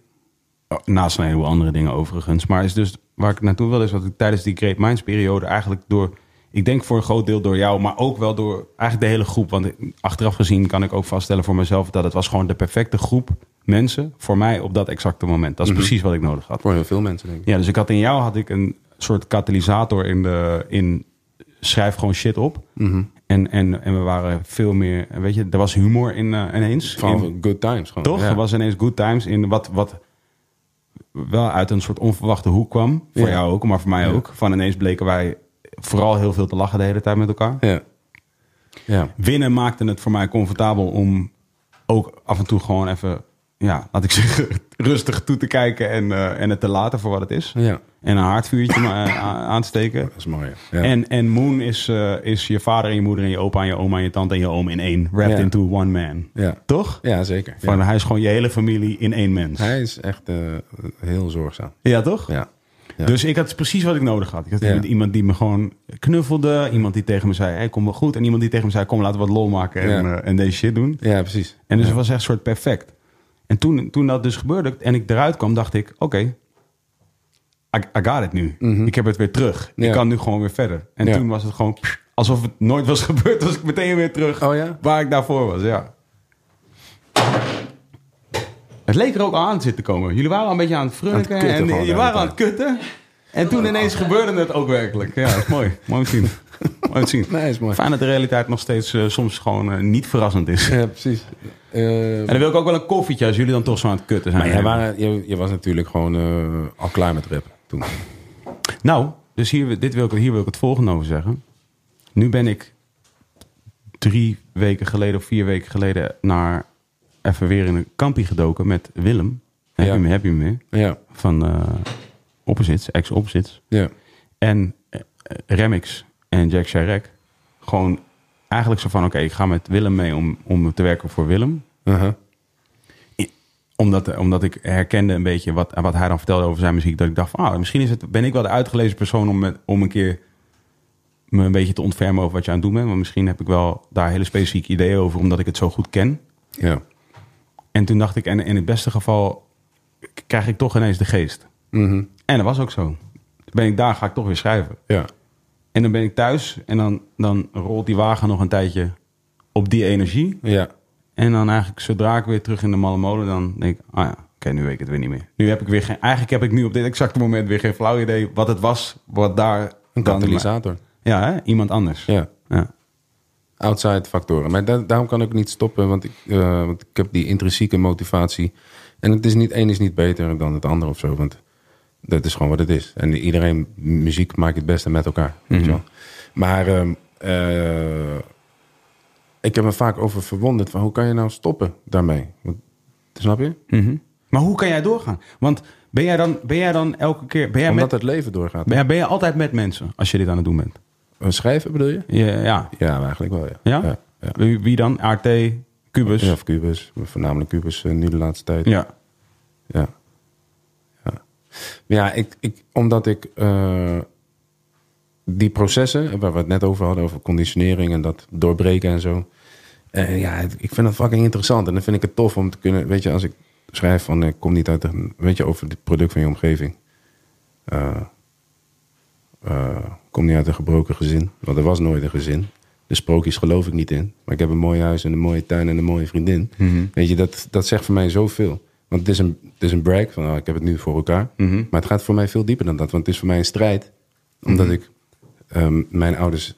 oh, naast een heleboel andere dingen overigens, maar is dus waar ik naartoe wil, is dat ik tijdens die Great Minds periode eigenlijk door, ik denk voor een groot deel door jou, maar ook wel door eigenlijk de hele groep. Want achteraf gezien kan ik ook vaststellen voor mezelf dat het was gewoon de perfecte groep mensen voor mij op dat exacte moment.
Mhm.
Dat is precies wat ik nodig had.
Voor heel veel mensen, denk ik.
Ja, dus ik had in jou had ik een soort katalysator in de in schrijf gewoon shit op.
Mhm.
En, en, en we waren veel meer, weet je, er was humor in eh, ineens.
Van
In-
good times gewoon.
toch?
Ja.
Er was ineens good times in wat, wat wel uit een soort onverwachte hoek kwam. Voor
Ja.
jou ook, maar voor mij ook. Van ineens bleken wij vooral heel veel te lachen de hele tijd met elkaar.
Ja. ja.
Winnen maakte het voor mij comfortabel om ook af en toe gewoon even, ja, laat ik <laughs> zeggen, rustig toe te kijken en, eh, en het te laten voor wat het is.
Ja.
En een haardvuurtje maar, eh, a- aan te steken.
Dat is mooi. Ja.
En, en Moon is, eh, is je vader en je moeder en je opa en je oma en je tante en je oom in één. Wrapped
Ja.
into one man.
Ja.
Toch?
ja, zeker. Ja.
Van, Hij is gewoon je hele familie in één mens.
Hij is echt eh, heel zorgzaam.
Ja, toch?
Ja. Ja.
Dus ik had precies wat ik nodig had. Ik had
Ja.
iemand- iemand die me gewoon knuffelde. Iemand die tegen me zei, hey, kom wel goed. En iemand die tegen me zei, kom laten we wat lol maken en,
Ja.
eh, en deze shit doen.
Ja, precies.
En dus het was echt soort perfect. En toen, toen dat dus gebeurde en ik eruit kwam, dacht ik, oké, I, I got it nu. Ik heb het weer terug.
Mhm. Ja.
Ik kan nu gewoon weer verder. En
Ja.
toen was het gewoon pff, alsof het nooit was <laughs> gebeurd. Was ik meteen weer terug
Oh ja?
waar ik daarvoor was, ja. Het leek er ook aan zitten te komen. Jullie waren al een beetje aan het frunken
Aan het kutten
en
gewoon
jullie
de hele
waren aan het kutten. En toen ineens gebeurde het ook werkelijk. Ja, dat is mooi. Mooi om te zien.
<laughs>
Mooi om te zien.
Nee, is mooi.
Fijn dat de realiteit nog steeds eh, soms gewoon eh, niet verrassend is.
Ja, precies. Eh,
En dan wil ik ook wel een koffietje als jullie dan toch zo aan het kutten zijn.
maar jij waren, je, je was natuurlijk gewoon eh, al klaar met rappen toen.
Nou, dus hier, dit wil ik, hier wil ik het volgende over zeggen. Nu ben ik drie weken geleden of vier weken geleden naar even weer in een kampie gedoken met Willem. Heb
Ja.
je hem, heb je hem weer?
Ja,
Van eh Opposites, ex-Opposites.
ja.
En eh, eh, Remix en Jack Sharek. Gewoon eigenlijk zo van, oké, ik ga met Willem mee om, om te werken voor Willem.
Uh-huh.
omdat, eh, omdat ik herkende een beetje wat, wat hij dan vertelde over zijn muziek. Dat ik dacht van, ah, misschien is het, ben ik wel de uitgelezen persoon om, met, om een keer me een beetje te ontfermen over wat je aan het doen bent. Maar misschien heb ik wel daar hele specifieke ideeën over, omdat ik het zo goed ken.
Ja.
En toen dacht ik, en in het beste geval k- krijg ik toch ineens de geest. En dat was ook zo. Toen ben ik daar, ga ik toch weer schrijven.
Ja.
En dan ben ik thuis en dan, dan rolt die wagen nog een tijdje op die energie.
Ja.
En dan eigenlijk zodra ik weer terug in de malle molen, dan denk ik, ah ja, oké, nu weet ik het weer niet meer. Nu heb ik weer geen, eigenlijk heb ik nu op dit exacte moment weer geen flauw idee wat het was, wat daar dan-
Een katalysator.
Ja, hè? iemand anders.
Ja.
Ja.
outside factoren. Maar da- daarom kan ik niet stoppen, want ik, eh, want ik heb die intrinsieke motivatie. En het is niet, één is niet beter dan het ander of zo. Want Dat is gewoon wat het is. En iedereen, muziek maakt het beste met elkaar. Weet
Mhm.
je wel. Maar ehm, eh, ik heb me vaak over verwonderd van hoe kan je nou stoppen daarmee? Want, snap je?
Maar hoe kan jij doorgaan? Want ben jij dan, ben jij dan elke keer... Ben jij,
Omdat
met,
het leven doorgaat.
ben, jij, ben jij altijd met mensen als je dit aan het doen bent?
Schrijven bedoel je?
Ja. Ja?
Ja, eigenlijk wel, ja.
ja? Dus-
Ja, ja.
Wie, wie dan? ART, Cubus?
Ja, of Cubus. Voornamelijk Cubus eh, nu de laatste tijd.
Ja.
Ja. Ja, ja ik, ik, omdat ik eh, die processen, waar we het net over hadden, over conditionering en dat doorbreken en zo. eh, ja, het- ik vind dat fucking interessant. En dan vind ik het tof om te kunnen, weet je, als ik schrijf van ik kom niet uit, een, weet je, over het product van je omgeving. Eh, eh, ik kom niet uit een gebroken gezin, want er was nooit een gezin. De sprookjes geloof ik niet in. Maar ik heb een mooi huis en een mooie tuin en een mooie vriendin.
Mhm.
Weet je, dat, dat zegt voor mij zoveel. Want het is een, het is een brag van nou, ik heb het nu voor elkaar.
Mhm.
Maar het gaat voor mij veel dieper dan dat. Want het is voor mij een strijd. Omdat ik ehm, mijn ouders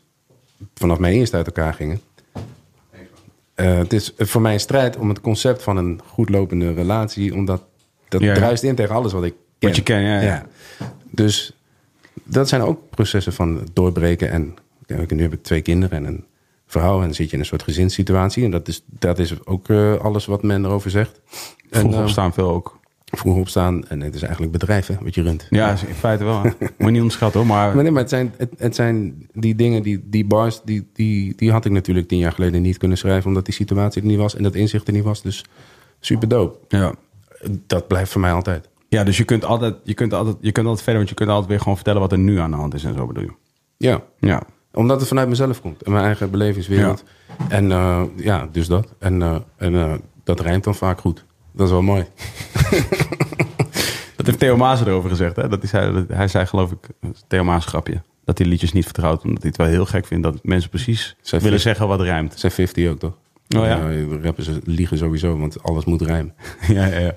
vanaf mijn eerste uit elkaar gingen. Eh, het is voor mij een strijd om het concept van een goed lopende relatie. Omdat dat
Ja, ja.
druist in tegen alles wat ik ken.
Wat je kent, ja, ja.
Dus dat zijn ook processen van doorbreken. En ja, ik- nu heb ik twee kinderen en een vrouw. En dan zit je in een soort gezinssituatie. En dat is, dat is ook eh, alles wat men erover zegt. En,
Vroeg
eh,
opstaan veel ook.
vroeg opstaan. En het is eigenlijk bedrijven wat je runt.
Ja, is in feite wel.
<laughs>
hè. Moet je niet onderschatten hoor, maar...
Maar, nee, maar het, zijn, het, het zijn die dingen, die, die bars, die, die, die had ik natuurlijk tien jaar geleden niet kunnen schrijven. Omdat die situatie er niet was en dat inzicht er niet was. Dus super dope.
Ja.
Dat blijft voor mij altijd.
ja, dus je kunt, altijd, je, kunt altijd, je kunt altijd verder, want je kunt altijd weer gewoon vertellen wat er nu aan de hand is en zo bedoel je.
Ja.
Ja.
Omdat het vanuit mezelf komt. En mijn eigen belevingswereld. En eh, ja, dus dat. En, eh, en eh, dat rijmt dan vaak goed. Dat is wel mooi. <laughs>
Dat heeft Theo Maas erover gezegd. Hè? Dat is hij, dat- hij zei geloof ik, Theo Maas grapje, dat hij liedjes niet vertrouwt. Omdat hij het wel heel gek vindt dat mensen precies
Zij
willen
vindt-
zeggen wat rijmt.
Zijn 50 ook, toch?
Oh ja.
Eh, rappers liegen sowieso, want alles moet rijmen.
<laughs> ja, ja, ja.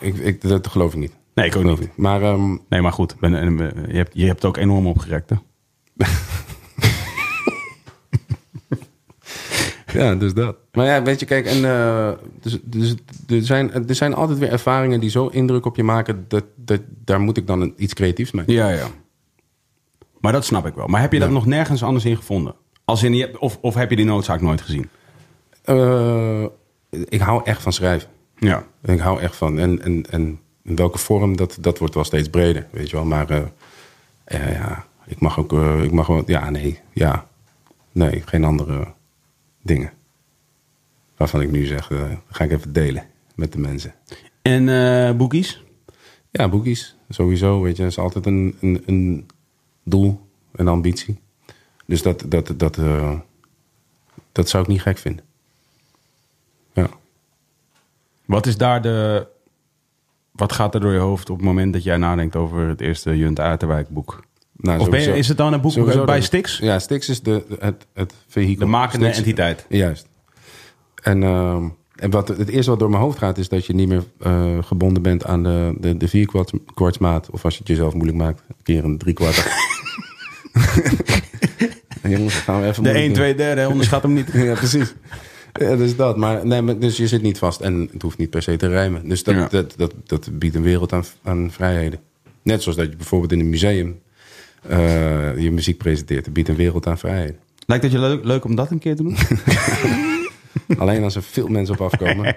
Ik, ik, dat geloof ik niet.
Nee, ik ook
Geloof
niet.
ik. Maar ehm,
Nee, maar goed. Ben, en, eh, je, hebt, je hebt ook enorm opgerekt, hè?
Ja, dus dat. Maar ja, weet je, kijk, en, eh, dus, dus, er, zijn, er zijn altijd weer ervaringen die zo indruk op je maken, dat, dat, daar moet ik dan een- iets creatiefs mee.
Ja, ja. Maar dat snap ik wel. Maar heb je dat nog nergens anders in gevonden? Als in, je hebt- of, of heb je die noodzaak nooit gezien?
Eh, ik hou echt van schrijven.
Ja.
Ik hou echt van. En, en, en in welke vorm, dat, dat wordt wel steeds breder, weet je wel. Maar eh, eh, ja, ik mag ook, eh, ik mag wel, ja, nee, ja. Nee, geen andere dingen. Waarvan ik nu zeg, eh, ga ik even delen met de mensen.
En eh boekies?
Ja, boekies. Sowieso, weet je. is altijd een, een, een doel, een ambitie. Dus dat, dat, dat, eh, dat zou ik niet gek vinden. Ja.
Wat is daar de... Wat gaat er door je hoofd op het moment dat jij nadenkt over het eerste Junt Uiterwijk boek?
Nou,
Of ben je-
sowieso-
is het dan een boek
sowieso
bij
dat-
Stix?
Ja, Stix is de, het, het vehikel.
De makende
Stix-
entiteit.
Juist. En, ehm, en wat, het eerste wat door mijn hoofd gaat is dat je niet meer eh, gebonden bent aan de, de, de vierkwartsmaat. Of als je het jezelf moeilijk maakt, een keer een
<laughs>
driekwart. <laughs> Jongens, dat gaan we even
De
moeilijk
1,
doen.
2, derde, onderschat hem niet.
Ja, precies. Ja, dus dat. Maar, nee, maar dus je zit niet vast en het hoeft niet per se te rijmen. Dus dat,
Ja.
dat, dat, dat biedt een wereld aan, aan vrijheden. Net zoals dat je bijvoorbeeld in een museum eh, je muziek presenteert. Het biedt een wereld aan vrijheden.
<laughs> Lijkt het je leuk, leuk om dat een keer te doen?
Alleen als er veel mensen op
<laughs>
afkomen.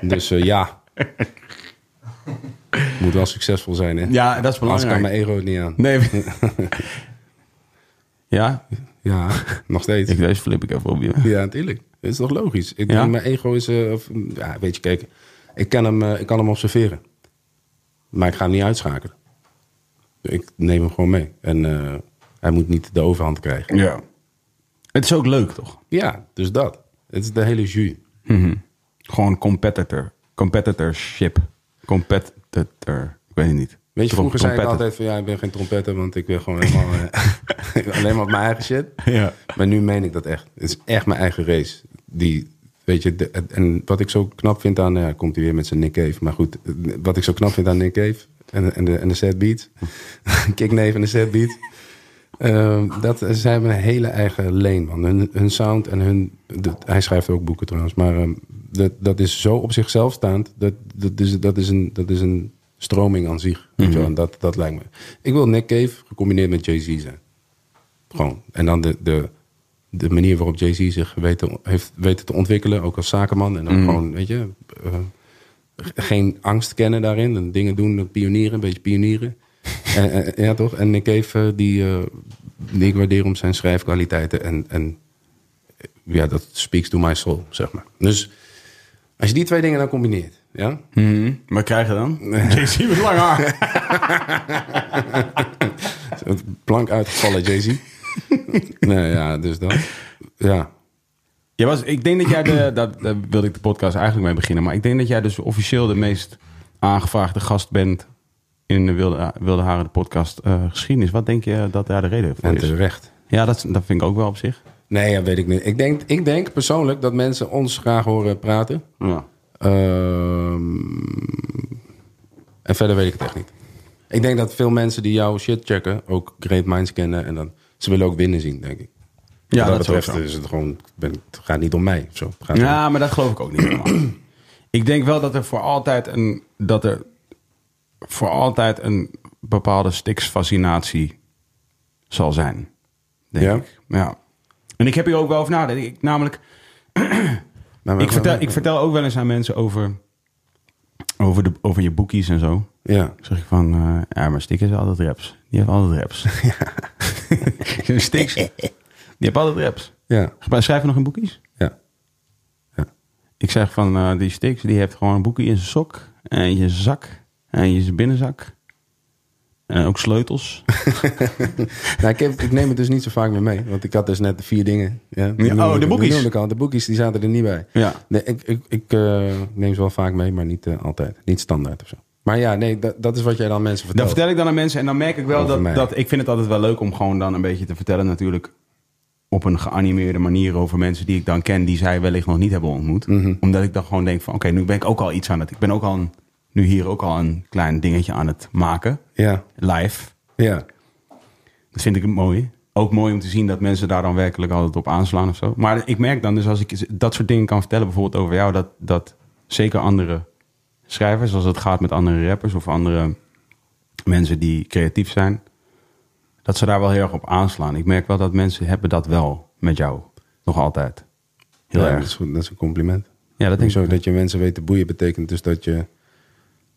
dus eh, ja. Moet wel succesvol zijn, hè?
<laughs> Ja, dat is
Anders
belangrijk.
kan mijn ego het niet aan.
Nee. <laughs> ja,
Ja, nog steeds.
ik, deze flip ik even op je.
Ja, natuurlijk. Dat is toch logisch? Ik,
Ja?
Mijn ego is... eh, of, ja, weet je, kijk. Ik kan, hem, eh, ik kan hem observeren. Maar ik ga hem niet uitschakelen. Ik neem hem gewoon mee. En eh, hij moet niet de overhand krijgen.
Ja. Het is ook leuk, toch?
Ja, dus dat. Het is de hele jus.
Gewoon competitor. Competitorship. Competitor. Ik weet het niet.
Weet je,
Trom-
vroeger zei ik
trompetter.
altijd van... Ja, ik ben geen trompetter, want ik wil gewoon helemaal... eh, <laughs> alleen maar op mijn eigen shit.
Ja.
Maar nu meen ik dat echt. Het is echt mijn eigen race. Die, weet je, de- en wat ik zo knap vind aan... eh, Ja, komt hij weer met zijn Nick Cave. Maar goed, eh, wat ik zo knap vind aan Nick Cave... en, en, de, en de set beat. <laughs> Kicknave en de set beat. ehm, dat, ze hebben een hele eigen lane, man. Hun, hun sound en hun... de- hij schrijft ook boeken trouwens. Maar ehm, dat, dat is zo op zichzelf staand. Dat, dat, is, dat, is, een, dat is een stroming aan zich. Weet je wel, en dat, dat lijkt me. Ik wil Nick Cave gecombineerd met Jay-Z zijn. Gewoon. En dan de, de, de manier waarop Jay-Z zich weten, heeft weten te ontwikkelen, ook als zakenman. En dan gewoon, weet je, eh, g- geen angst kennen daarin. En dingen doen, pionieren, een beetje pionieren. en, en- ja, toch? En Nick Cave, eh, die, eh, die ik waardeer om zijn schrijfkwaliteiten. En, en eh, ja, dat speaks to my soul, zeg maar. Dus als je die twee dingen dan combineert, ja?
Maar krijgen dan?
<laughs>
JC met lang haar.
Plank uitgevallen, Jay-Z. nee, ja, dus dat. Ja.
Jij was, ik denk dat jij de, dat, daar wilde ik de podcast eigenlijk mee beginnen, maar ik denk dat jij dus officieel de meest aangevraagde gast bent in de Wilde, eh, Wilde Haren de podcast eh, geschiedenis. Wat denk je dat daar de reden voor
En
is?
terecht.
Ja, dat, dat vind ik ook wel op zich.
Nee, ja, weet ik niet. Ik denk, ik denk persoonlijk dat mensen ons graag horen praten.
Ja.
Ehm, en verder weet ik het echt niet. Ik denk dat veel mensen die jouw shit checken ook great minds kennen. En dan, ze willen ook winnen zien, denk ik.
Ja,
Wat
dat
dat,
is ook
betreft eh,
zo.
is het gewoon, ben, het gaat niet om mij. of Zo. Het gaat om-
Ja, maar dat geloof ik ook niet helemaal. <clears throat> ik denk wel dat er voor altijd een dat er voor altijd een bepaalde stiksfascinatie zal zijn. Denk
Ja?
ik. Ja. En ik heb hier ook wel over nagedacht. Ik, namelijk,
Maar- maar-
ik vertel,
maar-
ik vertel ook wel eens aan mensen over, over, de, over je boekies en zo.
Ja.
Dan zeg ik van, eh, ja, maar Stik is altijd raps. Die heeft altijd <laughs> raps. Ja. Stiks, die heeft altijd raps.
Ja.
Schrijf je nog in boekies?
Ja. <laughs>
Ik zeg van eh, die Stix, die heeft gewoon een boekje in zijn sok. En in zijn zak. En in zijn binnenzak. En ook sleutels.
Nou, ik, heb- ik neem het dus niet zo vaak meer mee. Want ik had dus net de vier dingen. Ja, Die
Ja, oh, de
noemde- die
boekies.
noemde ik al. De boekies, die zaten er niet bij.
Ja.
Nee, ik ik, ik eh, neem ze wel vaak mee, maar niet eh, altijd. Niet standaard of zo. Maar ja, nee, dat, dat is wat jij dan mensen
Dat
vertelt.
vertel ik dan aan mensen. En dan merk ik wel
Oh. Over
dat,
mij.
dat... Ik vind het altijd wel leuk om gewoon dan een beetje te vertellen natuurlijk... op een geanimeerde manier over mensen die ik dan ken... die zij wellicht nog niet hebben ontmoet.
Mhm.
Omdat ik dan gewoon denk van... Oké, nu ben ik ook al iets aan het... Ik ben ook al een- nu hier ook al een klein dingetje aan het maken.
Ja,
Live.
ja.
Dat vind ik mooi. Ook mooi om te zien dat mensen daar dan werkelijk altijd op aanslaan of zo. Maar ik merk dan dus als ik dat soort dingen kan vertellen, bijvoorbeeld over jou, dat, dat zeker andere schrijvers, als het gaat met andere rappers of andere mensen die creatief zijn, dat ze daar wel heel erg op aanslaan. Ik merk wel dat mensen hebben dat wel met jou. Nog altijd. Heel
Ja, Dat, is,
erg.
goed. dat is een compliment.
Ja, dat
Ik
denk
zo
ik.
dat je mensen weet te boeien betekent dus dat je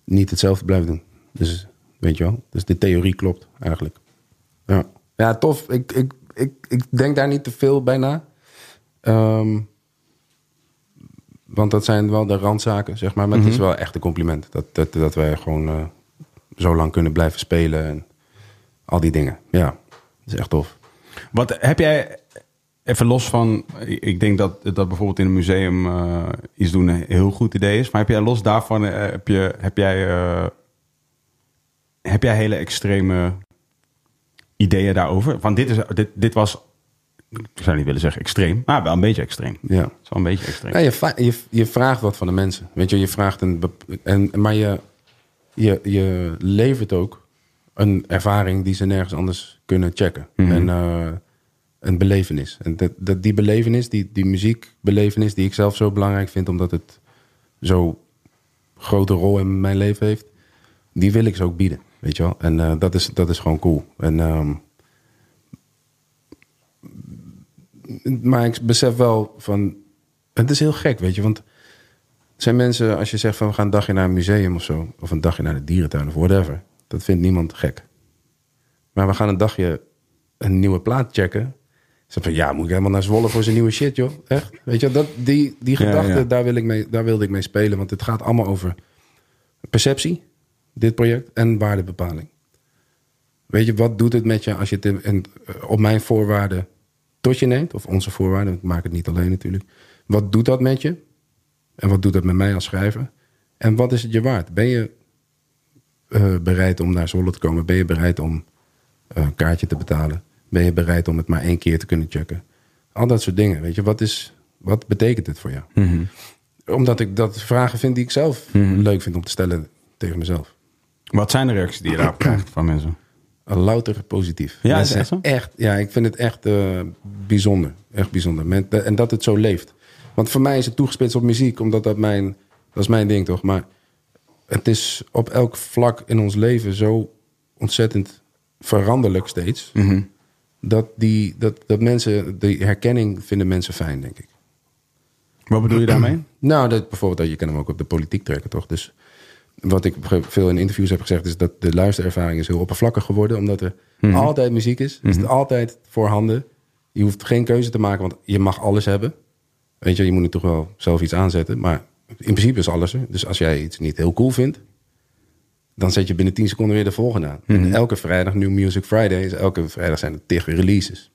niet hetzelfde blijft doen. Dus weet je wel, dus de theorie klopt eigenlijk. Ja, ja tof. Ik, ik, ik, ik denk daar niet te veel bij na. Ehm, want dat zijn wel de randzaken, zeg maar. Maar het
Mhm.
is wel echt een compliment dat, dat, dat wij gewoon eh, zo lang kunnen blijven spelen en al die dingen. Ja, dat is echt tof.
Wat heb jij, even los van, ik denk dat, dat bijvoorbeeld in een museum eh, iets doen een heel goed idee is. Maar heb jij los daarvan, eh, heb, je, heb, jij, eh, heb jij hele extreme ideeën daarover? Want dit, is, dit, dit was, ik zou niet willen zeggen extreem, maar wel een beetje extreem. Het
Ja.
is wel een beetje extreem.
Nou, je, va- je, je vraagt wat van de mensen. Weet je, je vraagt een. bep- En, maar je, je, je levert ook een ervaring die ze nergens anders kunnen checken. En eh, een belevenis. En dat, dat, die belevenis, die, die muziekbelevenis, die ik zelf zo belangrijk vind, omdat het zo'n grote rol in mijn leven heeft, die wil ik ze ook bieden. Weet je wel? En eh, dat, is, dat is gewoon cool. En. ehm, maar ik besef wel van. Het is heel gek, weet je. Want er zijn mensen, als je zegt van we gaan een dagje naar een museum of zo. Of een dagje naar de dierentuin of whatever. Dat vindt niemand gek. Maar we gaan een dagje een nieuwe plaat checken. Ze van ja, moet ik helemaal naar Zwolle voor zijn nieuwe shit, joh. Echt? Weet je, dat, die, die
Ja,
gedachte,
ja.
Daar, wil ik mee, daar wilde ik mee spelen. Want het gaat allemaal over perceptie, dit project, en waardebepaling. Weet je, wat doet het met je als je het in- in- op mijn voorwaarden tot je neemt? Of onze voorwaarden, ik maak het niet alleen natuurlijk. Wat doet dat met je? En wat doet dat met mij als schrijver? En wat is het je waard? Ben je eh, bereid om naar Zwolle te komen? Ben je bereid om eh, een kaartje te betalen? Ben je bereid om het maar één keer te kunnen checken? Al dat soort dingen, weet je. Wat, is, wat betekent het voor jou? Omdat ik dat vragen vind die ik zelf leuk vind om te stellen tegen mezelf.
Wat zijn de reacties die je daarop krijgt van mensen?
Een louter positief.
Ja, is
Mensen
het echt zo?
echt, ja, ik vind het echt eh, bijzonder. Echt bijzonder. Men- en dat het zo leeft. Want voor mij is het toegespitst op muziek, omdat dat mijn... Dat is mijn ding, toch? Maar het is op elk vlak in ons leven zo ontzettend veranderlijk steeds.
Mhm.
Dat, die, dat, dat mensen, die herkenning vinden mensen fijn, denk ik.
Wat bedoel je
<clears throat>
daarmee?
Nou, dat, bijvoorbeeld, dat je kan hem ook op de politiek trekken, toch? Dus wat ik op een gegeven- veel in interviews heb gezegd, is dat de luisterervaring is heel oppervlakkig geworden, omdat er altijd muziek is. Is het altijd voorhanden. Je hoeft geen keuze te maken, want je mag alles hebben. Weet je, je moet er toch wel zelf iets aanzetten, maar in principe is alles er. Dus als jij iets niet heel cool vindt, dan zet je binnen 10 seconden weer de volgende aan.
Mhm.
En elke vrijdag, New Music Friday, is elke vrijdag zijn er tig releases.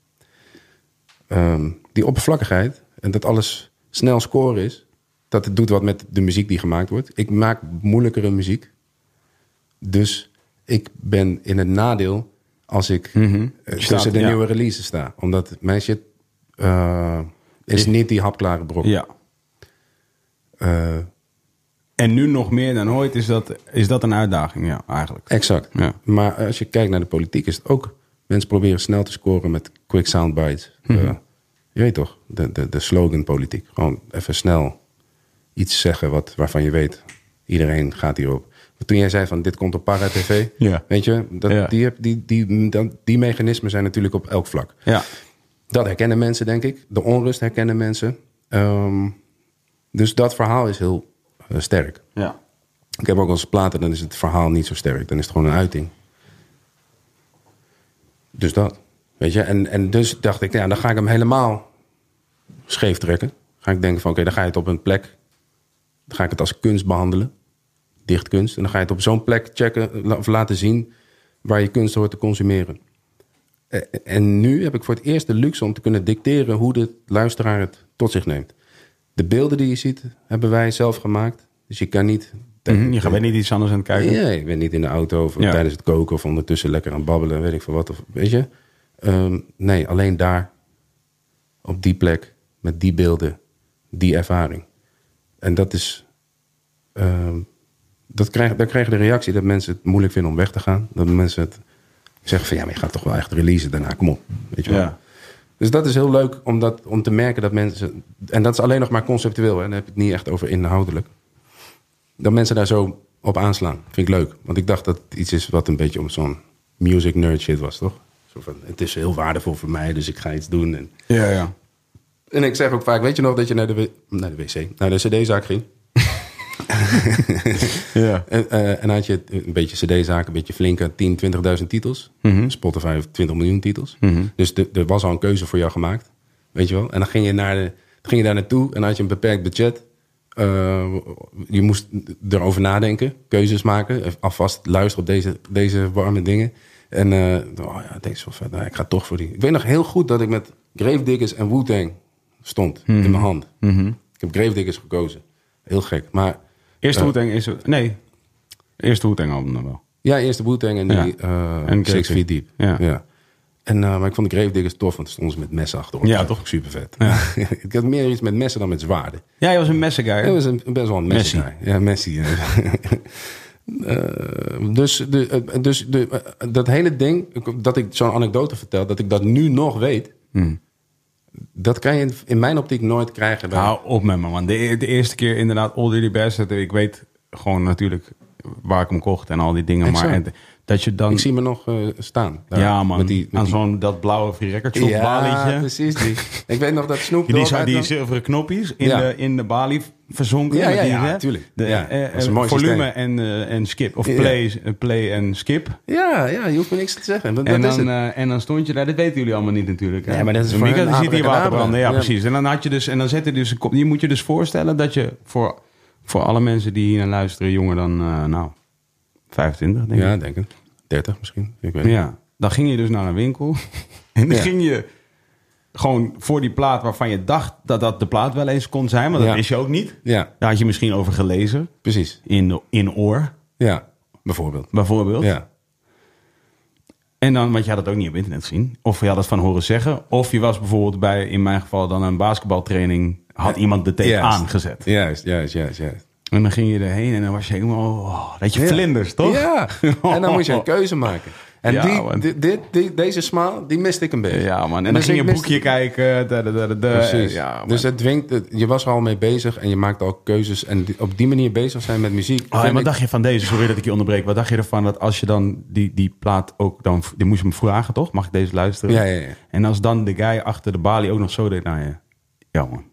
Ehm, die oppervlakkigheid en dat alles snel scoren is, dat het doet wat met de muziek die gemaakt wordt. Ik maak moeilijkere muziek. Dus ik ben in het nadeel als ik eh,
Mhm. Staat,
tussen de
ja.
nieuwe releases sta. Omdat mijn shit eh, is niet die hapklare brok.
Ja.
Eh,
En nu nog meer dan ooit is dat, is dat een uitdaging, ja, eigenlijk.
Exact.
Ja.
Maar als je kijkt naar de politiek, is het ook mensen proberen snel te scoren met quick soundbites.
Mhm.
Eh, je weet toch, de, de, de slogan politiek. Gewoon even snel iets zeggen wat, waarvan je weet, iedereen gaat hierop. Maar toen jij zei van dit komt op Para TV,
Ja.
weet je, dat,
Ja.
die, heb- die, die, die, die mechanismen zijn natuurlijk op elk vlak.
Ja.
Dat herkennen mensen, denk ik. De onrust herkennen mensen. Ehm, dus dat verhaal is heel eh, sterk.
Ja.
Ik heb ook als platen, dan is het verhaal niet zo sterk. Dan is het gewoon een uiting. Dus dat. Weet je, en, en dus dacht ik, ja, dan ga ik hem helemaal scheef trekken. Ga ik denken van, oké, dan ga je het op een plek... Dan ga ik het als kunst behandelen. Dichtkunst. En dan ga je het op zo'n plek checken la- of laten zien... waar je kunst hoort te consumeren. Eh, En nu heb ik voor het eerst de luxe om te kunnen dicteren... hoe de luisteraar het tot zich neemt. De beelden die je ziet, hebben wij zelf gemaakt. Dus je kan niet...
Mhm, Je gaat weer niet iets anders aan het kijken.
Ja, ik ben niet in de auto of
Ja.
tijdens het koken of ondertussen lekker aan het babbelen, weet ik veel wat. Of, weet je? Ehm, nee, alleen daar, op die plek, met die beelden, die ervaring. En dat is. ehm, dat krijg, daar krijg je de reactie dat mensen het moeilijk vinden om weg te gaan. Dat mensen het zeggen van ja, maar je gaat toch wel echt releasen daarna, kom op. Weet je wel.
Ja.
Dus dat is heel leuk om, dat, om te merken dat mensen. En dat is alleen nog maar conceptueel, hè? dan heb ik het niet echt over inhoudelijk dat mensen daar zo op aanslaan. Vind ik leuk. Want ik dacht dat het iets is wat een beetje om zo'n music nerd shit was, toch? Zo van, het is heel waardevol voor mij, dus ik ga iets doen. En,
Ja, ja.
en ik zeg ook vaak, weet je nog dat je naar de, w- naar de wc, naar de cd-zaak ging?
Ja.
En, eh, en had je een beetje cd-zaak, een beetje flinke 10, 20.000 titels. Spotify heeft 20 miljoen titels. Dus de- er was al een keuze voor jou gemaakt. Weet je wel? En dan ging je, naar de, dan ging je daar naartoe en had je een beperkt budget. Eh, je moest erover nadenken, keuzes maken. eh, Alvast luisteren op deze, deze warme dingen. En eh, oh ja, deze is wel vet. Nou, ik ga toch voor die. Ik weet nog heel goed dat ik met Gravediggers en Wu-Tang stond in mijn hand. Ik heb Gravediggers gekozen. Heel gek. Maar
Eerste
Eh.
Hoeteng is... Nee. Eerste Hoeteng album dan wel.
ja, eerst de Wu-Tang en die
Ja.
eh,
En
Six
Gravity.
Feet Deep.
Ja.
En, eh, maar ik vond de Gravediggers tof, want er stonden ze met messen achter.
Ja, toch?
Super vet. <laughs> ik had meer iets met messen dan met zwaarden.
Ja, je was een messenguy.
Dat was een, best wel een Messi.
Messi.
guy. Ja, Messi. ja.
<laughs>
Eh, dus de, eh, dus de, eh, dat hele ding, dat ik zo'n anekdote vertel, dat ik dat nu nog weet,
Hmm.
dat kan je in, in mijn optiek nooit krijgen. bij-
Hou op met me, man. De, de eerste keer inderdaad All Dirty Bastard. Ik weet gewoon natuurlijk waar ik hem kocht en al die dingen. Maar
Exact.
het- dat je dan...
ik zie me nog eh, staan. daar,
ja, man.
Met die, met
aan
die-
zo'n dat blauwe Free Record Shop
ja,
balietje.
precies. Die.
<laughs>
Ik weet nog dat Snoop
Die,
Dogg
zou- die
uitnam-
zilveren knopjes in,
Ja.
de, in de balie verzonken.
Ja,
met
ja,
die,
ja,
hè?
tuurlijk.
De,
Ja,
eh,
dat is een mooi
volume
systeem.
en, eh, en skip. Of
Ja.
play, eh, play en skip.
Ja, ja, je hoeft me niks te zeggen. Dat,
En
dat is
dan,
het.
eh, en dan stond je daar, dat weten jullie allemaal niet natuurlijk. hè?
Nee, maar dat is
De
voor
Mika,
hun
die ziet hier water
abracadabra.
branden, ja,
Ja.
precies. En dan had je dus, en dan zette dus, een kop- je moet je dus voorstellen dat je voor, voor alle mensen die hier naar luisteren, jonger dan, eh, nou, 25 denk
ja,
ik.
denk ik. 30 misschien. Ik weet het.
Ja, dan ging je dus naar een winkel <laughs> en dan
Ja.
ging je gewoon voor die plaat waarvan je dacht dat dat de plaat wel eens kon zijn, maar dat
Ja.
wist je ook niet.
ja,
Daar had je misschien over gelezen,
precies.
in, in oor
Ja, bijvoorbeeld.
bijvoorbeeld.
Ja.
En dan, want je had het ook niet op internet gezien. Of je had het van horen zeggen. Of je was bijvoorbeeld bij, in mijn geval, dan een basketbaltraining. Had iemand de tape
Juist.
aangezet.
Juist, juist, juist, juist.
En dan ging je erheen en dan was je helemaal... oh, dat je vlinders, toch?
<laughs>
Ja, en dan moet je een keuze maken. En
Ja,
die,
man.
di- dit, die- deze smaal, die miste ik een beetje.
Ja, man. En dan
Dus
ging je
ik
een
mis-
boekje kijken. da, da, da, da, da.
Precies.
Ja, man.
dus het dwingt, het- je was er al mee bezig en je maakt al keuzes. En die- op die manier bezig zijn met muziek.
Ah, en
vind
wat
ik-
dacht je van deze? Sorry dat ik je onderbreek. Wat dacht je ervan dat als je dan die, die plaat ook dan... Die moest je hem vragen, toch? Mag ik deze luisteren?
Ja, ja, ja.
En als dan de guy achter de balie ook nog zo deed naar je. Ja,
<laughs>
man.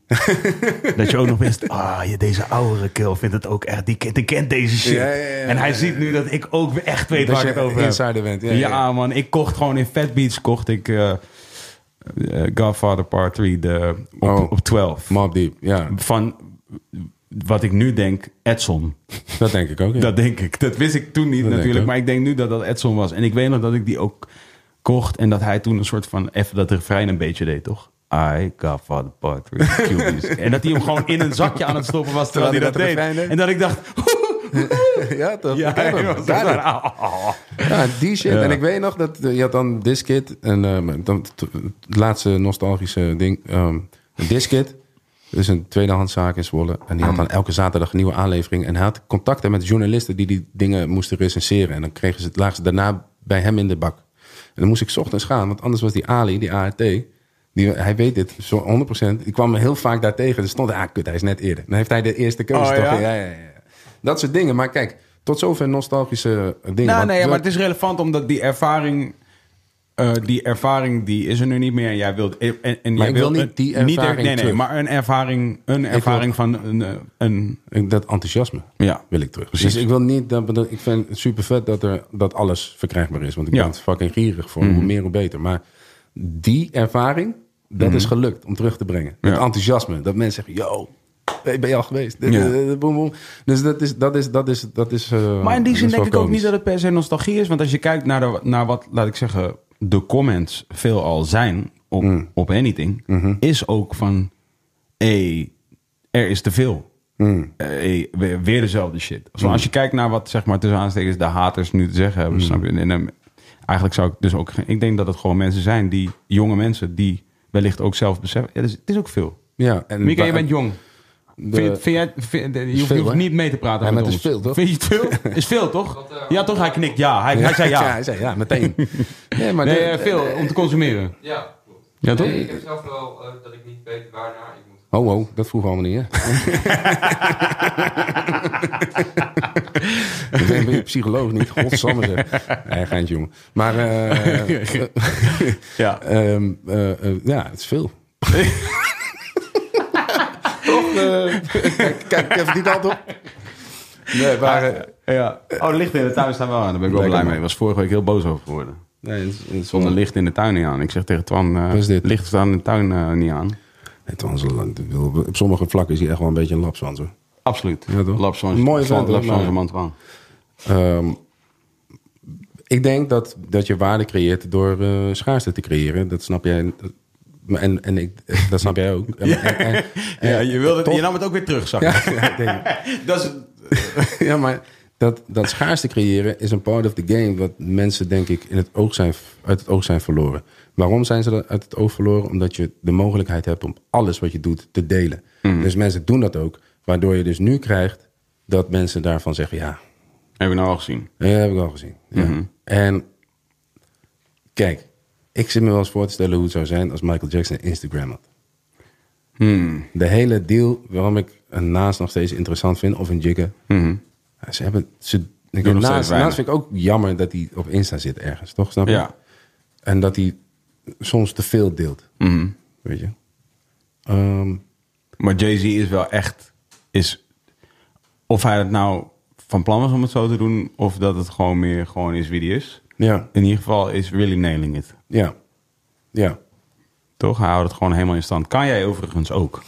dat je ook nog wist... Ah, je, deze oudere kill vindt het ook echt... Die kent, die kent deze shit.
Ja, ja, ja, ja.
en hij ziet nu dat ik ook echt weet
Dat
waar
je
ik het over heb.
insider bent. Ja,
Ja,
ja, ja.
man. Ik kocht gewoon in Fat Beats kocht ik... eh, eh, Godfather Part 3 de, op,
Oh.
op 12.
Mobb Deep, ja.
Van wat ik nu denk, Edson.
Dat denk ik ook, ja.
Dat denk ik. Dat wist ik toen niet
denk ik
natuurlijk.
ook.
maar ik denk nu dat dat Edson was. En ik weet nog dat ik die ook kocht. En dat hij toen een soort van... Even dat refrein een beetje deed, toch? I got for the part with the
<laughs>
cuties. en dat hij hem gewoon in een zakje aan het stoppen was terwijl hij dat
Terwijl hij
deed.
dat refrein deed.
En dat ik dacht...
<laughs>
<laughs>
ja, toch?
ja,
Ik heb
hij <laughs>
hem.
was
Daar
echt
het.
van, ah, ah, ah.
Ja, die shit.
Ja.
En ik weet nog dat eh, je had dan Diskit. En eh, dan, t- het laatste nostalgische ding. ehm Diskit. Dat is een tweedehandszaak in Zwolle. En die had dan elke zaterdag een nieuwe aanlevering. En hij had contacten met journalisten die die dingen moesten recenseren. En dan kregen ze het laagste daarna bij hem in de bak. En dan moest ik 's ochtends gaan. Want anders was die Ali, die ART... Die, hij weet dit zo 100%. Ik kwam me heel vaak daar tegen. Er stond, ah kut, hij is net eerder. Dan heeft hij de eerste keuze
Oh,
toch?
ja?
Ja, ja, ja. Dat soort dingen. Maar kijk, tot zover nostalgische dingen.
Nou,
Want
nee,
we-
maar het is relevant omdat die ervaring... eh, die ervaring die is er nu niet meer. En jij wilt, en, en jij
ik wil
wilt
niet
een-
die ervaring
nee, nee,
terug.
maar een ervaring, een ervaring van een, eh, een...
Ik- Dat enthousiasme
Ja.
wil ik terug.
Precies.
Dus ik wil niet. Dat, dat- ik vind het super vet dat, er, dat alles verkrijgbaar is. Want ik
Ja. Mhm.
ben het fucking gierig voor. Hoe meer, hoe beter. Maar die ervaring, dat is gelukt om terug te brengen. Het
Mhm. Ja.
enthousiasme. Dat mensen zeggen: yo. hey, Ben je al geweest? Dit-
Ja.
dit- dit- boem, boem. Dus dat is. Dat is, dat is, dat is eh,
Maar in die
dat
zin
is wel
denk ik ook
komisch.
niet dat het per se nostalgie is. Want als je kijkt naar, de, naar wat, laat ik zeggen, de comments veelal zijn op,
Mm.
op anything, is ook van, hey, er is te veel. Hey, weer, weer dezelfde shit. Zo, Als je kijkt naar wat, zeg maar, tussen aanstekens de haters nu te zeggen hebben, snap je? En, dan- eigenlijk zou ik dus ook, geen- ik denk dat het gewoon mensen zijn die, jonge mensen, die wellicht ook zelf beseffen. Ja, dus, Eh, het is ook veel.
Ja, en
Mika, je
waar-
bent jong.
de-
Vind, je- vind jij, vind- je hoeft, je
veel,
hoeft
hè?
niet mee te praten
Ja,
met
maar het
ons.
is veel, toch?
Vind je het <laughs> veel? Is veel, toch?
eh,
Ja, toch? Hij knikt ja. Hij, hij
<laughs>
zei ja.
hij zei ja,
<laughs>
meteen. nee, maar
Nee,
dit-
eh, veel om te consumeren.
Ja, klopt.
Ja, toch?
Nee, ik heb zelf wel eh, dat ik niet weet waarnaar ik moet.
Oh, wow, dat vroeg allemaal <laughs> niet, hè? ik ben, ben je psycholoog niet, godsamme zeg. Nee, geintje, jongen. Maar eh, <laughs>
Ja.
ehm, eh, eh, ja, het is veel. <laughs> Toch? eh, kijk, kijk even die kant op. Nee, maar... eh,
<laughs> ja. Oh, de lichten in de tuin staan wel aan. Daar ben ik wel
Lekker,
blij
man.
mee. Ik was vorige week heel boos over geworden.
nee, het is, het is
Zonder licht in de tuin niet aan. Ik zeg tegen Twan, eh,
Wat is dit?
lichten staan in de tuin eh, niet aan.
Het was een lang- ik bedoel, Op sommige vlakken is hij echt wel een beetje een lapswans, hoor.
Absoluut.
Ja, toch?
Lab zo'n-
Een mooie
zo'n-
vent,
lab
hoor,
zo'n
maar-
man Twan.
Ehm, ik denk dat, dat je waarde creëert door eh, schaarste te creëren. Dat snap jij. dat- En, en ik, dat snap jij
<laughs>
ook. En- en- en-
Ja,
en-
je, wilde,
toch?
je nam het ook weer terug, zag ik.
Ja, ja, ik denk het.
Dat is...
<laughs> Ja, maar dat, dat schaarste creëren is een part of the game... wat mensen, denk ik, in het oog zijn, uit het oog zijn verloren. Waarom zijn ze dat uit het oog verloren? Omdat je de mogelijkheid hebt om alles wat je doet te delen.
Mm.
Dus mensen doen dat ook. Waardoor je dus nu krijgt dat mensen daarvan zeggen... ja,
Heb je nou al gezien.
Ja, dat heb ik al gezien. Ja.
Mhm.
En kijk, ik zit me wel eens voor te stellen hoe het zou zijn als Michael Jackson Instagram had.
Hmm.
De hele deal waarom ik een Naas nog steeds interessant vind, of een Jigga. Ja, Ze hebben ze. Ik
Mhm. nog
vind
steeds
Naas,
weinig.
Naas vind ik ook jammer dat hij op Insta zit ergens, toch? Snap je?
Ja.
En dat hij soms te veel deelt.
Mhm.
Weet je? Ehm,
Maar Jay-Z is wel echt. Is, of hij het nou van plan was om het zo te doen, of dat het gewoon meer gewoon is wie die is.
ja,
In ieder geval is really nailing it.
ja, ja.
Toch? Hij houdt het gewoon helemaal in stand. Kan jij overigens ook.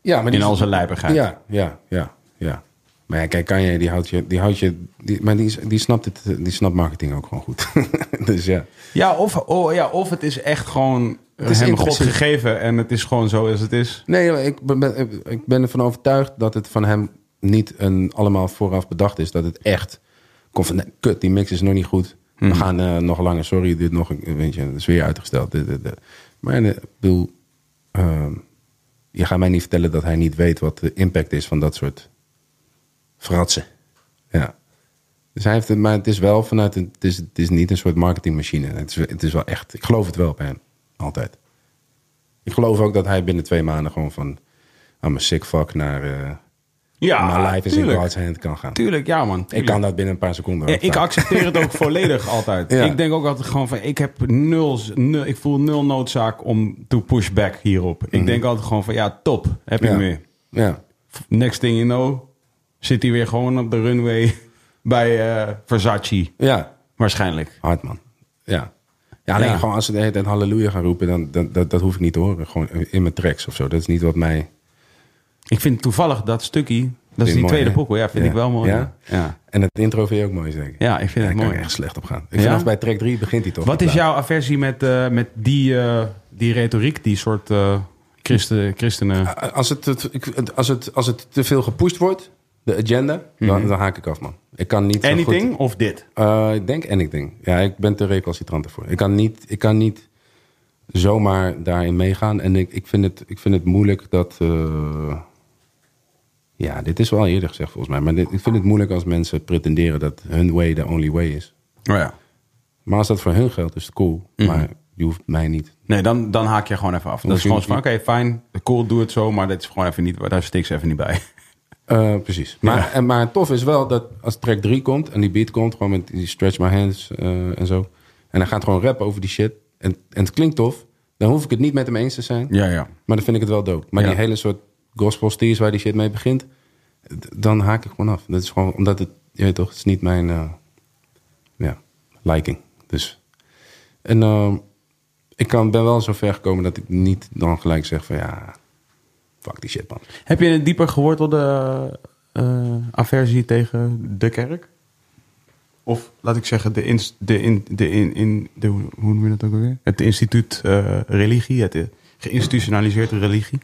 Ja, maar
In al zijn lijpigheid.
Ja, ja, ja, ja. Maar ja, kijk, Kanye, die houdt je... Die houdt je die, maar die, is- die, snapt het, eh, die snapt marketing ook gewoon goed. <laughs> dus ja.
Ja, of, oh, ja, of het is echt gewoon
is
hem God
intrinsiek.
gegeven en het is gewoon zo als het is.
Nee, maar ik ben- ben, ik ben ervan overtuigd dat het van hem niet een, allemaal vooraf bedacht is. Dat het echt komt van, nee, kut, die mix is nog niet goed. We gaan eh, nog langer, sorry, dit nog een, weet je, het is weer uitgesteld. Dit, dit, dit. Maar eh, ik bedoel, ehm, je gaat mij niet vertellen dat hij niet weet wat de impact is van dat soort fratsen. Ja. Dus Zij heeft het, maar het is wel vanuit, een- het is, het is niet een soort marketingmachine. Het is, het is wel echt, ik geloof het wel bij hem, altijd. Ik geloof ook dat hij binnen twee maanden gewoon van, I'm a sick fuck naar, eh
Ja,
my life is in
tuurlijk.
God's hand kan gaan.
Tuurlijk, ja man.
Ik
tuurlijk.
kan dat binnen een paar seconden.
Ja,
ook
ik
vaak.
accepteer
<laughs>
het ook volledig altijd.
Ja.
Ik denk ook altijd gewoon van, ik heb nul, nul- ik voel nul noodzaak om to push back hierop. Ik denk altijd gewoon van, ja, top, heb ik
Mhm. ja.
meer.
Ja.
Next thing you know, zit hij weer gewoon op de runway <laughs> bij eh, Versace,
ja,
waarschijnlijk.
hard man. Ja. Ja, alleen
Ja.
gewoon als ze de hele tijd halleluja gaan roepen, dan, dan, dat, dat hoef ik niet te horen. Gewoon in mijn tracks of zo. Dat is niet wat mij...
Ik vind toevallig dat stukje, dat
Vind
is
je
die
mooi,
tweede
hè?
boek, ja, vind
Ja.
ik wel mooi.
Ja?
Ja? Ja.
En het intro vind je ook mooi, zeker?
Ja, ik vind het
Ja, daar kan
mooi.
ik echt slecht op gaan. Ik
Ja?
Vanaf bij track 3 begint hij toch.
Wat
die
is
plaat.
jouw aversie met, eh, met die, eh, die retoriek, die soort eh, christen, christenen?
Als het, het- ik- als, het, als het te veel gepusht wordt, de agenda, dan, dan haak ik af, man. Ik kan niet zo goed-
Eh, Anything of dit?
Eh, ik denk anything. Ja, ik ben te recalcitrant ervoor. Ik kan niet, ik kan niet zomaar daarin meegaan. En ik, ik, vind, het, ik vind het moeilijk dat... eh, ja, dit is wel eerder gezegd volgens mij. Maar dit- ik vind het moeilijk als mensen pretenderen dat hun way de only way is.
Oh ja.
Maar als dat voor hun geldt, is het cool. Maar je hoeft mij niet.
Nee, dan, dan haak je gewoon even af. Dat is
Hoef je
gewoon van,
niet-
oké, fijn, cool, doe het zo, maar dit is gewoon even niet, daar stik ze even niet bij.
Eh, precies. Maar, en, maar tof is wel dat als track 3 komt en die beat komt, gewoon met die stretch my hands eh, en zo. En hij gaat gewoon rappen over die shit. En, en het klinkt tof. Dan hoef ik het niet met hem eens te zijn.
Ja, <laughs> ja.
Maar dan vind ik het wel dope. Maar
Ja.
die hele soort gospel steers waar die shit mee begint, d- dan haak ik gewoon af. Dat is gewoon omdat het, je weet toch, het is niet mijn eh, ja, liking. Dus. En ehm, ik kan, ben wel zo ver gekomen dat ik niet dan gelijk zeg van ja, fuck die shit man.
Heb je een dieper gewortelde eh, aversie tegen de kerk? Of laat ik zeggen, de, ins- de, in, de, in, in, de hoe hoe noem je dat ook alweer? Het instituut eh, religie, het eh, geïnstitutionaliseerde religie.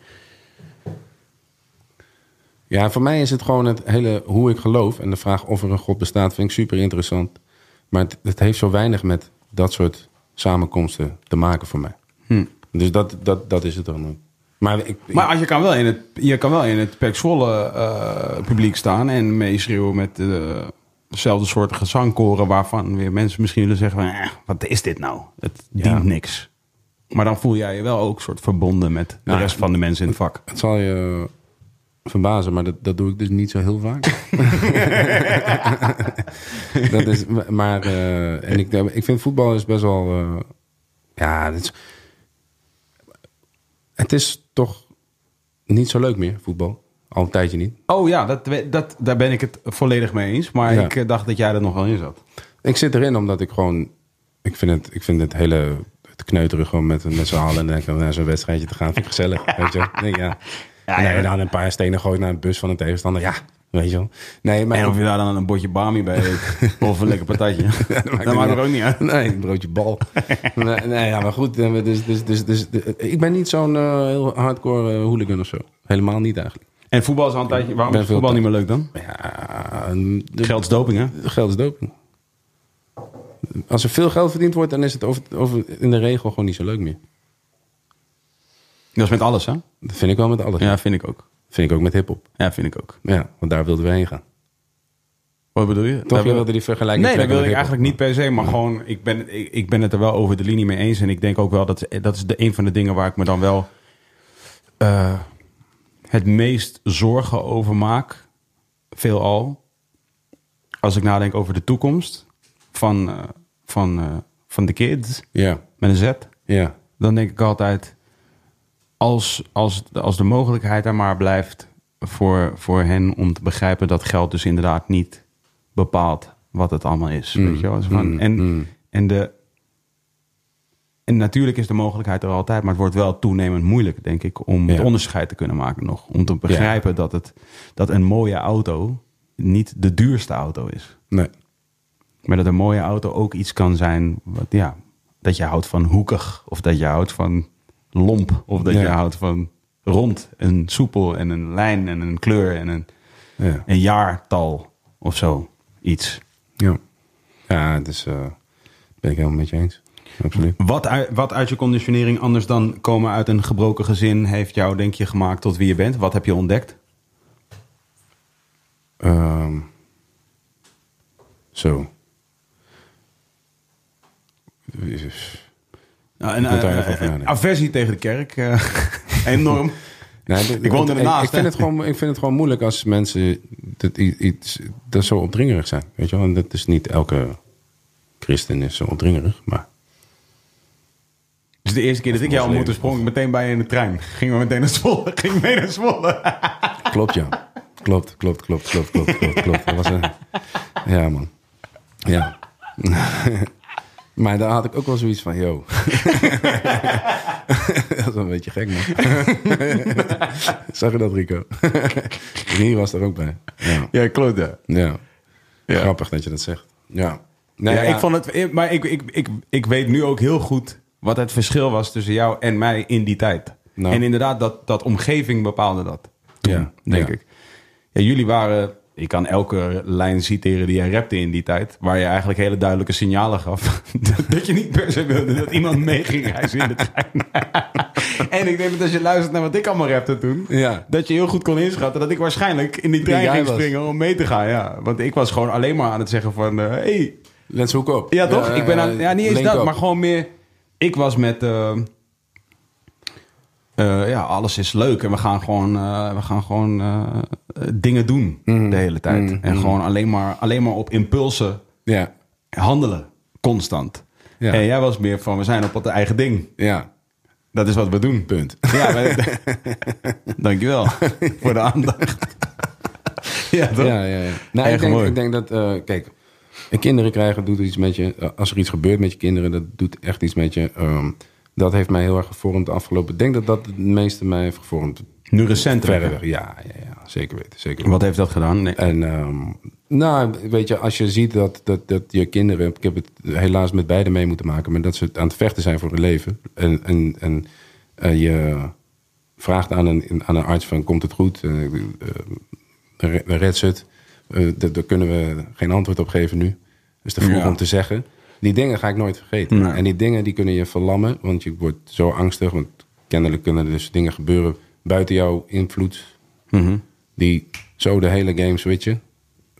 Ja, voor mij is het gewoon het hele hoe ik geloof en de vraag of er een God bestaat, vind ik super interessant. Maar het, het heeft zo weinig met dat soort samenkomsten te maken voor mij. Dus dat, dat, dat is het dan. ook. Maar, ik, ik-
Maar als je kan wel in het, je kan wel in het Pek Zwolle eh, publiek staan en meeschreeuwen met eh, dezelfde soort gezangkoren waarvan weer mensen misschien willen zeggen van, eh, wat is dit nou? Het dient niks. Maar dan voel jij je wel ook soort verbonden met de
Nou,
rest van de mensen in het vak.
Het zal je verbazen, maar dat, dat doe ik dus niet zo heel <laughs> vaak. dat is, maar eh, en ik, ik vind voetbal is best wel. eh, ja, het is, het is toch niet zo leuk meer, voetbal. Al een tijdje niet.
Oh ja, dat, dat, daar ben ik het volledig mee eens. Maar
Ja.
ik eh, dacht dat jij er nog wel in zat.
Ik zit erin omdat ik gewoon. Ik vind het, ik vind het hele. Het kneuteren gewoon met, met z'n allen. En dan denk ik, naar zo'n wedstrijdje te gaan. Vind ik <laughs> gezellig. Weet je wel? Ik denk, ja. en dan, dan een paar stenen gooit naar een bus van een tegenstander. Ja, weet je wel. Nee, maar
En of je daar dan een bordje bami bij <laughs> eet of een lekker partijtje.
<laughs>
dat, maakt er ook niet uit.
Nee, een broodje
<laughs>
bal. nee, nee, ja, maar goed. eh, Dus, dus, dus, dus, de- ik ben niet zo'n eh, heel hardcore eh, hooligan of zo. Helemaal niet eigenlijk.
En voetbal is al een tijdje... Waarom
Ben
is
veel
voetbal niet
tijd.
meer leuk dan?
Ja, en de-
Geld is doping, hè?
geld is doping. Als er veel geld verdiend wordt, dan is het over, over, in de regel gewoon niet zo leuk meer.
Dat is met alles, hè?
Dat vind ik wel met alles.
Ja, vind ik ook.
Vind ik ook met hip-hop.
Ja, vind ik ook.
Ja, want daar wilden we heen gaan.
Wat bedoel je?
Toch, je wilde die vergelijking
Nee, dat
trekken
wilde ik
met
eigenlijk niet
hiphop.
per se. Maar gewoon, ik ben, ik, ik ben het er wel over de linie mee eens. En ik denk ook wel, dat, dat is de, een van de dingen waar ik me dan wel eh, het meest zorgen over maak. Veelal. Als ik nadenk over de toekomst van, eh, van, eh, van de kids
Ja,
met een Z
ja.
dan denk ik altijd, als, als, als de mogelijkheid er maar blijft voor, voor hen om te begrijpen dat geld dus inderdaad niet bepaalt wat het allemaal is. weet je wel? Zo van, en, en, de, en natuurlijk is de mogelijkheid er altijd, maar het wordt wel toenemend moeilijk, denk ik, om het
Ja.
onderscheid te kunnen maken nog. Om te begrijpen dat, het, dat een mooie auto niet de duurste auto is.
Nee.
Maar dat een mooie auto ook iets kan zijn wat, ja, dat je houdt van hoekig. Of dat je houdt van lomp. Of dat
Ja.
je houdt van rond en soepel en een lijn en een kleur en een,
Ja.
een jaartal of zo. Iets.
Ja, ja dus eh ben ik helemaal met je eens. Absoluut.
Wat uit, wat uit je conditionering anders dan komen uit een gebroken gezin heeft jou denk je gemaakt tot wie je bent? Wat heb je ontdekt?
Ehm, Zo.
Nou, en,
Ik moet daar
eh,
even
eh,
over nadenken.
aversie tegen de kerk. eh, <laughs> enorm.
Nee, d-
Ik woon
d-
ernaast,
Ik, ik, vind
hè?
het gewoon, ik vind het gewoon moeilijk als mensen dat, i- iets, dat zo opdringerig zijn. Weet je wel? En dat is niet elke christen is zo opdringerig. Maar
Dus de eerste keer dat ik jou
moslim.
ontmoette, sprong ik meteen bij je in de trein. Gingen we meteen naar Zwolle. Ging mee naar Zwolle.
klopt ja. klopt, klopt, klopt, klopt, klopt, klopt, klopt. Dat was, eh, ja man. Ja. <laughs> maar daar had ik ook wel zoiets van, yo. <laughs> dat is wel een beetje gek man. <laughs> Zag je dat Rico? <laughs> Hier was er ook bij. Ja.
Ja, klopt ja.
Ja.
Ja.
Grappig dat je dat zegt. Ja. Nee,
ja, Ik vond het, maar ik, ik, ik, ik weet nu ook heel goed wat het verschil was tussen jou en mij in die tijd.
Nou.
En inderdaad, dat, dat omgeving bepaalde dat. Toen,
Ja,
denk
ja.
ik. Ja, jullie waren, ik kan elke lijn citeren die jij rapte in die tijd, waar je eigenlijk hele duidelijke signalen gaf. <laughs> dat je niet per se wilde dat
<laughs>
iemand mee ging reizen in de trein. <laughs> en ik denk dat als je luistert naar wat ik allemaal rapte toen,
Ja.
dat je heel goed kon inschatten dat ik waarschijnlijk in die
jij
trein ging
was.
springen om mee te gaan. Ja. Want ik was gewoon alleen maar aan het zeggen van, eh, hey,
Let's hook op.
ja, toch? ik ben aan, ja, niet eens
link
dat,
up.
maar gewoon meer. Ik was met. eh, eh, ja, alles is leuk en we gaan gewoon, eh, we gaan gewoon eh, eh, dingen doen de hele tijd. en gewoon alleen maar, alleen maar op impulsen
Ja,
handelen, constant.
Ja.
En jij was meer van, we zijn op het eigen ding.
ja.
Dat is wat we doen.
Punt.
Ja, maar, <laughs> dankjewel voor de aandacht. <laughs> ja, toch?
Ja, ja, ja. Nou,
Erg
ik, denk,
mooi.
ik denk dat, eh, kijk, en kinderen krijgen doet er iets met je. Eh, Als er iets gebeurt met je kinderen, dat doet echt iets met je. Ehm, dat heeft mij heel erg gevormd de afgelopen. Ik denk dat dat het meeste mij heeft gevormd.
Nu recent
Verder, ja, ja, ja, zeker weten, zeker weten.
Wat heeft dat gedaan? Nee.
En ehm, nou, weet je, als je ziet dat, dat, dat je kinderen... Ik heb het helaas met beide mee moeten maken... maar dat ze aan het vechten zijn voor hun leven. En, en, en eh, je vraagt aan een, aan een arts van, komt het goed? Eh, eh, re- redt ze het? Eh, dat- daar kunnen we geen antwoord op geven nu. Dus te vroeg
Ja.
om te zeggen. Die dingen ga ik nooit vergeten.
Nee.
En die dingen die kunnen je verlammen, want je wordt zo angstig. Want kennelijk kunnen er dus dingen gebeuren buiten jouw invloed
Mhm.
die zo de hele game switchen.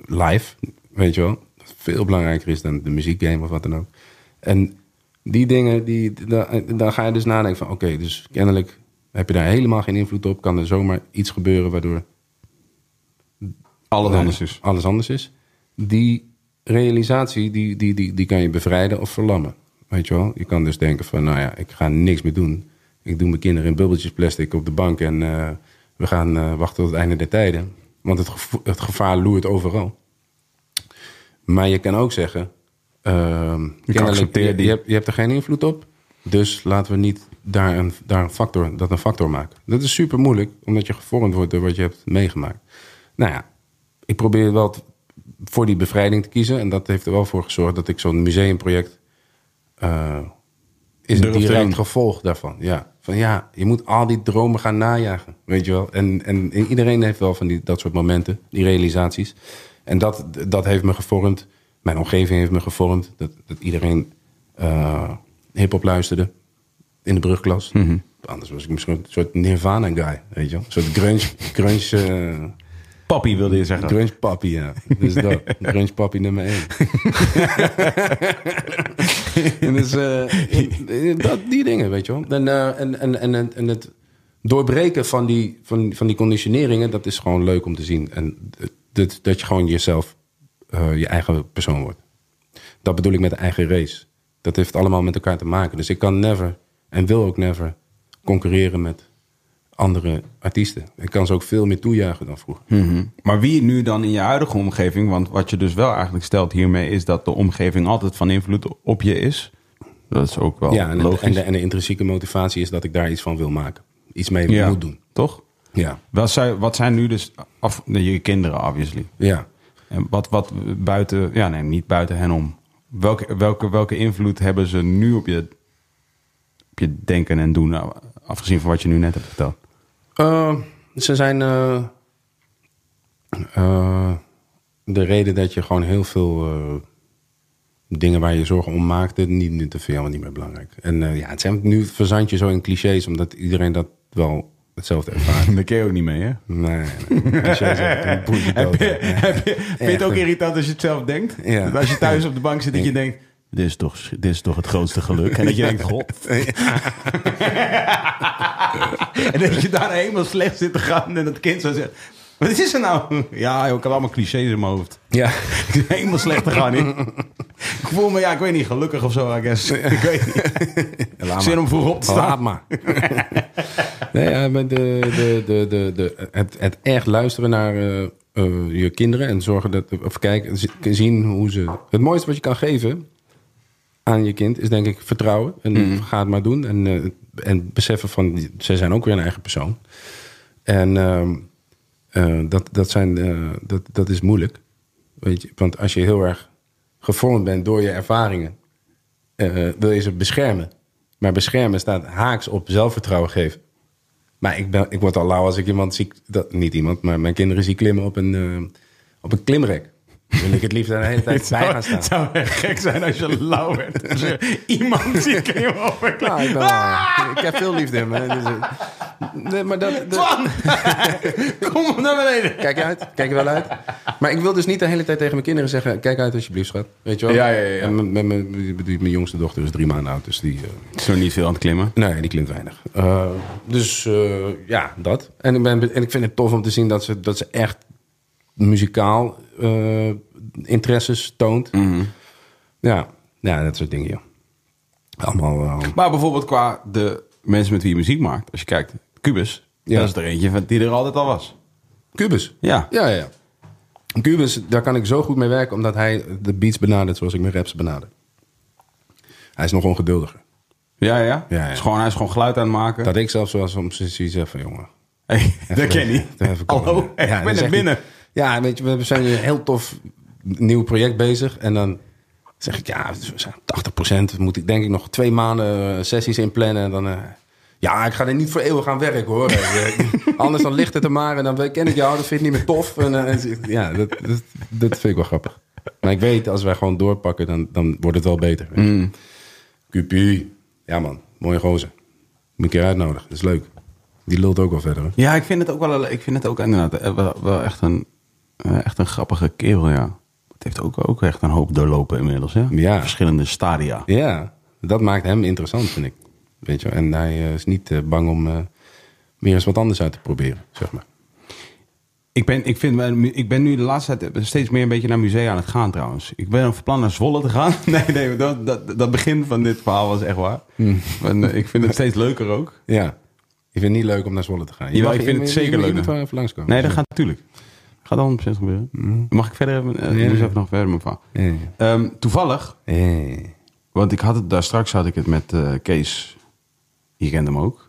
Live, weet je wel. Wat Veel belangrijker is dan de muziekgame of wat dan ook. En die dingen, die, dan, dan ga je dus nadenken van... oké, dus kennelijk heb je daar helemaal geen invloed op. Kan er zomaar iets gebeuren waardoor
Alles
eh,
anders is.
alles anders is. Die realisatie, die, die, die, die kan je bevrijden of verlammen. Weet je wel? Je kan dus denken van, nou ja, ik ga niks meer doen. Ik doe mijn kinderen in bubbeltjes plastic op de bank... en eh, we gaan eh, wachten tot het einde der tijden. Want het, gevo- het gevaar loert overal. Maar je kan ook zeggen... ehm, kennelijk,
accepteer
je,
die.
je, hebt, je hebt er geen invloed op. Dus laten we niet daar een, daar een factor, dat een factor maken. Dat is super moeilijk, omdat je gevormd wordt door wat je hebt meegemaakt. Nou ja, ik probeer wel te- voor die bevrijding te kiezen. En dat heeft er wel voor gezorgd dat ik zo'n museumproject... eh, is
Durf
het
te
direct
doen.
gevolg daarvan. Ja. Van ja, je moet al die dromen gaan najagen. Weet je wel. En, en iedereen heeft wel van die, dat soort momenten, die realisaties. En dat, dat heeft me gevormd. Mijn omgeving heeft me gevormd. Dat, dat iedereen eh hip-hop luisterde in de brugklas.
Mhm.
Anders was ik misschien een soort Nirvana-guy. Weet je wel. Een soort grunge, <laughs> grunge eh,
Papi wilde je zeggen.
Grunge Papi, ja. Dus
<laughs>
dat. Grunge Papi nummer één. <laughs> en dus, eh, en- en dat, die dingen, weet je wel. En, eh, en, en, en, en, en het doorbreken van die, van, van die conditioneringen... dat is gewoon leuk om te zien. En d- dat, dat je gewoon jezelf, eh, je eigen persoon wordt. Dat bedoel ik met de eigen race. Dat heeft allemaal met elkaar te maken. Dus ik kan never en wil ook never concurreren met andere artiesten. Ik kan ze ook veel meer toejuichen dan vroeger.
Mhm. Maar wie nu dan in je huidige omgeving, want wat je dus wel eigenlijk stelt hiermee is dat de omgeving altijd van invloed op je is. Dat is ook wel
Ja, en,
logisch.
En, de, en de intrinsieke motivatie is dat ik daar iets van wil maken. Iets mee
ja,
moet doen.
Toch?
Ja.
Wat zijn, wat zijn nu dus af, nee, je kinderen, obviously.
Ja.
En wat, wat buiten, ja nee, niet buiten hen om. Welke, welke, welke invloed hebben ze nu op je, op je denken en doen, nou, afgezien van wat je nu net hebt verteld?
Eh, ze zijn. eh, eh, de reden dat je gewoon heel veel. eh, dingen waar je zorgen om maakte. niet, niet te veel, maar niet meer belangrijk. En eh, ja, het zijn, nu verzand je zo in clichés, omdat iedereen dat wel. hetzelfde
<laughs>
ervaren.
Daar kun je ook niet mee, hè? <laughs>
Nee, nee. Dus jij zegt, een boeien
Heb
dood.
je, <laughs> heb je, vind je het ook
Echt.
irritant als je het zelf denkt?
Ja.
Dat Als je thuis op de bank zit en je denkt... Dit is, toch, dit is toch het grootste geluk. En dat je denkt, god. en dat je daar helemaal slecht zit te gaan. En dat kind zo zegt... Wat is er nou? Ja, joh, ik heb allemaal clichés in mijn hoofd.
Ja,
<laughs> Ik zit helemaal slecht te gaan in. Ik voel me, ja, ik weet niet, gelukkig of zo, I guess. Ik weet niet.
laat
Zin
maar.
om vroeg op te staan.
Laat maar. <laughs> nee, ja, maar de, de, de, de, de, het, het echt luisteren naar eh, eh, je kinderen en zorgen dat, of kijken, z- zien hoe ze. Het mooiste wat je kan geven aan je kind is denk ik vertrouwen. En ga het maar doen. En, eh, en beseffen van, ze zijn ook weer een eigen persoon. En ehm, eh, dat, dat, zijn, eh, dat, dat is moeilijk. Weet je? Want als je heel erg gevormd bent door je ervaringen, eh, wil je ze beschermen. Maar beschermen staat haaks op zelfvertrouwen geven. Maar ik, ben, ik word al lauw als ik iemand zie... Dat, niet iemand, maar mijn kinderen zie klimmen op een, eh, op een klimrek. Wil ik het liefst daar de
<laughs>
hele tijd bij gaan staan.
Het zou echt gek zijn als je lauw werd. Als je Iemand die klimmen op een
Nou, ik, ben wel- ik heb veel liefde in me. Dus, eh, nee, maar dat, dat-
Kom naar beneden.
kijk uit, kijk er wel uit. Maar ik wil dus niet de hele tijd tegen mijn kinderen zeggen... kijk uit alsjeblieft, schat. Weet je wel?
Ja, ja, ja, ja.
En mijn- mijn- mijn- die- mijn jongste dochter is drie maanden oud, dus die... eh,
Is nog niet veel aan het klimmen.
Nee, die klinkt weinig. Eh, dus eh, ja, dat. En ik, ben, en ik vind het tof om te zien dat ze, dat ze echt muzikaal eh, interesses toont.
Mhm.
Ja. ja, dat soort dingen, joh. Allemaal... eh,
<laughs> Maar bijvoorbeeld qua de mensen met wie je muziek maakt. Als je kijkt, Cubus.
Ja.
Dat is er eentje van, die er altijd al was.
Cubus.
Ja.
Ja, ja. Cubus, daar kan ik zo goed mee werken... omdat hij de beats benadert zoals ik mijn raps benader. Hij is nog ongeduldiger.
Ja, ja.
Ja, ja.
Is gewoon, hij is gewoon geluid aan het maken.
Dat ik zelf zoals om zoiets zeg van... jongen,
Hey, <laughs> dat
Even-
ken je niet.
even komen.
Hallo,
Ja,
ik
dat
ben
is
er
echt
binnen.
niet- Ja, weet je, we zijn een heel tof nieuw project bezig. En dan zeg ik, ja, we zijn 80%. Moet ik denk ik nog twee maanden eh, sessies in plannen. En dan, eh, ja, ik ga er niet voor eeuwig aan werken hoor. Eh, <laughs> Anders dan ligt het er maar en dan ken ik jou. Dat vind ik niet meer tof. En, eh, en- ja, dat, dat, dat vind ik wel grappig. Maar ik weet, als wij gewoon doorpakken, dan, dan wordt het wel beter.
Mm.
QP. Ja man, mooie gozer. Moet ik je uitnodigen, dat is leuk. Die lult ook wel verder. Hè?
Ja, ik vind het ook wel, ik vind het ook inderdaad eh, wel, wel echt, een, eh, echt een grappige kerel, ja. Het heeft ook, ook echt een hoop doorlopen inmiddels, hè?
Ja.
Verschillende stadia.
Ja, dat maakt hem interessant, vind ik. Weet je, wel. en hij eh, is niet eh, bang om eh, weer eens wat anders uit te proberen, zeg maar.
Ik ben, ik, vind, mijn mu- ik ben nu de laatste tijd eh, steeds meer een beetje naar musea aan het gaan trouwens. Ik ben van plan naar Zwolle te gaan. <laughs> Nee, nee, dat, dat, dat begin van dit verhaal was echt waar. En, eh, ik vind het steeds leuker ook.
Ja. Ik vind het niet leuk om naar Zwolle te gaan.
Jawel, ik vind het zeker
leuk. Je
leuk.
moet wel even langskomen.
Nee, dat gaat natuurlijk. Gaat 100% gebeuren. Mag ik verder even, eh,
Mm. Ja.
dus even nog verder mijn verhaal.
Ja, ja.
Ehm, toevallig,
Eh,
want ik had het, daar straks had ik het met eh, Kees. Je kent hem ook.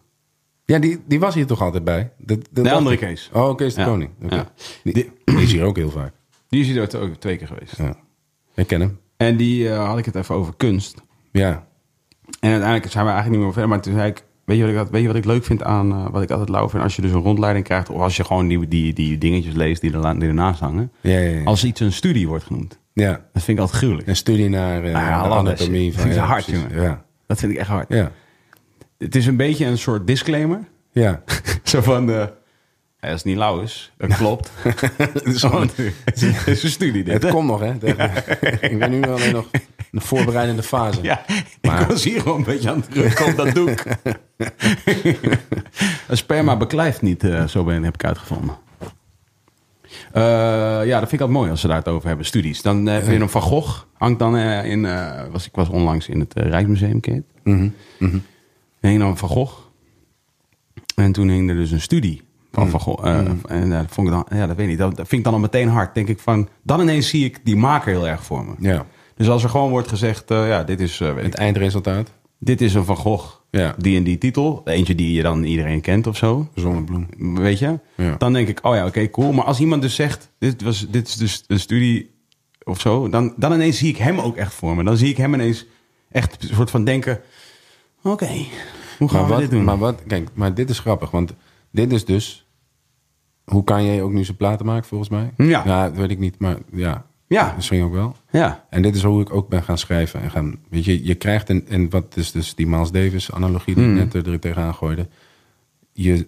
Ja, die, die was hier toch altijd bij? Dat, dat dacht
andere
ik.
Kees.
Oh, Kees de
Ja.
Koning. Oké.
Ja.
Die, die is hier ook heel vaak.
Die is hier ook ook twee keer geweest.
Ja. Ik ken hem.
En die eh, had ik het even over kunst.
Ja.
En uiteindelijk zijn we eigenlijk niet meer verder. Maar toen zei ik, weet je wat ik, had- weet je wat ik leuk vind aan... eh, wat ik altijd lauw vind als je dus een rondleiding krijgt... of als je gewoon die, die, die dingetjes leest die, erla- die ernaast hangen.
Ja, ja, ja.
Als iets een studie wordt genoemd.
ja.
Dat vind ik altijd gruwelijk.
Een studie naar eh
Nou ja,
de
hallo, dat is-
anatomie.
dat <laughs> is
ja,
hard,
precies.
jongen.
Ja.
Dat vind ik echt hard.
Ja.
Het is een beetje een soort disclaimer. <laughs>
Ja.
Zo van... eh, ja, als het niet lauw is, dat <laughs> klopt. Het is gewoon- <laughs> Het is een studie dit.
Het
hè?
komt nog, hè? <laughs> ik ben nu alleen nog in de voorbereidende
<laughs>
fase.
Ja,
Maar-
ik was hier gewoon een beetje aan <laughs> het drukken op dat doek. een sperma beklijft niet, eh, zo ben, heb ik uitgevonden. Eh, ja, dat vind ik altijd mooi als ze daar het over hebben, studies. Dan eh, heb je een Van Gogh, hangt dan eh, in... eh, was, ik was onlangs in het eh, Rijksmuseum, ken je het? mhm. Er hing dan een Van Gogh. En toen hing er dus een studie van Van Gogh. eh, En dat vond ik dan, ja, dat weet ik niet, dat, dat vind ik dan al meteen hard. Denk ik van, dan ineens zie ik die maker heel erg voor me.
Ja.
Dus als er gewoon wordt gezegd, eh, ja, dit is, eh, weet ik
Het eindresultaat?
dit is een Van Gogh,
Ja.
die en die titel. Eentje die je dan iedereen kent of zo.
Zonnebloem.
Weet je?
Ja.
Dan denk ik, oh ja, oké, cool. Maar als iemand dus zegt, dit, was, dit is dus een studie of zo. Dan, dan ineens zie ik hem ook echt voor me. Dan zie ik hem ineens echt een soort van denken... Oké, hoe gaan
Maar
we
wat,
dit doen?
maar wat, kijk, maar dit is grappig, want dit is dus. Hoe kan jij ook nu zijn platen maken, volgens mij?
Ja.
dat weet ik niet, maar ja.
Ja.
Misschien ook wel.
ja,
En dit is hoe ik ook ben gaan schrijven. En gaan, weet je, je krijgt een,
Hmm.
en wat is dus die Miles Davis analogie die ik net er tegenaan gooide. Je,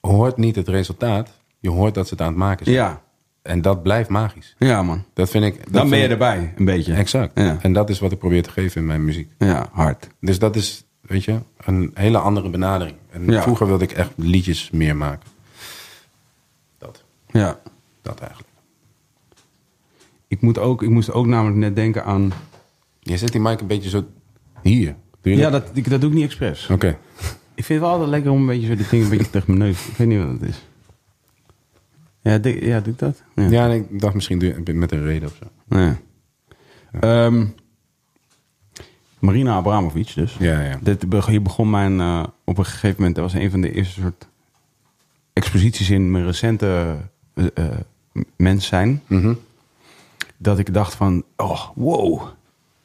hoort niet het resultaat. Je hoort dat ze het aan het maken zijn.
Ja,
En dat blijft magisch.
ja man.
Dat vind ik. dat
Dan ben je
vind ik-
erbij, een beetje.
Exact.
Ja,
En dat is wat ik probeer te geven in mijn muziek.
ja hard.
Dus dat is, weet je, een hele andere benadering. En
Ja.
vroeger wilde ik echt liedjes meer maken. Dat,
Ja.
dat eigenlijk.
Ik, moet ook, ik moest ook namelijk net denken aan...
Je zet die mic een beetje zo hier. Doe je
Ja, dat, ik, dat doe ik niet expres.
Oké.
Ik vind het wel altijd lekker om een beetje zo die ding een beetje tegen mijn neus... Ik weet niet wat het is. Ja, dik- ja doe ik dat?
Ja, en ik dacht misschien doe je- met een reden of zo.
Nee. Ehm, Marina Abramovic dus.
Ja, ja.
Dit, be- hier begon mijn... eh, op een gegeven moment, dat was een van de eerste soort exposities in mijn recente eh, eh, mens zijn.
Mhm.
Dat ik dacht van, oh, wow.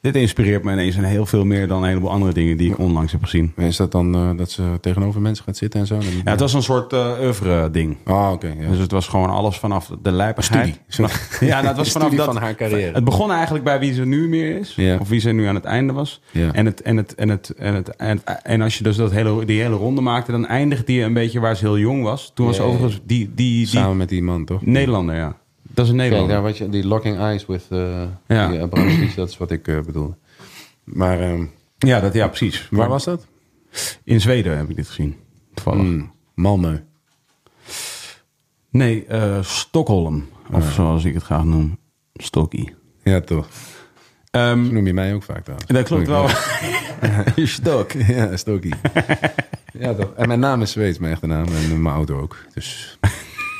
Dit inspireert me ineens en heel veel meer dan een heleboel andere dingen die ik onlangs heb gezien.
Maar Is dat dan eh, dat ze tegenover mensen gaat zitten en zo?
Ja, het was een soort eh oeuvre ding.
Oh, oké. ja.
Dus het was gewoon alles vanaf de lijpigheid.
Studie.
Vanaf- Ja, dat was
Studie
vanaf dat,
van haar carrière.
Het begon eigenlijk bij wie ze nu meer is.
Ja.
Of wie ze nu aan het einde was.
Ja.
En, het, en, het, en, het, en, het, en, en als je dus dat hele, die hele ronde maakte, dan eindigde je een beetje waar ze heel jong was. Toen was
Ja,
ze
ja, ja.
overigens die, die, die
Samen met die man, toch?
Nederlander, ja. Dat is een
Kijk,
Nederlander.
daar wat je, die locking eyes with eh
Ja.
die Abramovic, dat is wat ik eh, bedoelde. Maar ehm,
ja, dat, ja, precies.
waar was dat?
In Zweden heb ik dit gezien. Toevallig.
Mm, Malmö.
Nee, eh, Stockholm. Of
Ah.
zoals ik het graag noem, Stokkie.
Ja, toch.
Ehm,
Zo noem je mij ook vaak trouwens.
dat klopt wel.
Ja.
Stok.
<laughs>
<laughs>
Ja, Stokie. ja, toch. En mijn naam is Zweeds, mijn echte naam. En eh, mijn auto ook.
<laughs>
Dus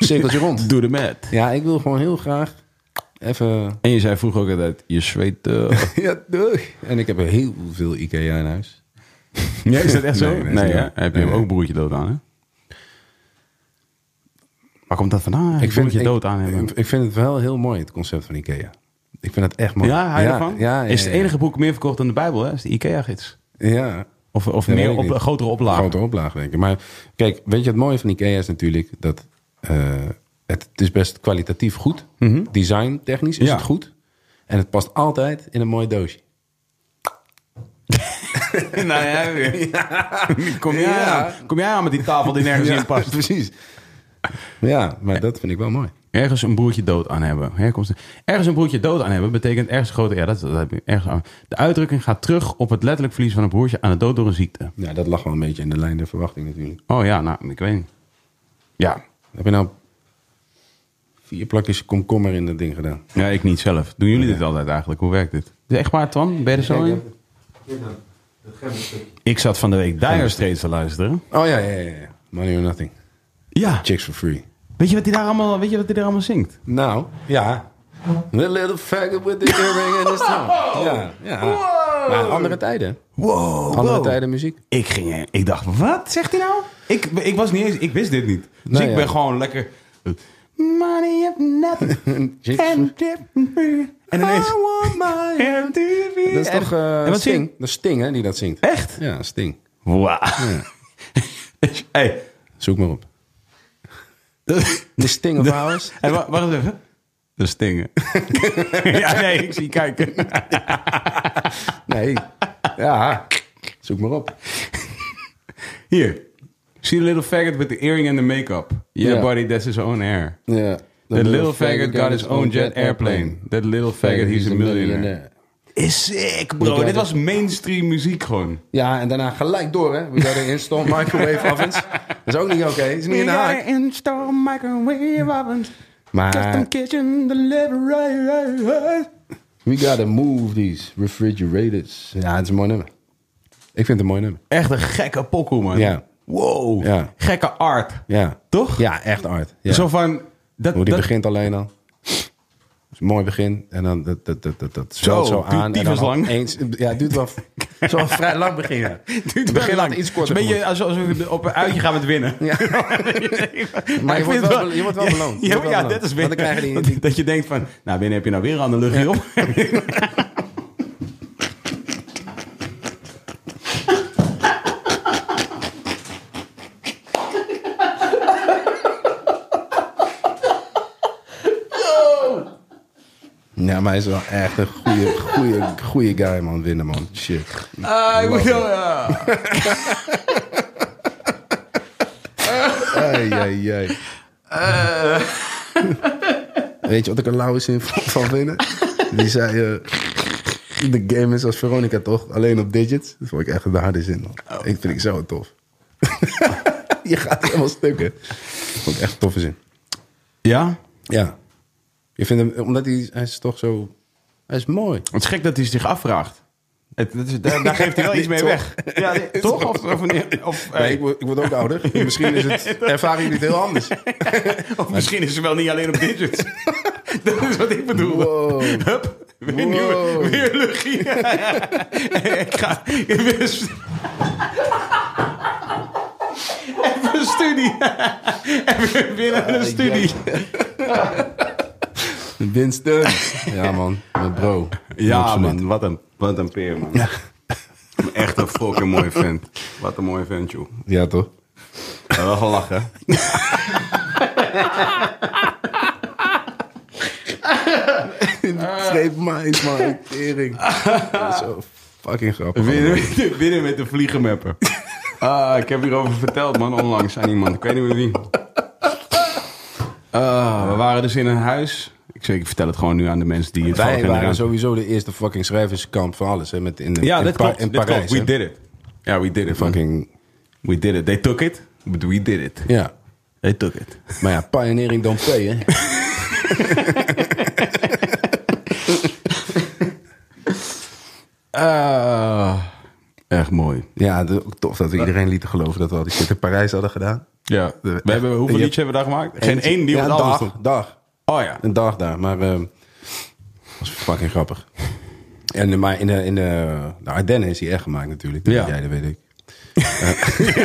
cirkeltje rond.
Doe de met.
Ja, ik wil gewoon heel graag
<laughs>
even...
En je zei vroeger ook altijd, je zweet... eh.
Ja, doei. En ik heb heel veel Ikea in huis.
ja, is dat echt zo?
Nee,
Nee,
nee,
hè?
nee.
Heb je
Nee.
hem ook broertje dood aan, hè? Waar komt dat vandaan? Ik vind je dood aan hebben.
Ik, ik vind het wel heel mooi, het concept van Ikea. Ik vind het echt mooi.
ja, hou je ervan?
Ja, ja,
is het
ja.
enige boek meer verkocht dan de Bijbel, hè? Is de Ikea-gids.
Ja.
Of, of
Ja,
meer
weet ik
op,
niet.
grotere oplagen.
Grote oplage, denk ik. Maar kijk, weet je, het mooie van Ikea is natuurlijk dat eh, het, het is best kwalitatief goed. Design technisch is
Mhm. Ja.
het goed. En het past altijd in een mooi doosje.
nou ja, weer. Kom, jij
Ja.
aan, kom jij aan met die tafel die
<laughs>
nergens in past.
precies. Ja, maar dat vind ik wel mooi.
Ergens een broertje dood aan hebben. Herkomst. Ergens een broertje dood aan hebben betekent ergens grote... Ja, dat, dat heb ik ergens aan. De uitdrukking gaat terug op het letterlijk verlies van een broertje aan de dood door een ziekte.
Ja, dat lag wel een beetje in de lijn der verwachting natuurlijk.
Oh ja, nou, ik weet niet. Ja.
Heb je nou vier plakjes komkommer in dat ding gedaan?
Ja, ik niet zelf. Doen jullie dit altijd eigenlijk? Hoe werkt dit? Is echt waar, Twan? Ben je er zo in? Ik zat van de week Dire Straits te luisteren.
Oh ja, ja, ja. ja. Money or nothing.
Ja.
Chicks for free.
Weet je wat hij daar allemaal, weet je wat hij daar allemaal zingt?
Nou, ja. The little faggot with the earring in his
<laughs>
tongue. Ja, ja. Maar andere tijden.
Wow.
Andere
wow.
tijden muziek.
Ik ging, eh, ik dacht, wat zegt hij nou? Ik, ik was niet eens, ik wist dit niet. Dus
Nou
ik
ja.
ben gewoon lekker. Money up nothing. and en ineens. <laughs> MTV.
Dat is toch eh,
en wat
Sting?
zing?
Dat is Sting, hè, die dat zingt.
Echt?
Ja, Sting.
Wauw. <laughs> hey.
Zoek maar
<laughs>
op. De Sting of House.
Hey, wa- wacht even. De stingen. <laughs> ja, nee, <laughs> ik zie kijken.
<laughs> Nee. Ja. Zoek maar op.
Hier. See the little faggot with the earring and the makeup. Yeah,
Ja.
buddy, that's his own hair.
Ja.
That little faggot got his own jet airplane. That little faggot, he's a millionaire. Is sick, bro.
got
Dit
it.
was mainstream muziek gewoon.
Ja, en daarna gelijk door, hè. We got an install
<laughs>
microwave ovens. Dat is ook niet oké. is niet in de haak.
install microwave ovens.
Maar
kitchen delivery.
we gotta move these refrigerators. Ja, het is een mooi nummer. Ik vind het een mooi nummer.
Echt een gekke pokoe, man.
Ja.
Wow.
Ja.
Gekke art.
Ja.
Toch?
Ja, echt art. Ja.
Zo van... Dat,
Hoe die
<laughs> dat,
begint alleen al. Dat is een mooi begin. En dan dat, dat, dat, dat, dat
Zo,
zwelt zo
duurt
aan. en dan
tyfus lang.
Eens, ja, het duurt
<laughs>
wel, het is wel een vrij lang begin. Ja. Het
duurt
begin
wel lang.
laat iets korter.
Het is Een beetje alsof we op een uitje gaan met winnen. <laughs>
Ja. Maar je
Ik
wordt
vind
wel- je wordt wel beloond. Je
Ja,
wordt wel
ja,
beloond.
dat is
Want
weer.
dan krijgen die-
dat,
die-
<laughs> dat je denkt van, nou binnen heb je nou weer aan de luchtje op.
begin. Ja, maar hij is wel echt een goede, goede, goede guy, man. Winnen, man. Shit.
Ah, ik moet wel, ja.
Ja, Ai, ai, ai. Weet je wat ik een lauwe zin van, van binnen? Die zei... eh, de game is als Veronica, toch? Alleen op digits. Dat vond ik echt een harde zin. man. Ik vind ik zo tof. <laughs> Je gaat helemaal stukken. Dat vond ik echt een toffe zin.
<laughs> Ja?
Ja. Je vindt hem, omdat hij, hij is toch zo... Hij is mooi.
Het is gek dat hij zich afvraagt. Het, dat is- daar, daar geeft <laughs> hij wel iets mee
Toch?
weg. Ja, nee, toch? Of, of, <laughs> nee, of, eh,
Nee, ik, word, ik word ook ouder. Misschien is het, ervaren jullie het heel anders.
of misschien is ze wel niet alleen op <laughs> digits. dat is wat ik bedoel.
Wow.
Hup, weer
Wow.
nieuwe, weer luchtje. ik ga even een stu- even een studie. even binnen een studie.
Winston. Ja, man. Mijn bro. Absoluut.
wat een, wat een peer, man.
Ja.
Echt een fucking mooie vent. Wat een mooie vent, joh.
Ja, toch?
Wel gelachen.
Greep mij eens, man. Tering. Dat is zo fucking grappig.
Winnen, met de- winnen met de <laughs> vliegenmapper. Ah, ik heb hierover verteld, man, onlangs aan iemand. Ik weet niet meer wie. Ah, we waren dus in een huis. Ik, zeg, ik vertel het gewoon nu aan de mensen die het
Wij
volgen.
waren sowieso de eerste fucking schrijverskamp van alles. Hè, met in,
Ja,
in,
dat
Pa-
klopt.
in
dit
Parijs.
klopt. We
hè.
did it. Ja, we did it. man.
Fucking,
We did it. They took it, but we did it.
ja.
They took it.
Maar ja, pioneering don't pay, hè.
Ah, echt mooi.
Ja, de- ook tof dat we iedereen lieten geloven dat we al die shit in Parijs hadden gedaan.
Ja, we hebben, hoeveel
Je-
liedjes hebben we daar gemaakt? Geen één die op
ja,
het
een
album
dag,
stond.
dag.
Oh ja.
Een dag daar, maar... ehm was fucking grappig. En, maar in de, in de, de Ardennen is die echt gemaakt natuurlijk. Dat
Ja.
weet jij, dat weet ik.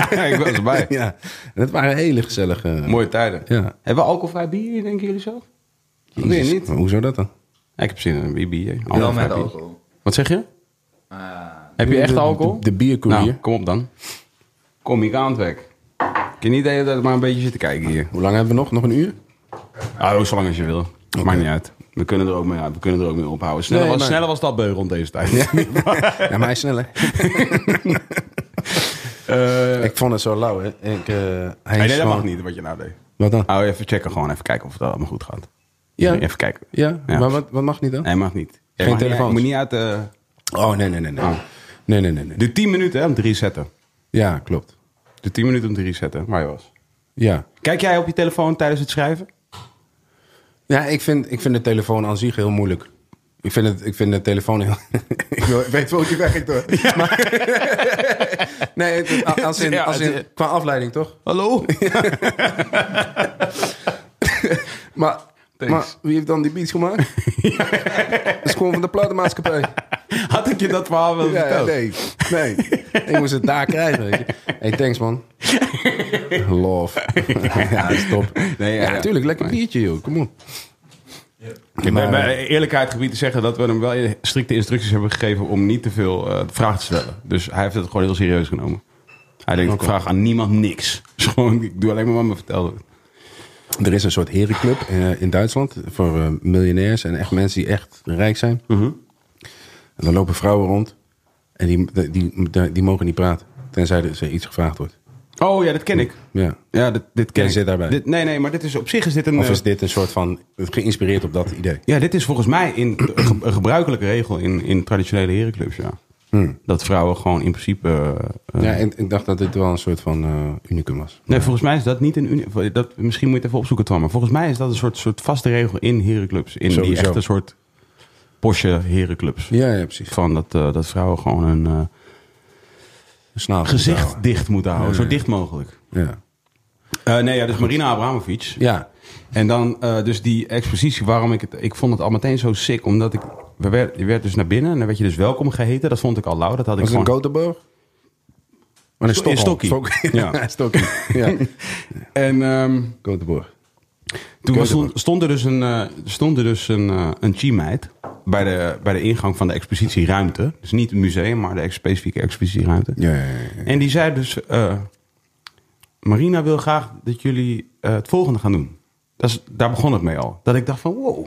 ja, ik was erbij.
<laughs> Ja, en het waren hele gezellige...
Mooie tijden.
Ja.
Hebben we alcoholvrij bier, denken jullie zo?
Jezus,
Weer niet.
maar Hoezo dat dan?
Ja, ik heb zin in een bier.
Wel
Alcoholvrij
met
bier.
alcohol.
Wat zeg je?
Ah,
Heb je echt alcohol?
De, de biercourier.
Nou, kom op dan. Kom, ik aan het werk. Ik heb niet idee dat ik maar een beetje zit te kijken hier.
Hoe lang hebben we nog? Nog een
<laughs>
uur?
Ah, zo lang als je wil. Maakt niet uit. We kunnen er ook mee, we kunnen er ook mee ophouden. Sneller,
Nee,
was,
maar-
sneller was dat beu rond deze tijd.
Ja, maar hij is sneller.
<laughs> Eh,
Ik vond het zo lauw, hè. Ik, eh, hij
nee,
is
nee, dat
gewoon-
mag niet wat je nou deed.
Wat dan?
Nou, even checken gewoon. Even kijken of het allemaal goed gaat.
Ja.
Even kijken.
Ja, maar wat, wat mag niet dan?
Nee, mag niet. Jij
Geen
mag niet-
telefoons.
je moet niet uit de...
Oh, nee, nee, nee. Nee,
Ah.
nee, nee, nee. nee.
De 10 minuten hè, om te resetten.
Ja, klopt.
De 10 minuten om te resetten. Waar je was.
Ja.
Kijk jij op je telefoon tijdens het schrijven? <laughs>
Ja, ik vind, ik vind de telefoon aan zich heel moeilijk. Ik vind, het, ik vind de telefoon heel... <laughs> ik wil- ik weet wel hoe die werkt, hoor. Maar- <laughs> nee, het- a- als in,
Ja,
als in,
het-
qua afleiding, toch?
Hallo?
<laughs> Maar,
Thanks.
maar wie heeft dan die beats
<laughs>
gemaakt? Dat is gewoon van de platenmaatschappij.
Had ik je dat verhaal wel
Ja, ja,
verteld?
nee, nee. ik moest het daar krijgen. Weet je. Hey, thanks
<laughs>
man. Love. <laughs> ja, stop.
Nee, ja,
ja,
ja.
natuurlijk. Lekker biertje, joh. Kom op.
Ik ben
Maar-
bij dus eerlijkheid gebied te zeggen dat we hem wel strikte instructies hebben gegeven om niet te veel eh, vragen te stellen. Dus hij heeft het gewoon heel serieus genomen. Hij denkt, ik vraag aan niemand niks. <laughs> Dus gewoon, ik doe alleen maar wat me verteld wordt.
Er is een soort herenclub eh, in Duitsland voor eh, miljonairs en echt mensen die echt rijk zijn. En dan lopen vrouwen rond en die, die, die, die mogen niet praten, tenzij er ze iets gevraagd wordt.
Oh ja, dat ken ik.
Ja.
Ja, dit, dit ken
Jij
ik.
zit daarbij.
Dit, nee, nee, maar dit is op zich is dit een...
Of is
eh,
dit een soort van, geïnspireerd op dat idee?
Ja, dit is volgens mij in, een ge- een gebruikelijke regel in, in traditionele herenclubs, ja. Dat vrouwen gewoon in principe... eh, eh,
Hmm. Ja, en ik dacht dat dit wel een soort van eh, unicum was.
Nee, volgens mij is dat niet een... uni- Dat, misschien moet je het even opzoeken, Tom. Maar volgens mij is dat een soort, soort vaste regel in herenclubs. In die
Sowieso.
echte soort Porsche herenclubs.
Ja, ja precies.
Van dat, eh, dat vrouwen gewoon hun eh, Nou.
Een snavel
gezicht
houden.
dicht moeten houden. Zo dicht mogelijk.
Ja.
Eh, nee, ja, dus Marina Abramovic.
ja.
En dan eh, dus die expositie, waarom ik het... Ik vond het al meteen zo sick, omdat ik... We werd, je werd dus naar binnen en dan werd je dus welkom geheten. Dat vond ik al lauw. Dat had ik
Was het
gewoon...
in Gothenburg? Maar in
Sto- in
Stockholm.
Stokkie.
Stok- <laughs> Ja,
Ja.
Stokkie. <laughs> Ja,
En ehm,
Gothenburg.
toen was,
Gothenburg.
stond er dus een, eh, stond er dus een, eh, een G-meid bij de, bij de ingang van de expositieruimte. Dus niet het museum, maar de ex- specifieke expositieruimte.
Ja, ja, ja.
En die zei dus: eh, Marina wil graag dat jullie eh, het volgende gaan doen. Dat is, daar begon het mee al. Dat ik dacht van wow,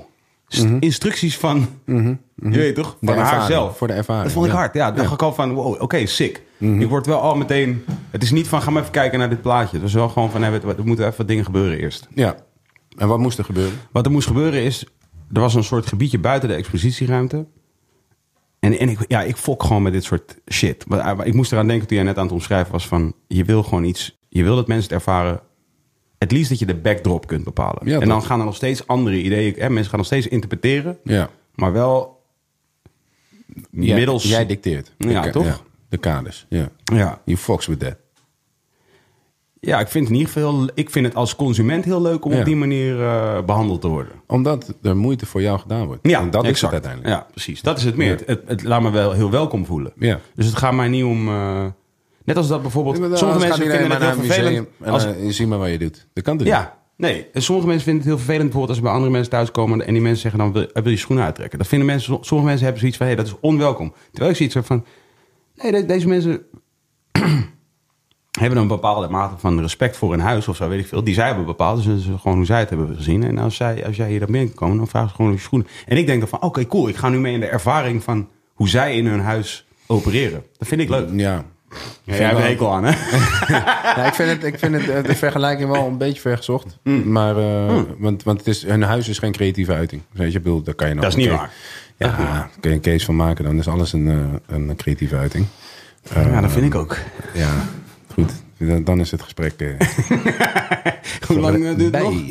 s- instructies van, <laughs> je weet toch, van
ervaring,
haar zelf.
voor Mhm. de ervaring,
Dat vond ik
ja.
hard. Ja, dacht
Ja. Mhm.
ik al van, wow, oké, sick. Ik word wel al meteen, het is niet van, ga maar even kijken naar dit plaatje. Het was wel gewoon van, nee, we- er moeten even wat dingen gebeuren eerst.
Ja. En wat moest er gebeuren?
Wat er moest gebeuren is, er was een soort gebiedje buiten de expositieruimte. En, en ik, ja, ik fok gewoon met dit soort shit. Maar, ah, maar Ik moest eraan denken toen jij net aan het omschrijven was van... je wil gewoon iets, je wil dat mensen het ervaren... het liefst dat je de backdrop kunt bepalen.
Ja,
en dan
dat-
gaan er nog steeds andere ideeën... Hè, mensen gaan nog steeds interpreteren,
Ja.
maar wel
Jij-
middels...
Jij dicteert. De
Ja,
ka-
toch?
De kaders. Ja.
ja.
You fox with that.
ja, ik vind het in ieder geval... heel- ik vind het als consument heel leuk om
Ja.
op die manier eh, behandeld te worden.
Omdat er moeite voor jou gedaan wordt.
Ja,
en dat is
exact.
het uiteindelijk.
Ja, precies. Dat is het meer.
Ja.
Het, het, laat me wel heel welkom voelen.
Ja.
Dus het gaat mij niet om... eh, net als dat bijvoorbeeld...
Ja, maar dan-
sommige
anders
mensen
gaat
vinden
iedereen
het heel
maar naar
vervelend.
een museum
als,
En dan zie maar wat je doet. Dat kan toch niet?
ja, nee. En sommige mensen vinden het heel vervelend bijvoorbeeld als ze bij andere mensen thuiskomen en die mensen zeggen dan wil, wil je schoenen uittrekken. Dat vinden mensen, sommige mensen hebben zoiets van hé, dat is onwelkom. Terwijl ik zoiets heb van nee, de- deze mensen <clears throat> hebben een bepaalde mate van respect voor hun huis of zo, weet ik veel. Die zij hebben bepaald, dus dat is gewoon hoe zij het hebben gezien. En als, zij, als jij hier dan binnenkomt, dan vragen ze gewoon om je schoenen. En ik denk dan van oké, cool, ik ga nu mee in de ervaring van hoe zij in hun huis opereren. Dat vind ik leuk.
Ja.
Ja, jij hebt een hekel aan, hè?
Ja, ik vind, het, ik vind het, eh, de vergelijking wel een beetje vergezocht.
Mm.
Maar, eh, want, want het is, een huis is geen creatieve uiting. Weet je, ik bedoel, daar kan je nou
Dat is niet
oké.
waar.
Ja, daar kun je een case van maken. Dan is alles een, eh, een creatieve uiting. Ehm,
Ja, dat vind ik ook.
Ja, goed. Dan- Dan is het gesprek...
<laughs>
eh,
Hoe lang eh, duurt het nog?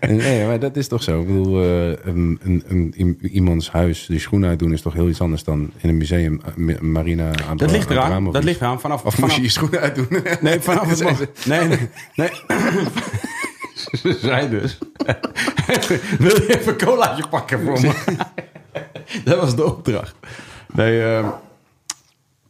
bij. <laughs> nee, maar dat is toch zo. Ik bedoel, eh, een, een, een- i- iemands huis de schoen uitdoen is toch heel iets anders dan in een museum, eh, mi- marina aan het-
Dat ligt
aan het raam
eraan.
of
Dat
iets.
ligt eraan. Vanaf,
Of
vanaf, <laughs>
moest je je schoenen uitdoen?
Nee, <laughs> vanaf het
Ze-
moment. Nee, nee. nee. Ze zei
<laughs>
dus. Wil je even een colaatje pakken voor me? <laughs> dat was de opdracht. Nee, eh,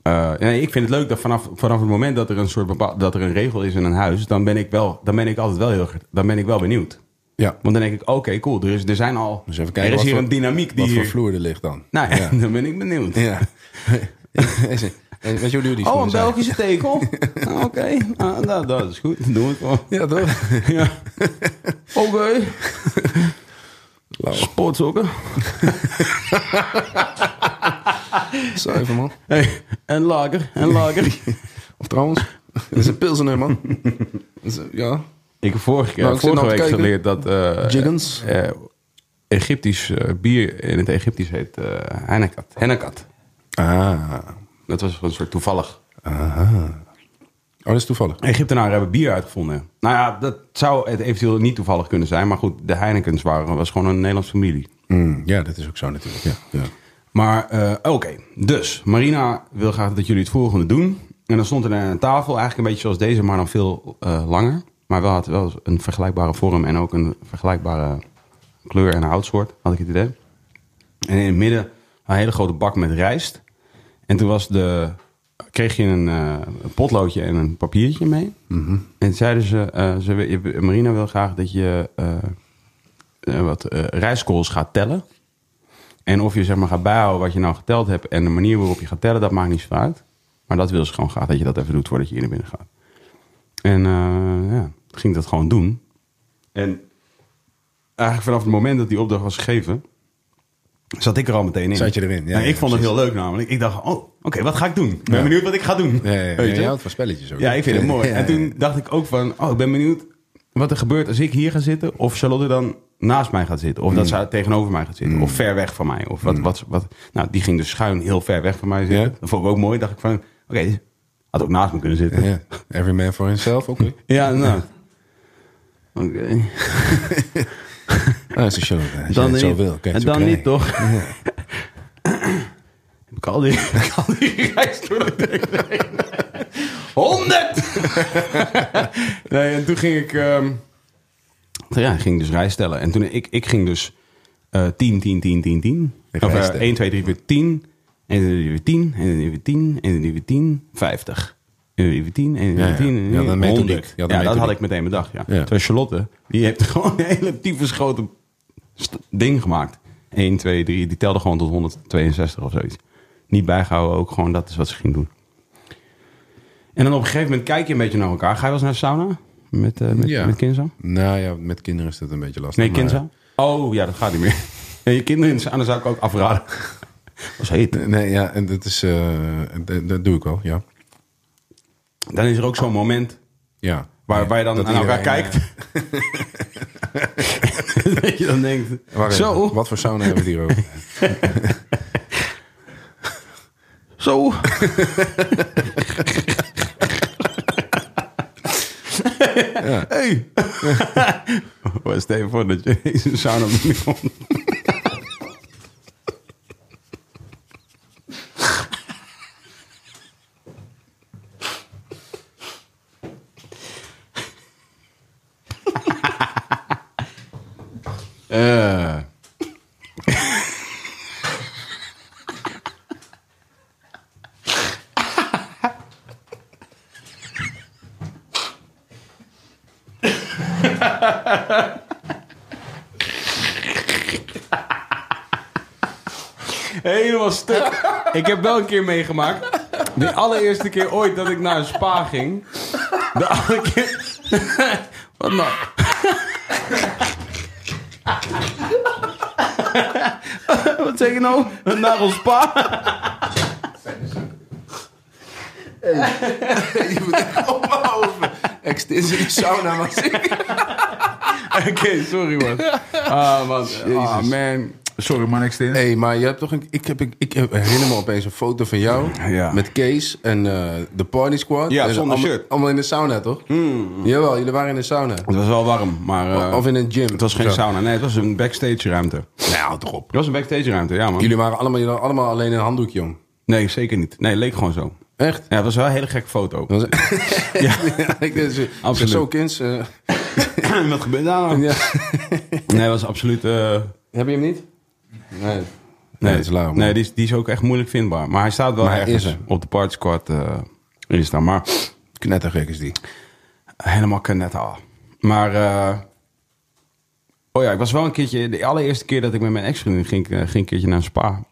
eh, nee, ik vind het leuk dat vanaf, vanaf het moment dat er een soort bepaal, dat er een regel is in een huis, dan ben ik wel, dan ben ik altijd wel heel, erg- dan ben ik wel benieuwd.
Ja.
Want dan denk ik, oké, cool. Er is, er zijn al,
Dus even kijken
er is
wat
hier
voor-
een dynamiek die
Wat voor
hier.
vloer er ligt dan?
Nou, ja,
ja.
<laughs> dan ben ik benieuwd.
ja. <laughs> Weet je hoe duur die schoenen
Oh, een
zijn?
Belgische tekel? Ah, Oké, Ah, nou, dat is goed. Dan Doen we het gewoon.
<laughs> Ja, toch?
<laughs> Ja. Oké. Sportsokken.
Zo even, man.
Hey, en lager, en
<laughs>
lager.
Of trouwens, dat is een
<laughs>
pilsener, man. Dat is, ja,
Ik heb vorige, keer,
Nou, ik zit
vorige
nou te
week
kijken.
geleerd dat... eh,
Jiggins.
eh, Egyptisch eh, bier in het Egyptisch heet eh hennekat. Hennekat. eh,
Ah,
Dat was een soort toevallig.
oh, dat is toevallig.
Egyptenaren hebben bier uitgevonden. Nou ja, dat zou het eventueel niet toevallig kunnen zijn. Maar goed, de Heinekens waren, was gewoon een Nederlandse familie.
Mm, ja, dat is ook zo natuurlijk. Ja, ja.
Maar eh, oké, dus Marina wil graag dat jullie het volgende doen. En dan stond er een tafel, eigenlijk een beetje zoals deze, maar dan veel eh, langer. Maar wel had wel een vergelijkbare vorm en ook een vergelijkbare kleur en houtsoort, had ik het idee. En in het midden een hele grote bak met rijst. En toen was de, kreeg je een, eh, een potloodje en een papiertje mee. En zeiden ze, eh, ze wil- je- Marina wil graag dat je eh, eh, wat eh rijstkorrels gaat tellen. En of je zeg maar gaat bijhouden wat je nou geteld hebt en de manier waarop je gaat tellen, dat maakt niet zoveel uit. Maar dat wil ze gewoon graag dat je dat even doet voordat je hier naar binnen gaat. En eh, ja, ging dat gewoon doen. En eigenlijk vanaf het moment dat die opdracht was gegeven, zat ik er al meteen in.
Zat je erin, ja,
Nou, ik
ja,
vond het
precies.
heel leuk namelijk. Ik dacht, oh, oké, wat ga ik doen? Ik ben
Ja.
benieuwd wat ik ga doen.
Ja, ja, ja.
Weet je?
Jij houdt van spelletjes ook.
Ja, ik vind het mooi.
Ja,
En
ja.
toen dacht ik ook van, oh, ik ben benieuwd wat er gebeurt als ik hier ga zitten. Of Charlotte dan naast mij gaat zitten. Of dat ze tegenover mij gaat zitten. Of ver weg van mij. Of wat, wat, wat. Nou, die ging dus schuin heel ver weg van mij zitten.
Ja.
Dat vond ik ook mooi. Dacht ik van, oké, had ook naast me kunnen zitten. Ja,
Ja. Every man for himself, oké.
nou. Oké.
Ah, is een show. Als je
Dan
het zo
niet.
wil. kan je
en
het zo
dan
krijgen.
niet, toch? Heb ik al die, <laughs> heb ik al die reis door de deur heen? <laughs> 100! nee, en toen ging ik... ehm, ja, ik ging dus rij stellen. En toen ik, ik ging dus eh 10, 10, 10, 10, 10.
Ik
Of
rij
eh,
stellen.
1, 2, 3, 4, 10. 1, 2, 3, 4, 10. 1, 2, 3, 4, 10. 1, 2, 3, 10. 50. 1, 2, 3, 10. 1, 2, 3,
Ja,
10.
ja. Je had een
100.
methodiek. Je had een
Ja, dat had
methodiek.
ik meteen bedacht, ja.
Ja.
Terwijl Charlotte, die heeft <laughs> gewoon een hele tyfusgrote st- ding gemaakt. 1, 2, 3. Die telde gewoon tot 162 of zoiets. Niet bijgehouden ook. Gewoon dat is wat ze ging doen. En dan op een gegeven moment kijk je een beetje naar elkaar. Ga je wel eens naar de sauna? Met, eh met,
Ja.
met Kinza?
Nou ja, met kinderen is dat een beetje lastig.
Nee,
maar-
Kinza. Oh ja, dat gaat niet meer. <laughs> En je kinderen aan, dan zou ik ook afraden. <laughs> Dat is heet.
Nee, ja, en dat is. eh, dat, dat doe ik wel, ja.
Dan is er ook zo'n moment
ja.
waar, waar je dan
Dat
aan elkaar
iedereen,
kijkt. <laughs> dat je dan denkt,
eh, wacht even,
zo,
Wat voor sauna hebben we het hier <laughs> over? <laughs>
zo. Hey. <laughs> Wat stel je voor dat je eens een sauna binnenkomt? Eh. Helemaal stuk. Ik heb wel een keer meegemaakt. De allereerste keer ooit dat ik naar een spa ging. De allereerste keer... <laughs> Wat nou? Wat zeg je nou? Naar ons spa?
je moet echt ophouden. Extensieve sauna, maar
<laughs>
zeker.
Oké, <laughs> sorry man. Ah man. Ah,
Jezus.
man.
Sorry man, ik steen.
Hé, hey, maar je hebt toch een, ik, heb, ik, ik herinner me opeens een foto van jou
Ja.
met Kees en eh, de Party Squad.
Ja,
En ze
zonder
allemaal,
shirt. Hmm.
Allemaal in de sauna, toch? Jawel, jullie waren in de sauna.
Het was wel warm, maar... eh,
of in een gym.
Het was geen sauna. Nee, het was een backstage ruimte. Het
Nou, toch op.
was een backstage ruimte, ja man.
Jullie waren allemaal, jullie hadden allemaal alleen in een handdoekje om.
Nee, zeker niet. Nee, leek gewoon zo.
Echt?
Ja, het was wel een hele gekke foto.
Dat <laughs> was- ja, <laughs> ik denk zo-
Absoluut.
Zo, kind. eh,
<clears throat> Wat gebeurt daar nou?
<laughs> ja.
Nee, dat was absoluut... eh,
Heb je hem niet? Nee.
Nee,
dat is lauw. man.
Nee, die is, die is ook echt moeilijk vindbaar. Maar hij staat wel
Maar hij
ergens
is er.
op de party squad. eh, is daar. Maar
Knettergek is die.
helemaal kanetta. Maar, eh, oh ja, ik was wel een keertje... De allereerste keer dat ik met mijn ex-vriendin ging, eh, ging een keertje naar een spa.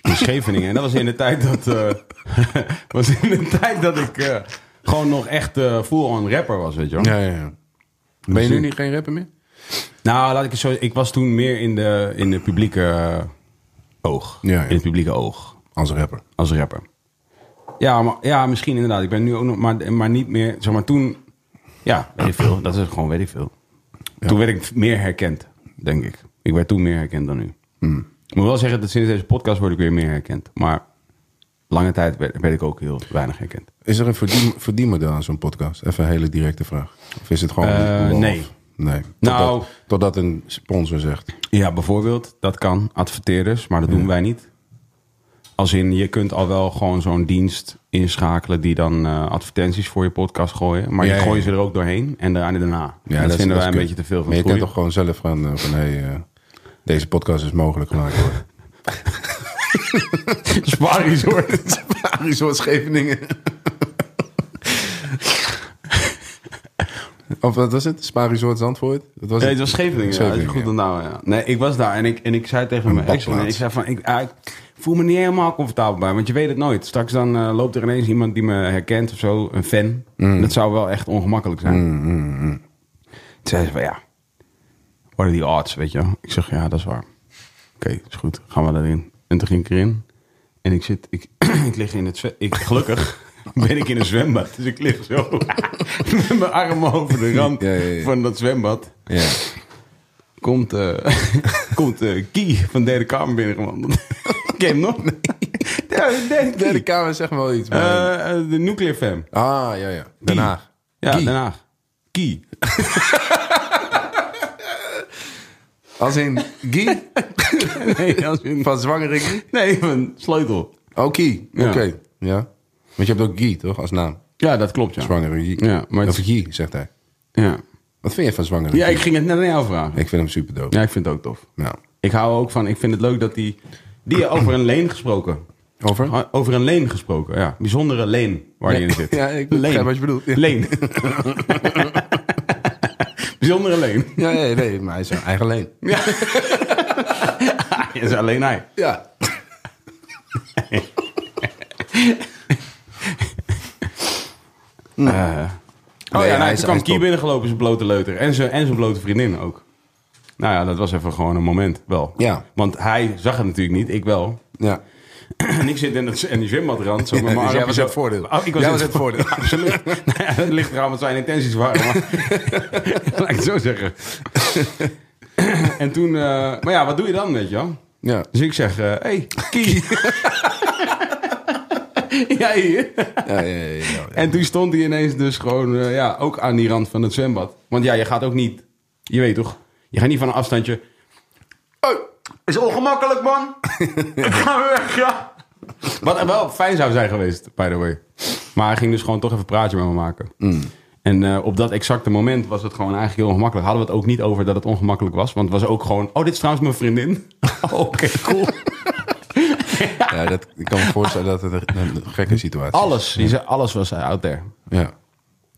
In Scheveningen. En dat was in de tijd dat... eh, <laughs> was in de tijd dat ik eh, gewoon nog echt eh full-on rapper was, weet je wel.
Ja, ja, ja. Ben je nu niet geen rapper meer?
Nou, laat ik het zo... Ik was toen meer in de, in de publieke eh, oog.
Ja, ja.
In het publieke oog.
Als rapper.
als rapper. Ja, maar, ja, misschien inderdaad. Ik ben nu ook nog, maar, maar niet meer. Zeg maar toen, ja, weet ik veel. Dat is gewoon, weet ik veel. Toen werd ik meer herkend, denk ik. Ik werd toen meer herkend dan nu. Ik moet wel zeggen dat sinds deze podcast word ik weer meer herkend. Maar lange tijd werd, werd ik ook heel weinig herkend.
Is er een verdien, verdienmodel aan zo'n podcast? Even een hele directe vraag. Of is het gewoon...
Eh,
lol?
nee.
Nee.
Nou-
Totdat, totdat een sponsor zegt.
Ja, bijvoorbeeld, dat kan. Adverteerders, maar dat doen wij niet. Als in, je kunt al wel gewoon zo'n dienst inschakelen die dan eh, advertenties voor je podcast gooien. Maar
Ja,
je
ja,
gooien
ja.
ze er ook doorheen en daarna. daarna. dat,
is-
vinden
is
wij een
kut.
beetje te veel van
Maar je
het
kunt
goede.
toch gewoon zelf gaan eh, van... Hey, eh, deze podcast is mogelijk gemaakt
<laughs>
worden.
Spaarresort.
Resort Scheveningen. of wat was het? Spa Resort Zandvoort? Dat was
Nee, het was Scheveningen. Ja, dat is
Scheveningen,
goed dan nou, ja. Nee, ik was daar en ik, en ik zei tegen
Een
mijn ex,
badplaats.
ik zei van, ik, ah, ik voel me niet helemaal comfortabel bij, want je weet het nooit. Straks dan eh, loopt er ineens iemand die me herkent of zo, een fan.
Mm.
Dat zou wel echt ongemakkelijk zijn. Toen zei ze van, ja, what are the odds, weet je wel? Ik zeg, ja, dat is waar. Oké, is goed, gaan we daarin. En toen ging ik erin en ik zit, ik, <clears throat> ik lig in het, zwe- ik,
<laughs>
gelukkig... Ben ik in een zwembad, dus ik lig zo <laughs> met mijn armen over de rand
Ja, ja, ja.
van dat zwembad
Ja.
komt, eh komt eh <laughs> Kie van Derde Kamer binnengewandeld. <laughs> Ken je hem nog? Ja, de derde,
De derde
Kie.
kamer zegt wel iets. maar-
Eh, eh, de Nuclear Fam.
ah, ja, ja. Den Haag.
Ja,
Kie.
Den Haag.
<laughs>
Kie.
Als in Guy
Nee, als in-
van Zwangere Guy?
nee, van Sleutel.
Oh, Guy.
Ja.
Oké. Ja. Want je hebt ook Guy, toch? Als naam.
Ja, dat klopt, ja.
Zwangere Guy.
Ja, maar het-
Of Guy, zegt hij.
Ja.
Wat vind je van Zwangere
ja,
Guy?
ik ging het net aan jou vragen.
Ik vind hem super dope.
Ja, ik vind het ook tof.
Nou,
Ik hou ook van, ik vind het leuk dat die... Die over een leen gesproken.
over?
Ah, Over een leen gesproken, ja. Bijzondere leen waar die in zit.
<laughs> Ja, ik begrijp wat je bedoelt. Ja.
Leen. <laughs> Bijzondere leen.
<laughs> Ja, nee, nee, maar hij is zijn eigen leen.
Ja. is alleen hij.
<laughs> Ja. Eh.
Oh
Nee,
ja, nou,
hij is-
toen kwam
hij
Kie
is top. Oh
nou,
nou,
binnengelopen, zijn blote leuter. En zijn, en zijn blote vriendin ook. Nou ja, dat was even gewoon een moment wel.
Ja.
Want hij zag het natuurlijk niet, ik wel.
Ja.
En ik zit in het in de gymbadrand.
<laughs>
Zo, met mijn
Dus
arm
jij was
zo-
het voordeel.
Oh, ik was het,
Jij was het voordeel.
Ja, <laughs> absoluut. nou ja, dat ligt eraan wat zijn intenties waren.
<laughs>
Maar, laat ik het zo zeggen. <coughs> en toen... eh, maar ja, wat doe je dan, weet je wel?
Ja.
Dus ik zeg... Hé, hey, Kie. ja, hier.
Ja, ja, ja, ja, ja.
En toen stond hij ineens dus gewoon... eh, ja, ook aan die rand van het zwembad. Want ja, je gaat ook niet... Je weet toch? Je gaat niet van een afstandje... "Hey, is ongemakkelijk, <laughs> man. ik ga weer weg, ja. Wat wel fijn zou zijn geweest, by the way. Maar hij ging dus gewoon toch even een praatje met me maken. En eh, op dat exacte moment was het gewoon eigenlijk heel ongemakkelijk. Hadden we het ook niet over dat het ongemakkelijk was. Want het was ook gewoon... Oh, dit is trouwens mijn vriendin. <laughs> Oké, <laughs> cool.
Ja, dat, ik kan me voorstellen dat het een, een gekke situatie is.
Alles. Die zei, alles was eh, out there.
Ja.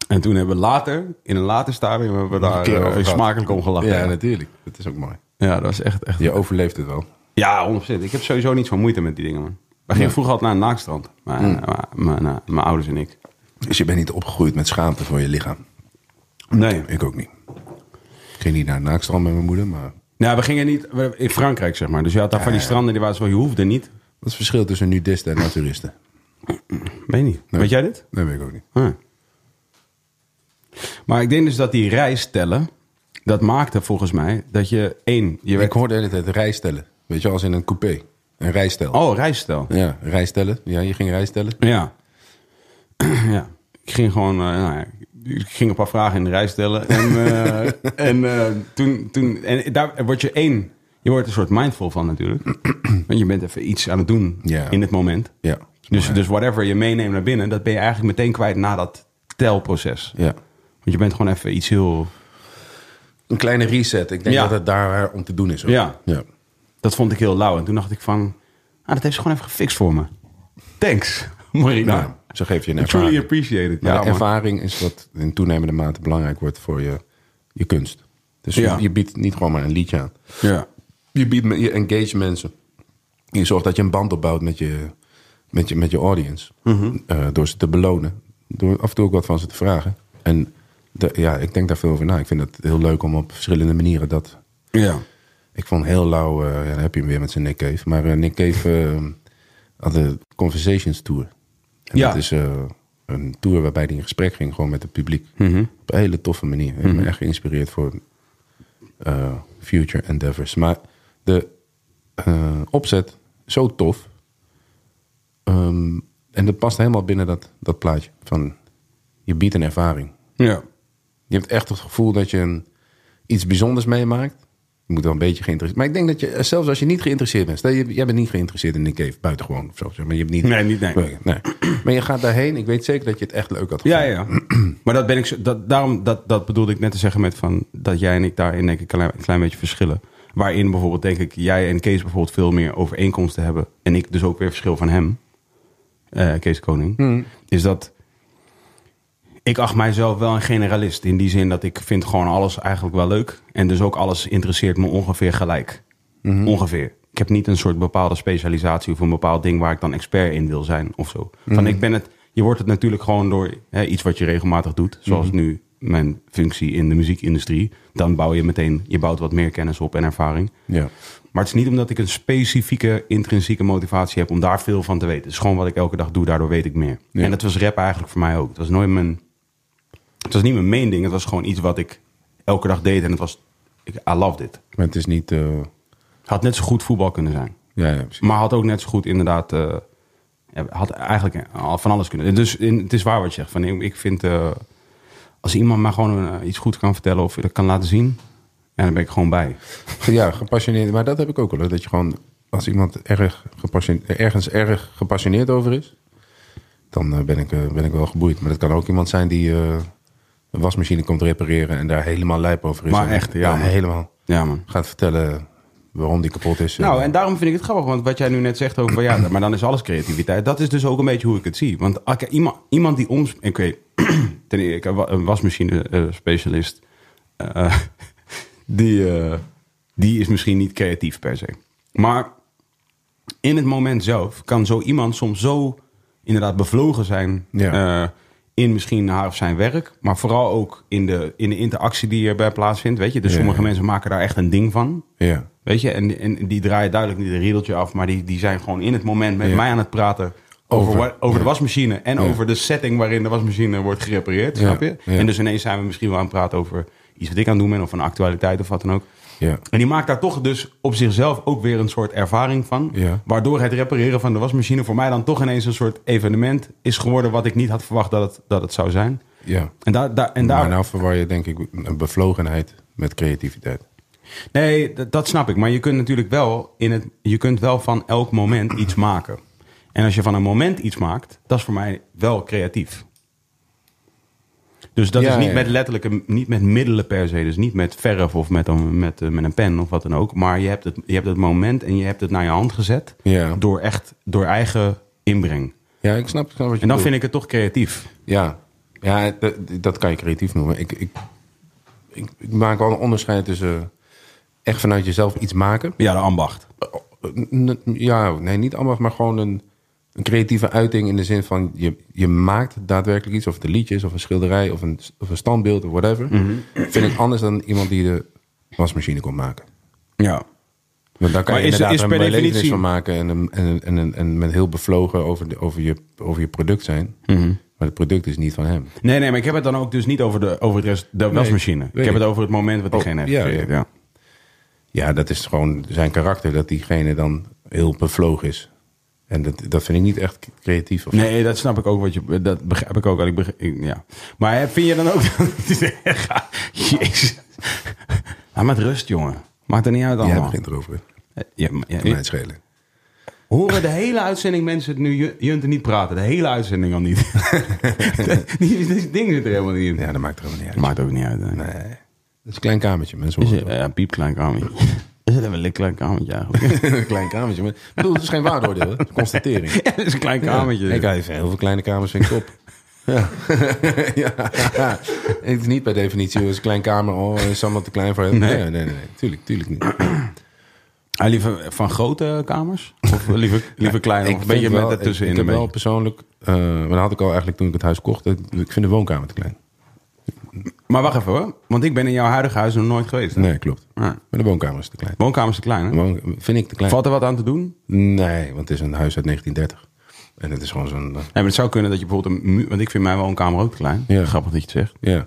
En toen hebben we later, in een later stadium, hebben we daar
keer
eh,
over gehad.
smakelijk om gelachen.
Ja,
Ja, dat,
natuurlijk. Dat is ook mooi.
ja, dat was echt... echt
Je overleeft het wel.
ja, 100%. Ik heb sowieso niet zo'n moeite met die dingen, man. We gingen
Ja. Hmm.
vroeger altijd naar een naakstrand. Mijn, mijn- mijn, mijn- nou, mijn ouders en ik.
Dus je bent niet opgegroeid met schaamte voor je lichaam.
Nee.
Ik ook niet. Ik ging niet naar een naakstrand met mijn moeder, maar...
Nou, we gingen niet... we- in Frankrijk, zeg maar. Dus je had daar van die stranden, die waren zo... Je hoefde niet.
Wat is het verschil tussen nudisten en naturisten?
Weet niet.
Nee.
Weet jij dit?
Dat weet ik ook niet.
Ah. Maar ik denk dus dat die reis tellen... Dat maakte volgens mij dat je... één, je
Ik
werd...
hoorde de hele tijd rijstellen. Weet je, als in een coupé. Een rijstel.
Oh, reisstel.
Ja, rijstellen. Ja, je ging rijstellen.
Ja. <clears throat> ja. Ik ging gewoon, eh, nou ja, ik ging een paar vragen in de rij stellen. En, eh,
<laughs>
en eh, toen, toen, en daar word je één. Je wordt een soort mindful van
<clears throat>
natuurlijk. Want je bent even iets aan het doen
Ja.
in het moment.
Ja.
Dus, dus whatever je meeneemt naar binnen, dat ben je eigenlijk meteen kwijt na dat telproces.
Ja.
Want je bent gewoon even iets heel...
Een kleine reset. Ik denk
Ja.
dat het daar om te doen is. ook.
Ja.
ja.
Dat vond ik heel lauw. En toen dacht ik van, ah, dat heeft ze gewoon even gefixt voor me. Thanks, <laughs> Marina.
Nou, zo geef je een
I truly
ervaring.
appreciate it.
Maar
Ja,
de
man.
ervaring is wat in toenemende mate belangrijk wordt voor je, je kunst. Dus
Ja.
je, je biedt niet gewoon maar een liedje aan.
ja.
Je biedt me- je engage mensen. Je zorgt dat je een band opbouwt met je, met je, met je audience. Eh, door ze te belonen. Door af en toe ook wat van ze te vragen. En de- ja, ik denk daar veel over na. Ik vind het heel leuk om op verschillende manieren dat
Ja.
ik vond heel lauw, eh, ja, dan heb je hem weer met zijn Nick Cave. Maar eh, Nick Cave eh, had de Conversations Tour. En
Ja.
dat is eh, een tour waarbij hij in gesprek ging gewoon met het publiek. Op een hele toffe manier. Heeft me echt geïnspireerd voor eh, future endeavors. Maar de eh, opzet, zo tof. Ehm, en dat past helemaal binnen dat, dat plaatje. Van, je biedt een ervaring.
ja.
Je hebt echt het gevoel dat je een, iets bijzonders meemaakt. Je moet wel een beetje geïnteresseerd Maar ik denk dat je, eh, zelfs als je niet geïnteresseerd bent. Stel, je, jij bent niet geïnteresseerd in Nick Cave, buitengewoon of zo. Zeg maar je hebt niet,
Nee, niet, nee.
nee. Maar je gaat daarheen. Ik weet zeker dat je het echt leuk had
Ja,
gevonden.
ja. <clears throat> maar dat ben ik. zo- Dat, daarom, dat, dat bedoelde ik net te zeggen met van dat jij en ik daarin denk ik een klein, een klein beetje verschillen. Waarin bijvoorbeeld denk ik jij en Kees bijvoorbeeld veel meer overeenkomsten hebben. En ik dus ook weer verschil van hem. eh, Kees Koning. Is dat. Ik acht mijzelf wel een generalist. In die zin dat ik vind gewoon alles eigenlijk wel leuk. En dus ook alles interesseert me ongeveer gelijk. Ongeveer. Ik heb niet een soort bepaalde specialisatie of een bepaald ding waar ik dan expert in wil zijn of zo. Van ik ben het. Je wordt het natuurlijk gewoon door hè, iets wat je regelmatig doet. Zoals nu mijn functie in de muziekindustrie. Dan bouw je meteen. Je bouwt wat meer kennis op en ervaring.
Ja.
Maar het is niet omdat ik een specifieke intrinsieke motivatie heb om daar veel van te weten. Het is gewoon wat ik elke dag doe, daardoor weet ik meer.
Ja.
En dat was rap eigenlijk voor mij ook. Het was nooit mijn. Het was niet mijn main ding. Het was gewoon iets wat ik elke dag deed. En het was. Ik, I love dit.
Maar het is niet... eh,
Had net zo goed voetbal kunnen zijn.
ja, ja, precies.
Maar had ook net zo goed inderdaad. eh, ja, had eigenlijk al van alles kunnen. Dus in, het is waar wat je zegt. Van, ik ik vind. eh, als iemand mij gewoon eh, iets goed kan vertellen of kan laten zien. En dan ben ik gewoon bij.
Ja, gepassioneerd. Maar dat heb ik ook wel. hoor. Dat je gewoon, als iemand erg gepassion- ergens erg gepassioneerd over is, dan eh, ben, ik, eh, ben ik wel geboeid. Maar dat kan ook iemand zijn die eh, een wasmachine komt repareren en daar helemaal lijp over is.
Maar
En-
echt, ja, man.
helemaal.
Ja, man.
Gaat vertellen waarom die kapot is.
Nou, en daarom vind ik het grappig, want wat jij nu net zegt over, ja, maar dan is alles creativiteit. Dat is dus ook een beetje hoe ik het zie. Want oké, iemand, iemand die om, oké, <clears throat> ten eerste, ik heb wa- een eh, wasmachine-specialist, eh, <laughs> die, eh, die is misschien niet creatief per se. Maar in het moment zelf kan zo iemand soms zo inderdaad bevlogen zijn
Ja.
eh, in misschien haar of zijn werk, maar vooral ook in de, in de interactie die erbij plaatsvindt. Weet je, dus
Ja.
sommige mensen maken daar echt een ding van.
Ja.
Weet je, en, en die draaien duidelijk niet een riedeltje af, maar die, die zijn gewoon in het moment met
Ja.
mij aan het praten. Over,
Over,
wa- over de
ja.
wasmachine en
Ja.
over de setting waarin de wasmachine wordt gerepareerd,
Ja,
snap je?
ja.
En dus ineens zijn we misschien wel aan het praten over iets wat ik aan het doen ben, of een actualiteit of wat dan ook.
Ja.
En die maakt daar toch dus op zichzelf ook weer een soort ervaring van.
Ja.
Waardoor het repareren van de wasmachine voor mij dan toch ineens een soort evenement is geworden... wat ik niet had verwacht dat het, dat het zou zijn.
ja.
En, daar daar en
Maar
daar,
nou verwar je denk ik een bevlogenheid met creativiteit.
Nee, d- dat snap ik. Maar je kunt natuurlijk wel, in het, je kunt wel van elk moment iets maken. En als je van een moment iets maakt, dat is voor mij wel creatief. Dus dat
Ja,
is niet
ja.
met letterlijke, niet met middelen per se. Dus niet met verf of met een, met, eh, met een pen of wat dan ook. Maar je hebt, het, je hebt het moment en je hebt het naar je hand gezet.
Ja.
Door echt, door eigen inbreng.
Ja, ik snap, ik snap wat je
En dan
bedoelt.
vind ik het toch creatief.
Ja, ja dat, dat kan je creatief noemen. Ik, ik, ik, ik maak wel een onderscheid tussen eh, echt vanuit jezelf iets maken. oh,
Ja, de
<laughs>
ambacht. <laughs>
N- Ja, nee, niet allemaal, maar gewoon een, een creatieve uiting in de zin van je, je maakt daadwerkelijk iets, of het een liedje is, of een schilderij, of een, of een standbeeld, of whatever.
Mhm.
Vind ik anders dan iemand die de wasmachine kon maken.
Ja.
Want daar kan
Maar
je
is-
inderdaad
is
een
per
belevenis
definitie-
van maken en, een- en, een- en, een- en met heel bevlogen over, de, over, je, over je product zijn.
Mhm.
Maar het product is niet van hem.
Nee, nee, maar ik heb het dan ook dus niet over de, over het rest, de wasmachine. ik
weet
heb
ik.
het over het moment wat
Oh,
diegene heeft
ja,
gecreëerd.
ja.
Ja.
Ja, dat is gewoon zijn karakter, dat diegene dan heel bevlogen is. En dat, dat vind ik niet echt creatief. Of
Nee, dat snap ik ook. Wat je, dat begrijp ik ook. En Ik begrijp, ik- ja. Maar hè, vind je dan ook... <laughs> Jezus. Laat met rust, jongen. Maakt er niet uit
Jij
allemaal.
begint erover. hè?
Eh, ja, maar- ja,
Kan mij het schelen.
horen de hele uitzending mensen het nu Ju- Junten niet praten? De hele uitzending al niet. <laughs> die, die ding zit er helemaal niet in.
Ja, dat maakt er helemaal niet uit.
Maakt ook niet uit. hè.
Nee. Dat is een klein kamertje, mensen.
Is
horen
het, ja, piep, klein kamertje. <laughs> Is het even een klein kamertje eigenlijk?
het wel. <laughs> een klein kamertje. Maar, ik bedoel, het is geen waardeoordeel, hè? Het is een <laughs> constatering.
<laughs> ja, het is een klein kamertje.
Ik heb heel veel kleine kamers, vind ik top. <laughs> Ja. ja. Het is niet per definitie, het is een klein kamer. Oh, is allemaal te klein voor hem.
Nee.
Nee, nee, nee. nee. Tuurlijk, tuurlijk niet.
Ah, liever van grote kamers? Of <laughs> liever, liever klein? of een beetje
vind
met
wel-
het tussenin?
Ik, ik
een
heb wel
beetje.
persoonlijk, eh, maar dat had ik al eigenlijk toen ik het huis kocht. dat Ik, ik vind de woonkamer te klein.
Maar wacht even hoor. Want ik ben in jouw huidige huis nog nooit geweest. hè?
Nee, klopt.
Ja.
Maar de woonkamer is te klein.
Woonkamer is te klein,
De
hè?
woon- vind ik te klein.
Valt er wat aan te doen? Nee,
Nee, want het is een huis uit 1930. En het is gewoon zo'n... eh,
maar het zou kunnen dat je bijvoorbeeld een muur... Want ik vind mijn woonkamer ook te klein.
Ja.
Grappig dat je het zegt.
ja.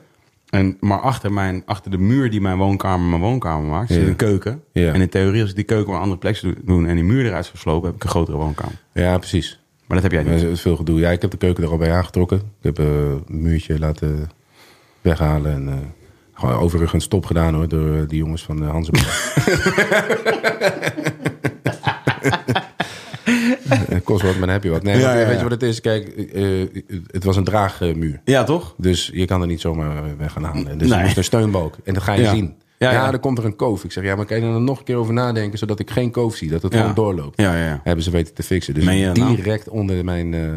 En, maar achter, mijn, achter de muur die mijn woonkamer mijn woonkamer maakt... zit
Ja.
een keuken.
Ja.
En in theorie, als ik die keuken op een andere plek zou doen... en die muur eruit zou slopen, heb ik een grotere woonkamer.
ja, precies.
Maar dat heb jij
Er
niet.
is veel gedoe. Ja, ik heb de keuken er al bij aangetrokken. Ik heb eh, een muurtje laten weghalen. En, eh, gewoon overigens stop gedaan hoor, door eh, die jongens van de Hansenberg.
<laughs>
Eh, Kost wat, maar dan heb je wat. Nee,
Ja,
want, eh,
ja, ja.
Weet je wat het is? Kijk, eh, eh, het was een draagmuur.
Ja, toch?
Dus je kan er niet zomaar weg gaan halen. Dus
Nee.
er moest een steunbalk. En dat ga je
Ja.
zien.
Ja,
Ja,
ja.
dan komt er een koof. Ik zeg, ja, maar kan je er dan nog een keer over nadenken... zodat ik geen koof zie, dat het
Ja.
gewoon doorloopt.
Ja, ja, ja.
Hebben ze weten te fixen. Dus
Meen je dat nou?
direct onder mijn eh,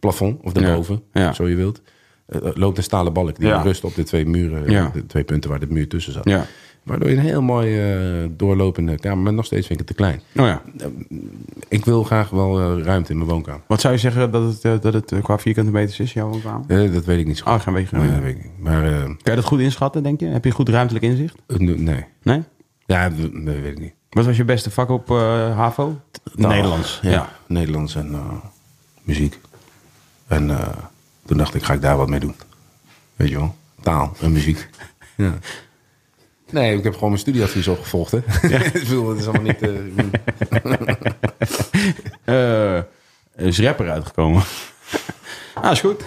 plafond, of daarboven,
Ja. Ja.
zo je wilt... eh, loopt een stalen balk die
Ja.
rust op de twee muren,
Ja.
de twee punten waar de muur tussen zat.
Ja.
Waardoor je een heel mooi eh, doorlopende kamer, maar nog steeds vind ik het te klein.
Oh ja.
Ik wil graag wel eh, ruimte in mijn woonkamer.
Wat zou je zeggen dat het, eh, dat het eh, qua vierkante meters is, jouw woonkamer?
Eh, dat weet ik niet zo goed.
Ah, geen weet je
Nee,
niet.
dat weet ik niet. Maar eh,
Kan je dat goed inschatten, denk je? Heb je goed ruimtelijk inzicht?
nee,
Nee?
ja, dat weet ik niet.
Wat was je beste vak op eh, HAVO?
Taal.
Nederlands.
Nou, Ja, Nederlands en eh, muziek. En eh, toen dacht ik, ga ik daar wat mee doen? Weet je wel? Taal en muziek. <laughs> Ja. Nee, ik heb gewoon mijn studieadvies opgevolgd. Hè? <laughs> ik bedoel, het is allemaal niet... eh, ik bedoel-
Eh, is rapper uitgekomen. <laughs> ah, is goed.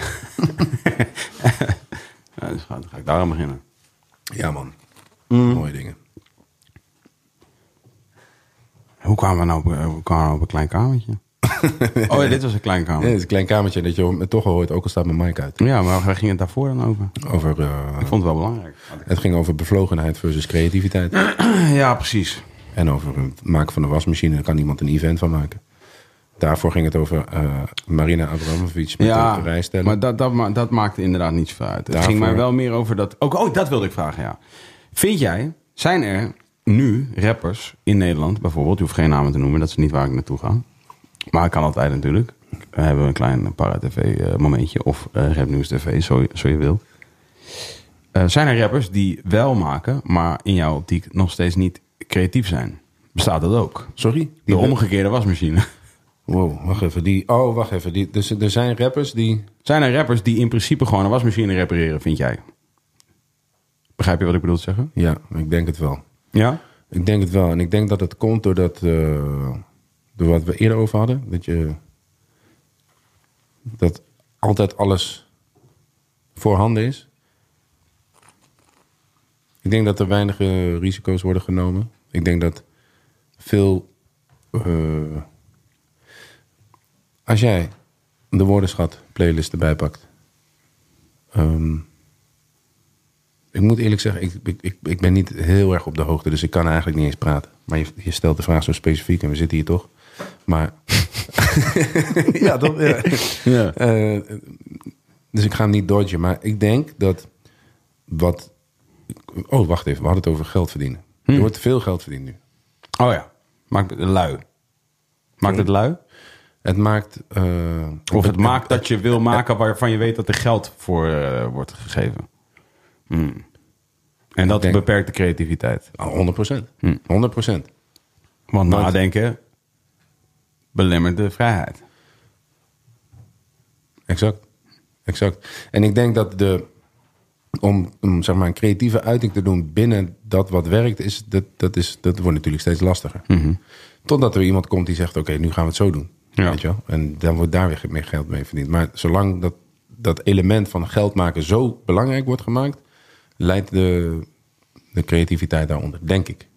<laughs> ja, dus ga, dan ga ik daar aan beginnen.
<laughs> ja, man. Mooie dingen.
Hoe kwamen we nou op, eh, hoe kwamen we op een klein <laughs> kamertje? oh ja, dit was een klein
Ja,
kamer.
het is een klein kamertje dat je ho- toch al hoort, ook al staat mijn mic uit.
Ja, maar waar ging het daarvoor dan over?
Over, eh,
Ik vond het wel belangrijk.
het ging over bevlogenheid versus creativiteit.
Ja, precies.
en over het maken van een wasmachine, daar kan iemand een event van maken. Daarvoor ging het over eh, Marina Abramovic met
Ja,
de rijstellen.
maar dat, dat, ma- dat maakte inderdaad niets voor uit. Het
Daarvoor-
ging mij wel meer over dat... Ook, oh, dat wilde ik vragen, ja. Vind jij, zijn er nu rappers in Nederland bijvoorbeeld... Je hoeft geen namen te noemen, dat is niet waar ik naartoe ga. Maar ik kan altijd natuurlijk. eh, hebben we een klein para-tv-momentje. of eh Rap News TV, zo, zo je wil. Eh, zijn er rappers die wel maken, maar in jouw optiek nog steeds niet creatief zijn? Bestaat dat ook?
Sorry?
De
Die
omgekeerde wasmachine.
Wow, wacht even. Die, oh, wacht even. Die, dus er zijn rappers die...
Zijn er rappers die in principe gewoon een wasmachine repareren, vind jij? Begrijp je wat ik bedoel te zeggen?
Ja, ik denk het wel.
Ja?
Ik denk het wel. En ik denk dat het komt doordat... eh, door wat we eerder over hadden. Dat je... Dat altijd alles voorhanden is. Ik denk dat er weinig eh, risico's worden genomen. Ik denk dat veel... eh, als jij de woordenschat playlist erbij pakt... ehm, ik moet eerlijk zeggen, ik, ik, ik, ik ben niet heel erg op de hoogte, dus ik kan eigenlijk niet eens praten. Maar je, je stelt de vraag zo specifiek en we zitten hier toch.
<laughs>
Maar. ja, toch? Ja.
Ja.
Eh, dus ik ga hem niet dodgen, maar ik denk dat wat. Oh, wacht even, we hadden het over geld verdienen.
Hm.
Er wordt veel geld verdiend nu.
Oh ja. Maakt het lui. Maakt het lui?
Het maakt. eh,
Of het maakt dat je wil maken waarvan je weet dat er geld voor eh, wordt gegeven. Hmm. En dat
denk-
beperkt de creativiteit.
Ah, 100%.
Hm.
100%.
Want
Want-
nadenken belemmert de vrijheid.
Exact. Exact. En ik denk dat de. Om, om, zeg maar een creatieve uiting te doen binnen dat wat werkt, is, dat, dat, is, dat wordt natuurlijk steeds lastiger. Totdat er iemand komt die zegt: Oké, nu gaan we het zo doen.
Mhm. Ja.
Weet je wel? En dan wordt daar weer meer geld mee verdiend. Maar zolang dat, dat element van geld maken zo belangrijk wordt gemaakt, leidt de, de creativiteit daaronder, denk ik.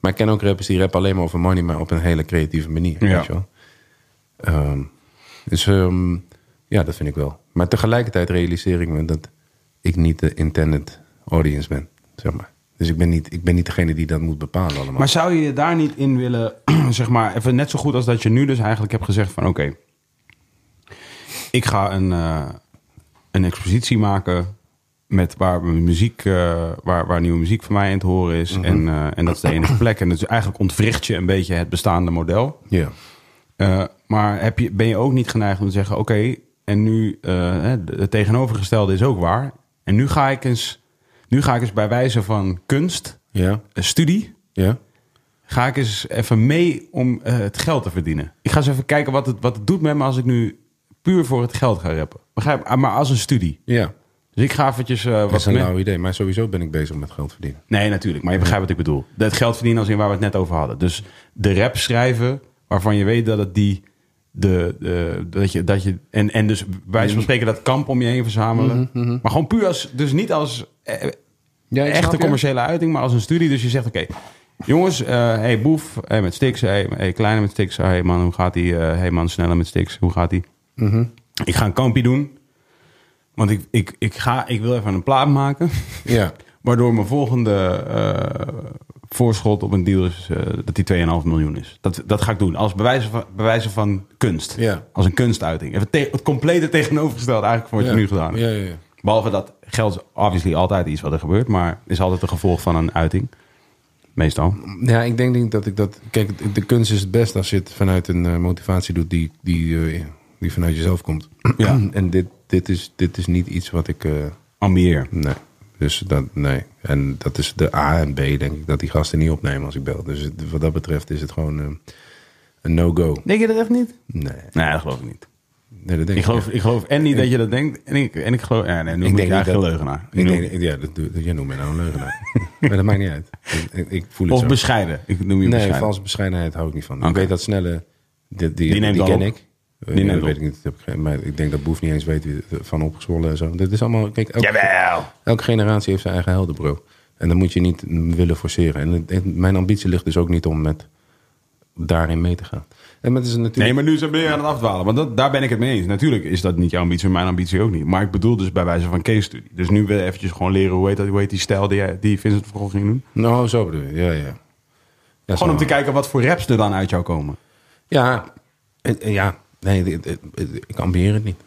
Maar ik ken ook rappers die rappen alleen maar over money, maar op een hele creatieve manier.
Ja.
Weet je wel? Ehm, dus ehm, ja, dat vind ik wel. Maar tegelijkertijd realiseer ik me dat ik niet de intended audience ben, zeg maar. Dus ik ben niet, ik ben niet degene die dat moet bepalen allemaal.
Maar zou je je daar niet in willen, <clears throat> zeg maar, even net zo goed als dat je nu dus eigenlijk hebt gezegd van oké, ik ga een, eh, een expositie maken met waar mijn muziek, eh, waar, waar nieuwe muziek van mij in te horen is. en, eh, en dat is de enige plek. En dus eigenlijk ontwricht je een beetje het bestaande model.
Ja.
Eh, maar heb je, ben je ook niet geneigd om te zeggen: oké, en nu eh, hè, het tegenovergestelde is ook waar. En nu ga ik eens, nu ga ik eens bij wijze van kunst,
Ja.
eh, studie,
Ja.
ga ik eens even mee om eh, het geld te verdienen. Ik ga eens even kijken wat het, wat het doet met me als ik nu puur voor het geld ga rappen. Begrijp? Ah, Maar als een studie.
Ja.
Dus ik ga eventjes eh,
Dat
wat
is nou een
me-
lauw idee. Maar sowieso ben ik bezig met geld verdienen.
Nee, natuurlijk. Maar je begrijpt wat ik bedoel. Dat geld verdienen als in waar we het net over hadden. Dus de rap schrijven waarvan je weet dat het die... De, de- dat je, dat je, en, en dus bij wijze
Mhm.
van spreken dat kamp om je heen verzamelen. Maar gewoon puur als... Dus niet als eh,
Ja, ik snap
echte
je.
commerciële uiting, maar als een studie. Dus je zegt, oké, jongens, eh hey boef, hey met Stix, hey, hey kleine met Stix, hey man, hoe gaat die? eh hey man, sneller met Stix, hoe gaat die?
Mhm.
Ik ga een kampie doen, want ik, ik, ik, ga, ik wil even een plaat maken.
Ja.
Waardoor mijn volgende eh, voorschot op een deal is eh, dat die 2,5 miljoen is. Dat, dat ga ik doen. Als bewijzen van, bewijzen van kunst.
Ja.
Als een kunstuiting. Even te- het complete tegenovergestelde eigenlijk van wat
ja.
je nu gedaan hebt.
Ja, ja, ja.
Behalve dat geld is obviously altijd iets wat er gebeurt. Maar is altijd een gevolg van een uiting. Meestal.
Ja, ik denk niet dat ik dat... Kijk, de kunst is het best als je het vanuit een eh, motivatie doet die, die, eh, die vanuit jezelf komt.
Ja.
<clears throat> en dit, dit, is, dit is niet iets wat ik... eh,
Ambieer.
nee. Dus dat, nee. En dat is de A en B, denk ik, dat die gasten niet opnemen als ik bel. Dus het- wat dat betreft is het gewoon eh, een no-go.
Denk je dat echt niet?
Nee.
Nee, dat geloof ik niet.
nee, dat denk
Ik geloof,
niet.
ik geloof en niet dat je dat denkt. En ik, en ik geloof... Ja, nee, nu
Ik
moet
denk
je eigenlijk
niet dat-
een leugenaar.
Ik
Nu-
denk, ja, dat, doe- jij noemt mij nou een
<laughs>
leugenaar. maar dat maakt niet uit. Ik, ik voel het
of
zo.
bescheiden. Ik noem je
Nee,
bescheiden.
valse bescheidenheid hou ik niet van. Ik
Oké.
weet dat snelle, die, die,
Die
die,
neemt al
ken
op.
ik. Die
neemt
dat
op.
weet ik niet. dat heb ik geen- Maar ik denk dat Boef niet eens weet wie- van opgezwollen en zo. Dit is allemaal... Kijk, elke,
Jawel!
elke generatie heeft zijn eigen helden, bro. En dat moet je niet willen forceren. En het- het- mijn ambitie ligt dus ook niet om met daarin mee te gaan. En met is het
Nee,
natuurlijk...
maar nu zijn we weer aan het afdwalen. Want dat, daar ben ik het mee eens. Natuurlijk is dat niet je ambitie, mijn ambitie ook niet. Maar ik bedoel dus bij wijze van case study. Dus nu wil ik eventjes gewoon leren hoe heet, dat, hoe heet die stijl die, jij- die Vincent van Gogh ging doen.
Nou, zo bedoel je. Ja, ja. ja
Gewoon
zo.
om te kijken wat voor raps er dan uit jou komen.
Ja, eh, eh, ja. Nee, dit- dit- dit- ik ambieer het niet. <laughs>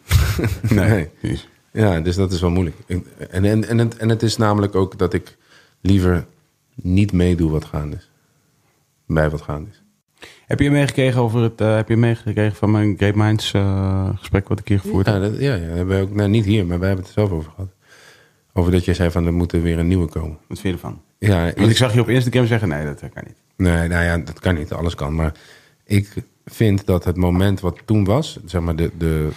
nee.
precies.
Ja, dus dat is wel moeilijk. En, en, en, en, het, en het is namelijk ook dat ik liever niet meedoe wat gaande is. Bij wat gaande is.
Heb je meegekregen over het, eh, heb je meegekregen van mijn Great Minds eh, gesprek wat ik hier gevoerd
Ja,
heb?
dat, ja, ja, daar hebben we ook, nou, niet hier, maar wij hebben het er zelf over gehad. Over dat je zei van er moet er weer een nieuwe komen.
Wat vind je ervan?
Ja,
Want ik zag je op Instagram zeggen, nee, dat kan niet.
Nee, nou ja, dat kan niet. Alles kan. Maar ik vind dat het moment wat toen was, zeg maar de, de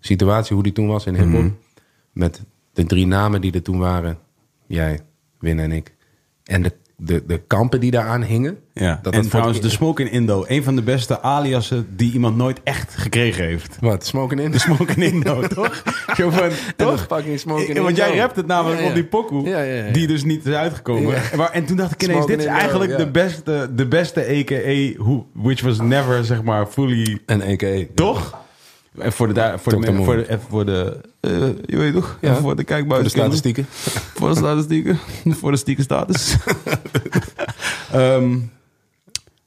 situatie hoe die toen was in Hiphop,
Mhm.
met de drie namen die er toen waren, jij, Win en ik, en de, de, de kampen die daaraan hingen.
Ja.
dat
en
voor
trouwens,
het-
de Smoke in Indo. Een van de beste aliasen die iemand nooit echt gekregen heeft.
Wat, Smoking in?
De
<laughs>
Smoke in Indo, <laughs> toch? Zo van,
de
toch?
fucking Smoke in
Eh, Want
Indo.
jij rapt het namelijk
Ja, ja.
op die pokoe,
Ja, ja, ja.
die dus niet is uitgekomen.
Ja.
En waar- En toen dacht ik ineens,
Smoke
dit
in
is
Indo,
eigenlijk
ja.
de beste, de beste AKA, who, which was never, zeg maar, fully
En EK.
Toch? En voor de, daar- voor de,
Dr. Moon.
voor de, even voor de eh, je weet toch?
Ja.
Even voor de kijkbuis.
de statistieken.
Voor de statistieken. voor de stiekem status. Ehm,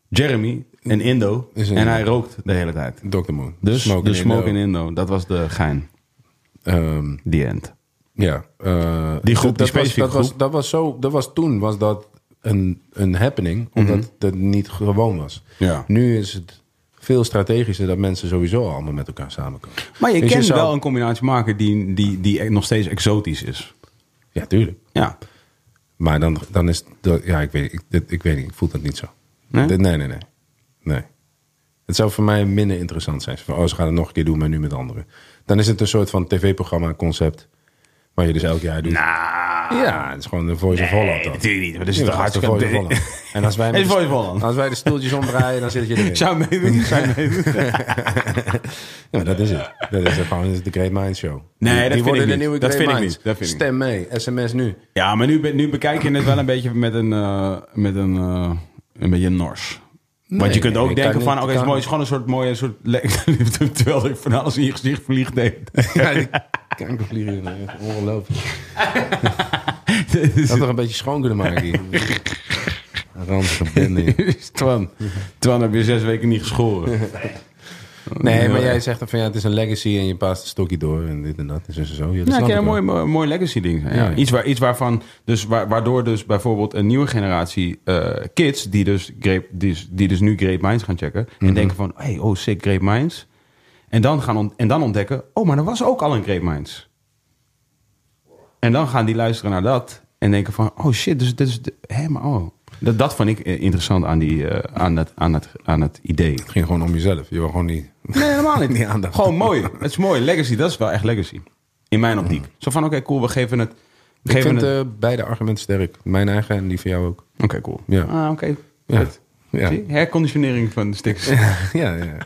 Jeremy, een Indo.
Is een
en
Indo.
hij rookt de hele tijd.
Dr. Moon.
Dus de
in
smoke in
Indo.
Indo. Dat was de gein.
Ehm,
Die end.
Ja. eh,
Die groep,
dat
die specifieke
was, dat
groep.
Was, dat, was zo, dat was toen was dat een, een happening, omdat dat niet gewoon was.
Mhm. Ja.
Nu is het veel strategischer dat mensen sowieso allemaal met elkaar samenkomen.
Maar je
Dus
kan
zou-
wel een combinatie maken die, die, die nog steeds exotisch is.
Ja, tuurlijk.
Ja.
Maar dan, dan is... Dat, ja, ik weet, ik, dit- ik weet niet. Ik voel dat niet zo.
Nee?
Dit- nee, nee, nee. Nee. Het zou voor mij minder interessant zijn. Van, oh, ze gaan het nog een keer doen, maar nu met anderen. Dan is het een soort van tv-programma concept... waar je dus elk jaar doet.
Nou.
Ja, het is gewoon de Voice of Holland.
Nee,
dan.
natuurlijk niet. Maar dat is
Ja,
toch
dat is
hartstikke...
de Voice of Holland. En
<laughs>
als wij,
Het is
met-
Voice of Holland.
als wij de stoeltjes omdraaien, dan zit je erin. Ja,
Zou je
<laughs>
meedoen? Zou je meedoen?
maar dat is het. Dat is het gewoon dat is de Great Minds Show.
Nee,
Die-
dat
die
vind ik
worden de
niet.
nieuwe
Dat
Great
vind ik
Minds.
niet. Dat vind ik
Stem mee, sms
<laughs>
nu.
Ja, maar nu, be- nu bekijk je het wel een beetje met een, eh, met een, eh, een beetje nors. Want je kunt
nee,
ook
ik
denken
kan
van,
niet-
oké, het is mooi, het
kan-
is gewoon een soort mooie soort... le- <laughs> Terwijl ik van alles in je gezicht vlieg <laughs> deed.
Ja, die kankervliegen.
<laughs>
eh, Ongelooflijk. Dat had toch een beetje schoon kunnen
<laughs>
maken hier. Ranzige bende.
Twan, Twan heb je zes weken niet
<laughs>
geschoren.
Nee, maar jij zegt dan van ja, het is een legacy en je paast de stokje door en dit en dat en zo en zo. Ja, dat
Nou,
snap
het kan
ik
een mooi,
wel.
mooi, mooi legacy ding zijn.
Ja,
Ja.
ja.
Iets, waar, iets waarvan, dus wa- waardoor dus bijvoorbeeld een nieuwe generatie eh, kids, die dus, grape, die, dus- die dus nu Great Minds gaan checken, en
Mhm.
denken van, hey, oh, sick Great Minds. En dan, gaan ont- en dan ontdekken, oh, maar er was ook al een Great Minds. En dan gaan die luisteren naar dat en denken van, oh shit, dus dit is, de- hè, maar oh. Dat, dat vond ik eh, interessant aan, die, eh, aan, dat, aan, het, aan het idee.
Het ging gewoon om jezelf. Je wil gewoon niet...
Nee, helemaal niet.
<laughs> Niet aandacht.
Gewoon mooi. Het is mooi. Legacy, dat is wel echt legacy. In mijn optiek. Zo van, oké, cool, we geven het... We
Ik
geven
vind
het...
eh, beide argumenten sterk. Mijn eigen en die van jou ook.
Oké, cool.
ja.
Ah, oké.
Ja.
Vet.
Ja.
Zie je? Herconditionering van de <laughs> stiks.
<laughs> ja, ja.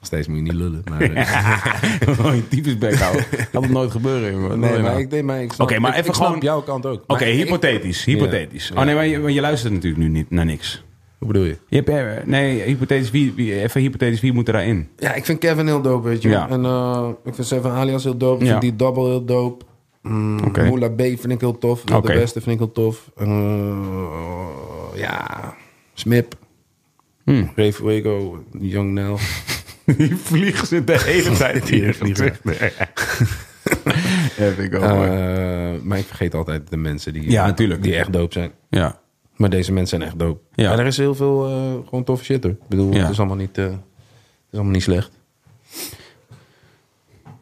Nog steeds moet je niet lullen. Maar, eh, <laughs>
Gewoon je typisch bek houden. Dat moet nooit gebeuren. jongen.
nee,
Nooit,
maar
man.
ik, nee, maar ik snap,
Oké, maar
ik-
even
ik snap
gewoon...
jouw kant ook.
Oké,
Maar ik-
hypothetisch. Hypothetisch.
Ja.
Oh nee, maar je, maar je luistert natuurlijk nu niet naar niks.
Hoe bedoel je?
Je hebt, eh, nee, hypothetisch, wie, wie, even hypothetisch, wie moet er daarin?
Ja, ik vind Kevin heel dope, weet je.
Ja.
En eh, ik vind Seven Alias heel dope. Ik
Ja.
vind die Double heel dope. Mm,
Oké.
Moula B vind ik heel tof. Wil
Oké.
De Beste vind ik heel tof. Eh, ja, Smip.
Hmm.
Ray Fuego, Young Nel.
<laughs> Die vliegen zit de hele
<laughs>
tijd hier.
vliegen.
<laughs> Heb ik ook.
Eh,
hoor.
maar ik vergeet altijd de mensen die,
Ja, natuurlijk.
die echt dope zijn.
ja.
Maar deze mensen zijn echt dope.
Ja.
En er is heel veel eh, gewoon toffe shit hoor. Ik bedoel,
Ja.
het, is allemaal niet, eh, het is allemaal niet slecht.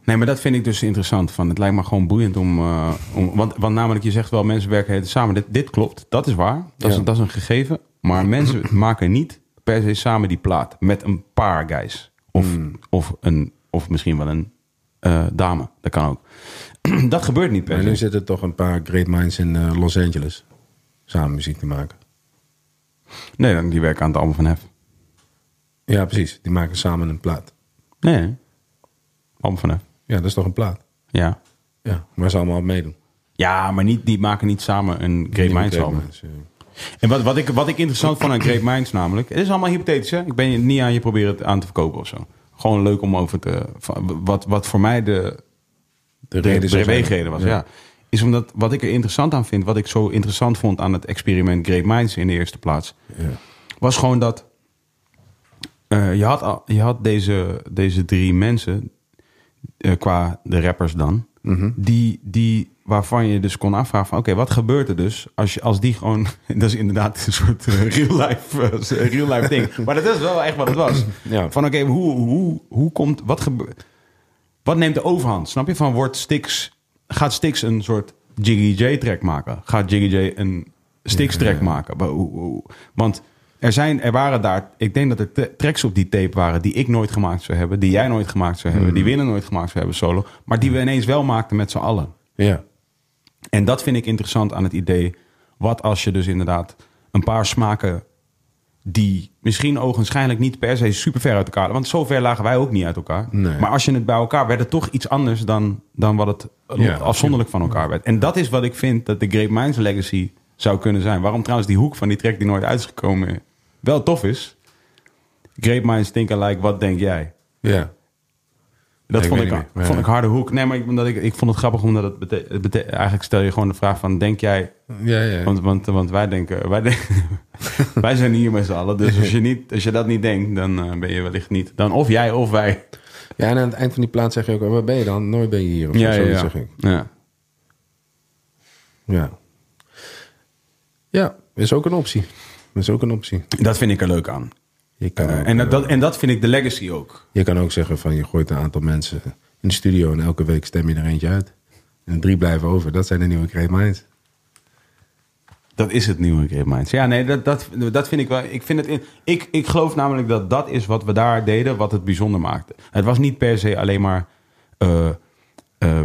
Nee, maar dat vind ik dus interessant. Van. Het lijkt me gewoon boeiend om... eh, om want, want namelijk, je zegt wel, mensen werken heel samen. Dit, dit klopt, dat is waar. Dat,
Ja.
is, dat is een gegeven. Maar <clears throat> mensen maken niet per se samen die plaat. Met een paar guys. Of, of, een, of misschien wel een eh, dame. Dat kan ook. <clears throat> dat gebeurt niet per
Maar
se.
nu zitten toch een paar great minds in eh, Los Angeles samen muziek te maken.
Nee, dan- die werken aan het allemaal van hef.
Ja, precies. Die maken samen een plaat.
Nee. Allemaal van hef.
Ja, dat is toch een plaat.
Ja.
Ja, waar ze allemaal meedoen.
Ja, maar niet, die maken niet samen een Great Minds
Great
album.
Minds, eh, ja.
En wat, wat, ik, wat ik interessant vond aan Great Minds namelijk... Het is allemaal hypothetisch, hè? Ik ben je niet aan je proberen het aan te verkopen of zo. Gewoon leuk om over te... van- Wat, wat voor mij de,
De,
de,
reden
de
zou zijn-
beweegreden was, ja. Is omdat wat ik er interessant aan vind... Wat ik zo interessant vond aan het experiment Great Minds in de eerste plaats...
Ja.
Was gewoon dat... eh, je had, al- je had deze, deze drie mensen... eh, qua de rappers dan...
Mhm.
die, die, waarvan je dus kon afvragen van... oké, wat gebeurt er dus als, je, als die gewoon... <laughs> dat is inderdaad een soort eh, real-life real life ding. Maar dat is wel echt wat het was.
Ja.
Van oké, hoe, hoe, hoe komt... Wat, gebe- wat neemt de overhand? Snap je? Van wordt Stix... Gaat Stix een soort Jiggy J-track maken? Gaat Jiggy J een Stix-track maken? Wa- hoe- hoe- Want er, zijn, er waren daar... Ik denk dat er t- tracks op die tape waren die ik nooit gemaakt zou hebben. Die jij nooit gemaakt zou hebben. Die Winnen nooit gemaakt zou hebben solo. Maar die we ineens wel maakten met z'n allen.
Ja.
En dat vind ik interessant aan het idee. Wat als je dus inderdaad een paar smaken die misschien ogenschijnlijk niet per se super ver uit elkaar... want zo ver lagen wij ook niet uit elkaar.
Nee.
Maar als je het bij elkaar werd het toch iets anders... dan, dan wat het
Ja,
afzonderlijk van elkaar werd. En dat is wat ik vind dat de Great Minds Legacy zou kunnen zijn. Waarom trouwens die hoek van die track die nooit uit is gekomen... wel tof is. Great Minds Think Alike, wat denk jij?
Ja.
Dat
Nee, ik
vond,
weet
ik,
het niet meer.
vond
Ja.
ik harde hoek. Nee, maar ik, omdat ik, ik vond het grappig omdat het, bete- het bete- eigenlijk stel je gewoon de vraag van denk jij,
Ja, ja.
want, want, want wij denken, wij, denken- <laughs> wij zijn hier met z'n allen. Dus als je, niet, als je dat niet denkt, dan eh, ben je wellicht niet. Dan of jij of wij.
ja, en aan het eind van die plaat zeg je ook... "Oh, waar ben je dan? Nooit ben je hier. Of zo, zoiets zeg ik.
ja.
Ja. Ja, is ook een optie. Is ook een optie.
Dat vind ik er leuk aan.
Je kan, ook,
en, dat,
eh,
dat, en dat vind ik de legacy ook.
je kan ook zeggen van je gooit een aantal mensen in de studio... en elke week stem je er eentje uit. En drie blijven over. Dat zijn de nieuwe Great Minds.
Dat is het nieuwe Great Minds. Ja, nee, dat, dat, dat vind ik wel. Ik, vind het in, ik, ik geloof namelijk dat dat is wat we daar deden, wat het bijzonder maakte. Het was niet per se alleen maar eh, eh,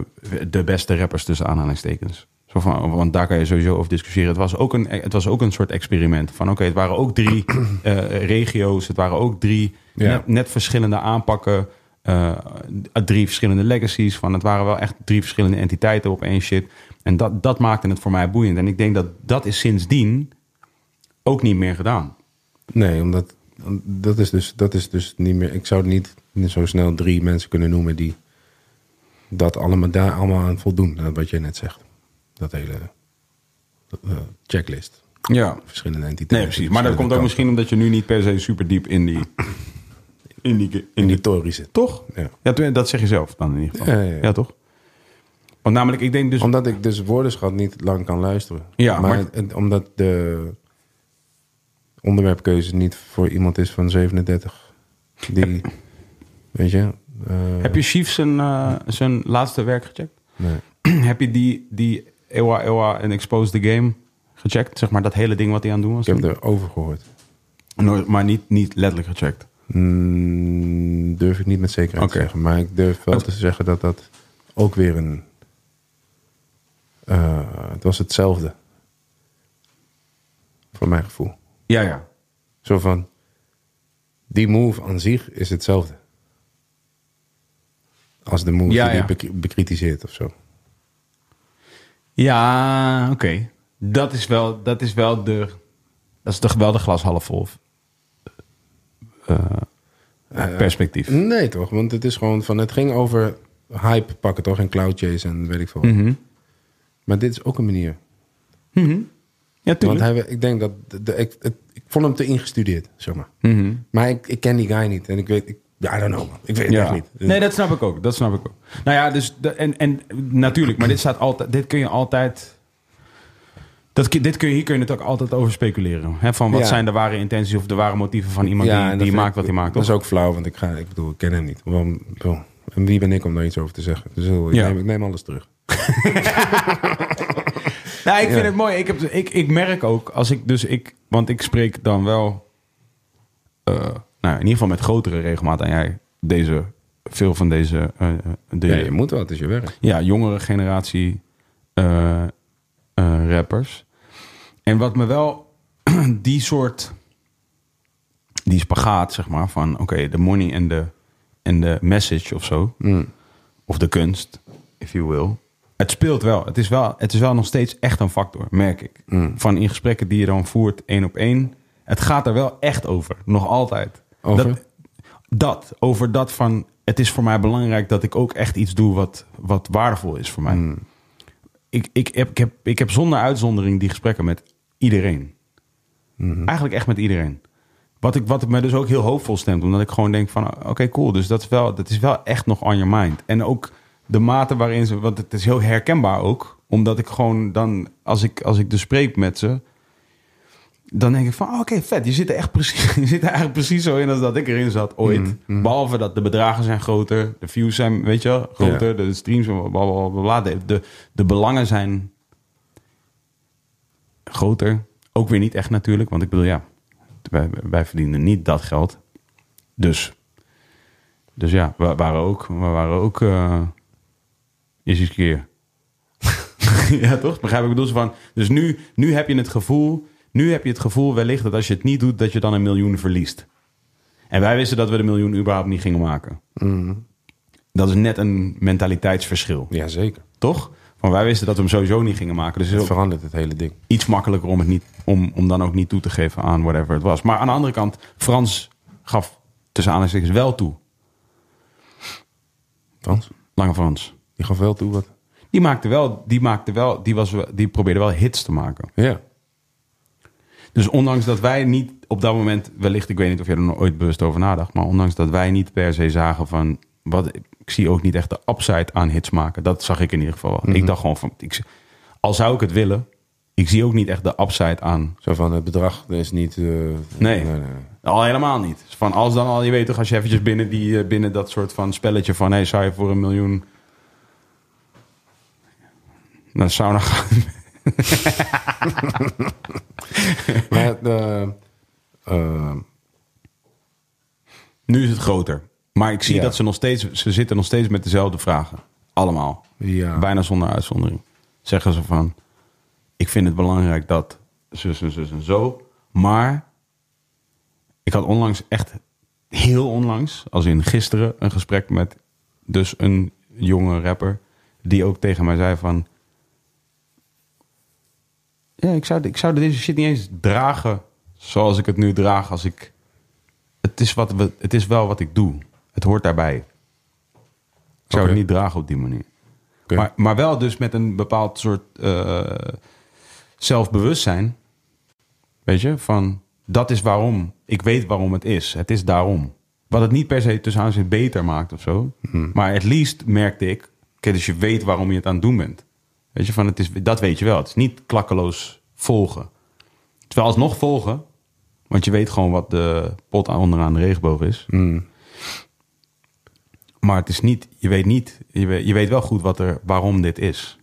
de beste rappers tussen aanhalingstekens. Zo van, want daar kan je sowieso over discussiëren. Het was ook een, het was ook een soort experiment. Van oké, het waren ook drie <clears throat> eh, regio's. Het waren ook drie
Ja.
net, net verschillende aanpakken. eh, drie verschillende legacies. Van het waren wel echt drie verschillende entiteiten op één shit. En dat, dat maakte het voor mij boeiend. En ik denk dat dat is sindsdien ook niet meer gedaan.
Nee, omdat om- dat is, dus, dat is dus niet meer. Ik zou niet zo snel drie mensen kunnen noemen die dat allemaal daar allemaal aan voldoen. aan Wat jij net zegt. Dat hele eh, checklist.
Ja,
Verschillende entiteiten.
nee, precies. Maar dat
verschillende
komt ook
kanten.
misschien omdat je nu niet per se super diep in die. In die, in
in
die
die tory zit.
Toch?
Ja.
Ja, toen- dat zeg je zelf dan in ieder geval.
Ja, ja, ja.
toch? Want namelijk, ik denk dus...
Omdat ik dus woordenschat niet lang kan luisteren.
Ja,
maar,
maar-
het- omdat de onderwerpkeuze niet voor iemand is van 37. Die, weet je? eh,
heb je Chief zijn, eh, zijn laatste werk gecheckt?
nee.
<clears throat> heb je die, die Ewa Ewa en Expose the Game gecheckt? Zeg maar dat hele ding wat hij aan het doen was?
Ik heb erover gehoord.
Nooit, maar niet, niet letterlijk gecheckt.
Mm, durf ik niet met zekerheid
Oké.
te zeggen. Maar ik durf wel
Het-
te zeggen dat dat ook weer een... eh, het was hetzelfde. Voor mijn gevoel.
Ja, ja.
Zo van... Die move aan zich is hetzelfde. Als de move
Ja,
die
ja.
je bek- bekritiseert of zo.
Ja, oké. Dat is wel, dat is wel de... Dat is toch wel de glas half vol eh,
Eh,
perspectief.
Nee toch, want het is gewoon van... Het ging over hype pakken toch en cloud chase en weet ik veel. wat.
Mhm.
Maar dit is ook een manier.
Ja,
Want
tuurlijk.
hij, ik denk dat... De, de- ik, het- ik vond hem te ingestudeerd, zeg maar.
Mhm.
Maar ik, ik ken die guy niet. En ik weet... Ik, I don't know, man. Ik weet het echt niet. Dus-
Nee, dat snap ik ook. Dat snap ik ook. Nou ja, dus de- en, en natuurlijk, maar dit staat altijd. Dit kun je altijd. Dat, kun- dit kun je, hier kun je het ook altijd over speculeren. Hè? Van wat
Ja.
zijn de ware intenties of de ware motieven van iemand
Ja, en
die,
dat
die
vind
maakt
ik-
wat hij maakt.
Dat is
Toch?
ook flauw, want ik, ga, ik bedoel, ik ken hem niet. Waarom- wel, en wie ben ik om daar iets over te zeggen? Dus heel- ik,
Ja.
neem, ik neem alles terug.
Nou, ik vind het mooi. Ik, heb, ik, ik merk ook als ik dus ik. Want ik spreek dan wel. eh, nou, in ieder geval met grotere regelmaat aan jij. Deze. Veel van deze. eh, de,
Ja, je moet wel, het is je werk.
ja, jongere generatie eh, eh, rappers. En wat me wel <clears throat> die soort, die spagaat, zeg maar, van oké, de money en de, en de message of zo, of de kunst, if you will. Het speelt wel. Het is wel, het is wel nog steeds echt een factor, merk ik. Van in gesprekken die je dan voert, één op één. Het gaat er wel echt over, nog altijd.
Over?
Dat, dat, over dat van het is voor mij belangrijk dat ik ook echt iets doe wat, wat waardevol is voor mij. Ik, ik, heb, ik, heb, ik heb zonder uitzondering die gesprekken met iedereen. Eigenlijk echt met iedereen. Wat, ik, wat me dus ook heel hoopvol stemt, omdat ik gewoon denk van oké, cool. Dus dat is, wel, dat is wel echt nog on your mind. En ook de mate waarin ze. Want het is heel herkenbaar ook. Omdat ik gewoon dan, als ik, als ik dus spreek met ze. Dan denk ik van, oh, oké, vet. Je zit, er echt precies, <laughs> je zit er eigenlijk precies zo in als dat ik erin zat ooit. Behalve dat de bedragen zijn groter. De views zijn, weet je wel, groter.
Ja.
De streams, blablabla. De, de, de belangen zijn groter. Ook weer niet echt natuurlijk. Want ik bedoel, ja, wij, wij verdienen niet dat geld. Dus dus ja, we waren ook, we waren ook eh, is eens een keer. <laughs> ja, toch? Begrijp ik bedoel ze van. Dus nu, nu heb je het gevoel, nu heb je het gevoel wellicht dat als je het niet doet, dat je dan een miljoen verliest. En wij wisten dat we de miljoen überhaupt niet gingen maken. Mm. Dat is net een mentaliteitsverschil,
Jazeker.
toch? Van wij wisten dat we hem sowieso niet gingen maken. Dus het
Het
is ook
verandert het hele ding.
iets makkelijker om, het niet, om, om dan ook niet toe te geven aan whatever het was. Maar aan de andere kant, Frans gaf tussen aanhalingstekens wel toe.
Frans,
Lange Frans.
die gaf wel toe wat.
Die maakte wel, die maakte wel, die, was, wel- die probeerde wel hits te maken.
Ja.
Dus ondanks dat wij niet op dat moment, wellicht, ik weet niet of jij er nog ooit bewust over nadacht, maar ondanks dat wij niet per se zagen van, wat, ik zie ook niet echt de upside aan hits maken. Dat zag ik in ieder geval wel. Ik dacht gewoon van, ik, al zou ik het willen, ik zie ook niet echt de upside aan.
Zo van het bedrag is niet. eh,
Nee. Al helemaal niet. Van als dan al, je weet toch, als je eventjes binnen, die, eh, binnen dat soort van spelletje van, hey, zou je voor een miljoen naar de sauna gaan? <laughs>
Maar eh, eh,
Nu is het groter. Maar ik zie
Ja.
dat ze nog steeds, ze zitten nog steeds met dezelfde vragen. Allemaal.
Ja.
Bijna zonder uitzondering. Zeggen ze van, ik vind het belangrijk dat zus en zus en zo. Maar ik had onlangs echt, heel onlangs, als in gisteren, een gesprek met dus een jonge rapper. Die ook tegen mij zei van, ja, ik zou, ik zou deze shit niet eens dragen zoals ik het nu draag als ik het is, wat we, het is wel wat ik doe. Het hoort daarbij. Ik zou
Oké.
het niet dragen op die manier.
Oké.
Maar, maar wel dus met een bepaald soort eh, zelfbewustzijn. Weet je, van dat is waarom. Ik weet waarom het is. Het is daarom. Wat het niet per se tussen aanzien beter maakt of zo. Maar at least merkte ik. oké, dus je weet waarom je het aan het doen bent. Weet je, van het is, dat weet je wel. Het is niet klakkeloos volgen. Terwijl alsnog volgen. Want je weet gewoon wat de pot aan- onderaan de regenboog is. Maar het is niet, je weet niet, je weet, je weet wel goed wat er, waarom dit is.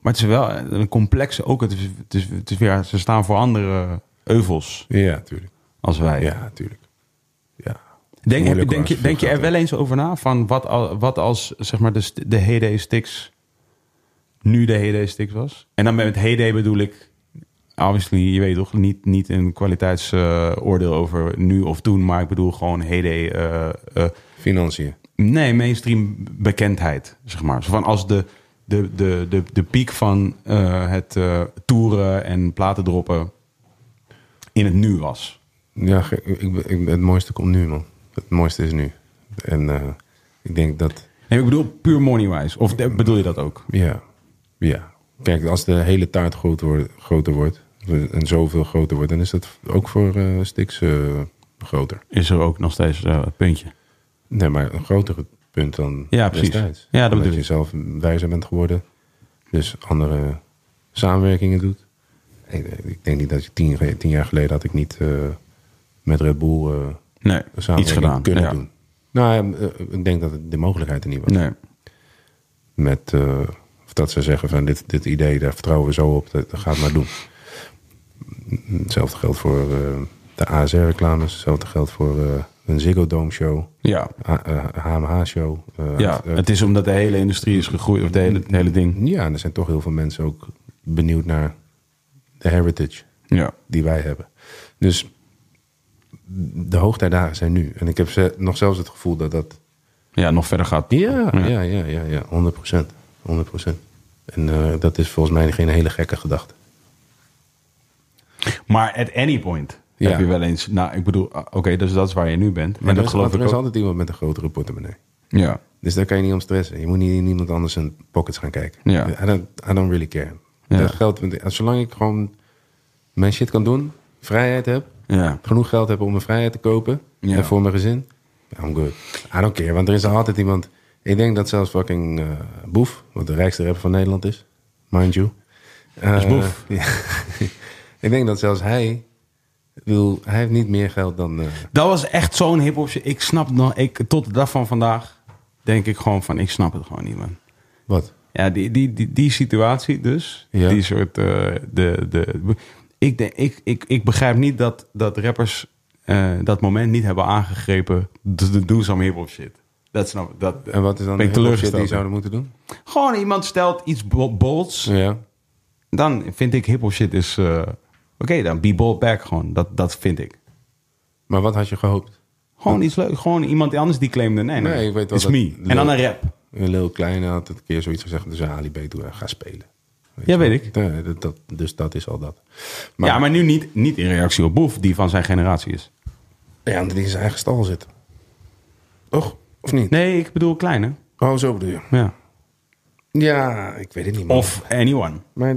Maar het is wel een complexe, ook het is, het is, het is weer, ze staan voor andere euvels
ja, tuurlijk.
als wij.
Ja, tuurlijk. Ja.
Denk,
Moeilijk,
heb- denk,
hoor,
je, denk je er wel eens over na van wat, al, wat als zeg maar de, st- de heyday sticks nu de heyday sticks was? En dan met heyday bedoel ik, obviously, je weet toch, niet, niet een kwaliteitsoordeel over nu of toen, maar ik bedoel gewoon heyday eh, eh,
Financiën.
Nee, mainstream bekendheid, zeg maar. Zo van als de, de, de, de, de piek van eh, het eh, toeren en platen droppen in het nu was.
Ja, ge- ik, ik, ik- het mooiste komt nu, man. Het mooiste is nu. En eh, ik denk dat,
Nee, ik bedoel puur money-wise. Of de- bedoel je dat ook?
ja, ja. Kijk, als de hele taart groot wordt, groter wordt, en zoveel groter wordt, dan is dat ook voor eh Stix eh, groter.
Is er ook nog steeds eh, het puntje.
Nee, maar een groter punt dan
Ja, precies.
destijds.
Ja, dat
Omdat
bedoel
je
ik.
zelf wijzer bent geworden, dus andere samenwerkingen doet. Ik, ik denk niet dat je tien, ge- tien jaar geleden had ik niet eh, met Red Bull eh,
Nee,
een samenwerking
iets gedaan.
kunnen
ja.
doen. Nou, ja, eh, ik denk dat het de mogelijkheid er niet was.
Nee.
met, eh, of dat ze zeggen van dit, dit idee, daar vertrouwen we zo op, dat, dat gaat maar doen. Hetzelfde geldt voor eh, de ASR-reclames, hetzelfde geldt voor eh, een Ziggo Dome show, eh,
Ja.
HMH show. Eh,
ja, het is omdat de hele industrie is gegroeid, of de hele, het hele ding.
ja, en er zijn toch heel veel mensen ook benieuwd naar de heritage
Ja.
die wij hebben. Dus de hoogtijdagen zijn nu. En ik heb ze, nog zelfs het gevoel dat dat
ja, nog verder gaat.
Ja, ja, ja, ja, ja, 100 procent. 100 En eh, dat is volgens mij geen hele gekke gedachte.
Maar at any point
Ja.
heb je wel eens... Nou, ik bedoel, ah, oké, dus dat is waar je nu bent. en
er
dat
is-
geloof
er
ik
is
ook.
altijd iemand met een grotere portemonnee.
Ja.
Dus daar kan je niet om stressen. Je moet niet in iemand anders zijn pockets gaan kijken.
Ja.
I, don't, I don't really care.
Ja.
Dat geldt, want zolang ik gewoon mijn shit kan doen, vrijheid heb,
Ja.
genoeg geld heb om mijn vrijheid te kopen
Ja.
en voor mijn gezin, I'm good. I don't care, want er is altijd iemand Ik denk dat zelfs fucking eh, Boef, wat de rijkste rapper van Nederland is, mind you.
is
Eh,
Boef.
<laughs> ja. ik denk dat zelfs hij, ik bedoel, hij heeft niet meer geld dan... eh,
Dat was echt zo'n hip-hop. shit. Ik snap nog, ik,
<laughs>
tot de dag van vandaag denk ik gewoon van, ik snap het gewoon niet, man.
wat?
Ja, die, die, die, die situatie dus.
Ja.
Die soort. eh, de, de, ik, denk, ik, ik, ik begrijp niet dat, dat rappers eh, dat moment niet hebben aangegrepen. d- d- Doe some hip-hop shit. Dat snap ik. Dat,
En wat is dan
ben
de
ik
hele shit die
teleurgesteld.
ze zouden moeten doen?
Gewoon iemand stelt iets bo- bolds.
Ja.
Dan vind ik hip-hop shit is. eh, Oké, dan be bold back gewoon. Dat, dat vind ik.
Maar wat had je gehoopt?
Gewoon iets leuks. Gewoon iemand anders die claimde. Nee, nee,
Nee, ik weet wel
It's
dat-
me. En dan een rap.
Lil Kleine had het een keer zoiets gezegd, dus Ali B. toe, eh, ga spelen. Weet
Ja,
je
weet
wel?
ik.
Ja, dat, dat- dus dat is al dat.
ja, maar nu niet, niet in reactie op Boef, die van zijn generatie is.
Ja, omdat hij in zijn eigen stal zit. Toch? Of niet?
Nee, ik bedoel kleine.
Oh, zo bedoel je.
Ja.
Ja, ik weet het niet. man.
Of anyone.
Maar eh,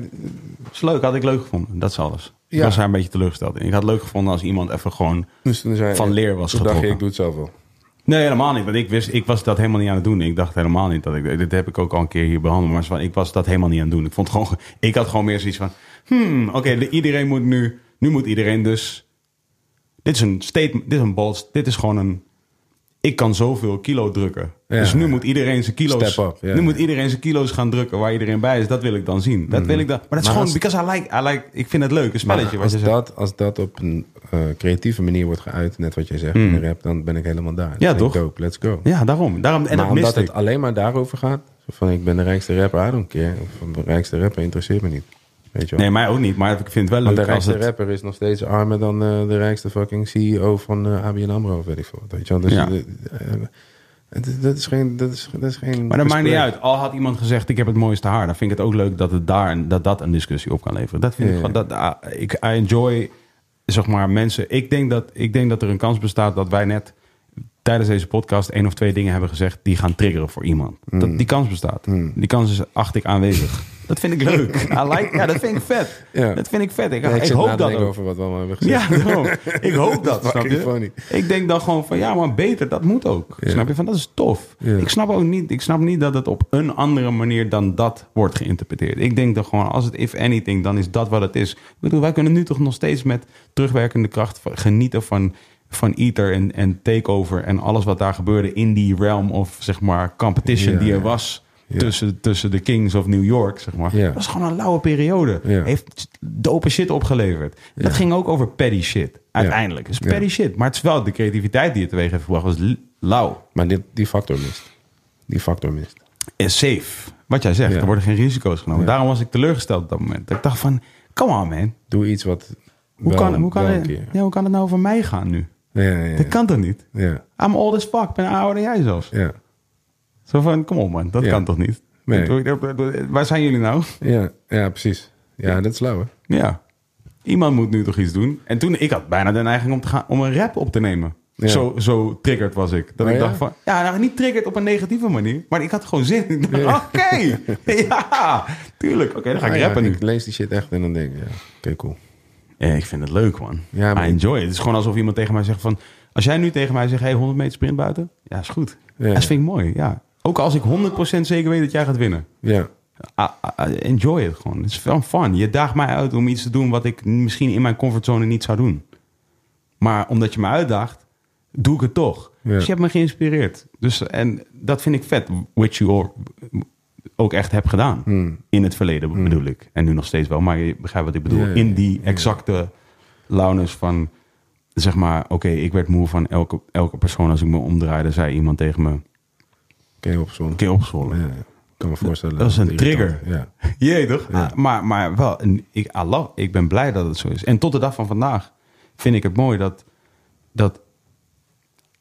is leuk, had ik leuk gevonden. Dat is alles. Ik
Ja.
was daar een beetje teleurgesteld in. Ik had het leuk gevonden als iemand even gewoon...
dus toen zei,
Van leer was
toen dacht je,
getrokken.
ik doe het zelf wel.
Nee, helemaal niet. Want ik, wist, ik was dat helemaal niet aan het doen. Ik dacht helemaal niet dat ik... Dit heb ik ook al een keer hier behandeld. Maar zo- ik was dat helemaal niet aan het doen. Ik, vond gewoon, ik had gewoon meer zoiets van... Hmm, oké, de- iedereen moet nu... Nu moet iedereen dus... Dit is een statement. Dit is een bold. Dit is gewoon een... Ik kan zoveel kilo drukken.
Ja.
dus nu moet iedereen zijn kilo's...
Step up, ja.
Nu moet iedereen zijn kilo's gaan drukken waar iedereen bij is. Dat wil ik dan zien. Dat wil ik dan... Maar dat is gewoon...
Mhm. als-
Because I like, I like... Ik vind het leuk. Een
Maar
spelletje. wat
als,
je zegt.
dat, als dat op een eh, creatieve manier wordt geuit, net wat jij zegt in de rap, dan ben ik helemaal daar. Dan
Hmm. Ja,
denk ik,
toch?
Dope, let's go.
Ja, daarom. daarom en
maar
dat
omdat
miste ik.
het alleen maar daarover gaat, zo van ik ben de rijkste rapper, I don't care. Of van de rijkste rapper interesseert me niet. Weet je wel.
Nee, mij ook niet. Maar ik vind het wel
Want
leuk
de
als
rijkste
het...
rapper is nog steeds armer dan eh, de rijkste fucking CEO van eh, ABN AMRO, of weet ik veel. wat, Weet je wel. Dus,
Ja.
eh, eh, het- dat is geen... Dat is, dat is geen
Maar dat maakt niet
gesprek.
uit. Al had iemand gezegd, ik heb het mooiste haar. Dan vind ik het ook leuk dat het daar en dat, dat een discussie op kan leveren. Dat vind
Ja,
ik gewoon... Dat, ah, ik I enjoy, zeg maar, mensen. Ik denk, dat, ik denk dat er een kans bestaat dat wij net tijdens deze podcast één of twee dingen hebben gezegd die gaan triggeren voor iemand.
Hmm.
Dat, die kans bestaat. Die kans is, acht ik,
<laughs>
aanwezig. dat vind ik leuk. I like, ja, dat vind ik vet.
Ja.
Dat vind ik vet. Ik,
Ja, ik,
ik
zit na
hoop
te
dat
denken
ook.
over wat we allemaal hebben gezegd.
Ja,
<laughs>
daarom. Ik hoop dat, snap
Fucking
je?
funny.
Ik denk dan gewoon van, ja, maar beter, dat moet ook. Snap je? Van, dat is tof.
Ja.
Ik snap ook niet, ik snap niet dat het op een andere manier dan dat wordt geïnterpreteerd. Ik denk dan gewoon, als het if anything, dan is dat wat het is. Ik bedoel, wij kunnen nu toch nog steeds met terugwerkende kracht van- genieten van, van Ether en, en Takeover en alles wat daar gebeurde in die realm of, zeg maar, competition
Ja,
die er
ja.
was. Tussen, tussen de Kings of New York, zeg maar.
Ja.
Dat is gewoon een lauwe periode.
Ja.
Heeft dope shit opgeleverd. Dat ging ook over petty shit. Uiteindelijk. Het is petty
Ja.
shit. Maar het is wel de creativiteit die het teweeg heeft gebracht. Was l- lauw.
Maar dit, die factor mist. Die factor mist.
Is safe. Wat jij zegt.
Ja.
Er worden geen risico's genomen.
Ja.
Daarom was ik teleurgesteld op dat moment. Dat Ik dacht van, come on man.
Doe iets wat...
Hoe,
wel-
kan, hoe, kan
wel een
het,
keer.
ja, hoe kan het nou over mij gaan nu?
Ja, ja, ja.
Dat kan toch niet?
Ja,
I'm old as fuck. Ik Ben ouder dan jij zelfs.
ja.
Zo van, kom op man. Dat
Ja.
kan toch niet?
Nee.
Waar zijn jullie nou?
Ja, ja, precies. Ja, dat is lauw, hè?
Ja. Iemand moet nu toch iets doen. En toen, ik had bijna de neiging om, te gaan, om een rap op te nemen.
Ja.
Zo, zo triggerd was ik. Dat
Oh
ik
ja?
dacht van, ja, nou niet triggerd op een negatieve manier. Maar ik had gewoon zin. Ik dacht, <laughs>
Ja.
Oké, ja, tuurlijk. Oké, dan ga ik
Ah, ja,
rappen nu.
Ik lees die shit echt en dan denk ik, ja, oké, cool.
Ja, ik vind het leuk, man.
Ja,
I
maar-
enjoy it. Het is gewoon alsof iemand tegen mij zegt van... Als jij nu tegen mij zegt, hey, 100 meter sprint buiten. Ja, is goed.
Ja.
Dat vind ik mooi, ja. Ook als ik 100% zeker weet dat jij gaat winnen.
Ja,
Ah, ah, enjoy het gewoon. Het is wel fun. Je daagt mij uit om iets te doen wat ik misschien in mijn comfortzone niet zou doen. Maar omdat je me uitdaagt, doe ik het toch.
Ja.
Dus je hebt me geïnspireerd. Dus, en dat vind ik vet, which you all- ook echt hebt gedaan.
Hmm.
In het verleden bedoel ik. En nu nog steeds wel, maar je begrijpt wat ik bedoel.
Ja, ja,
in die exacte launes van, zeg maar, oké, ik werd moe van elke, elke persoon. Als ik me omdraaide, zei iemand tegen me,
oké, op zon.
oké, opzwollen.
Ja, ik kan me voorstellen.
Dat is een
het irritant-
trigger.
Ja.
<laughs> Jee, toch? Ah, maar, maar wel, en ik, I love- ik ben blij dat het zo is. En tot de dag van vandaag vind ik het mooi dat. dat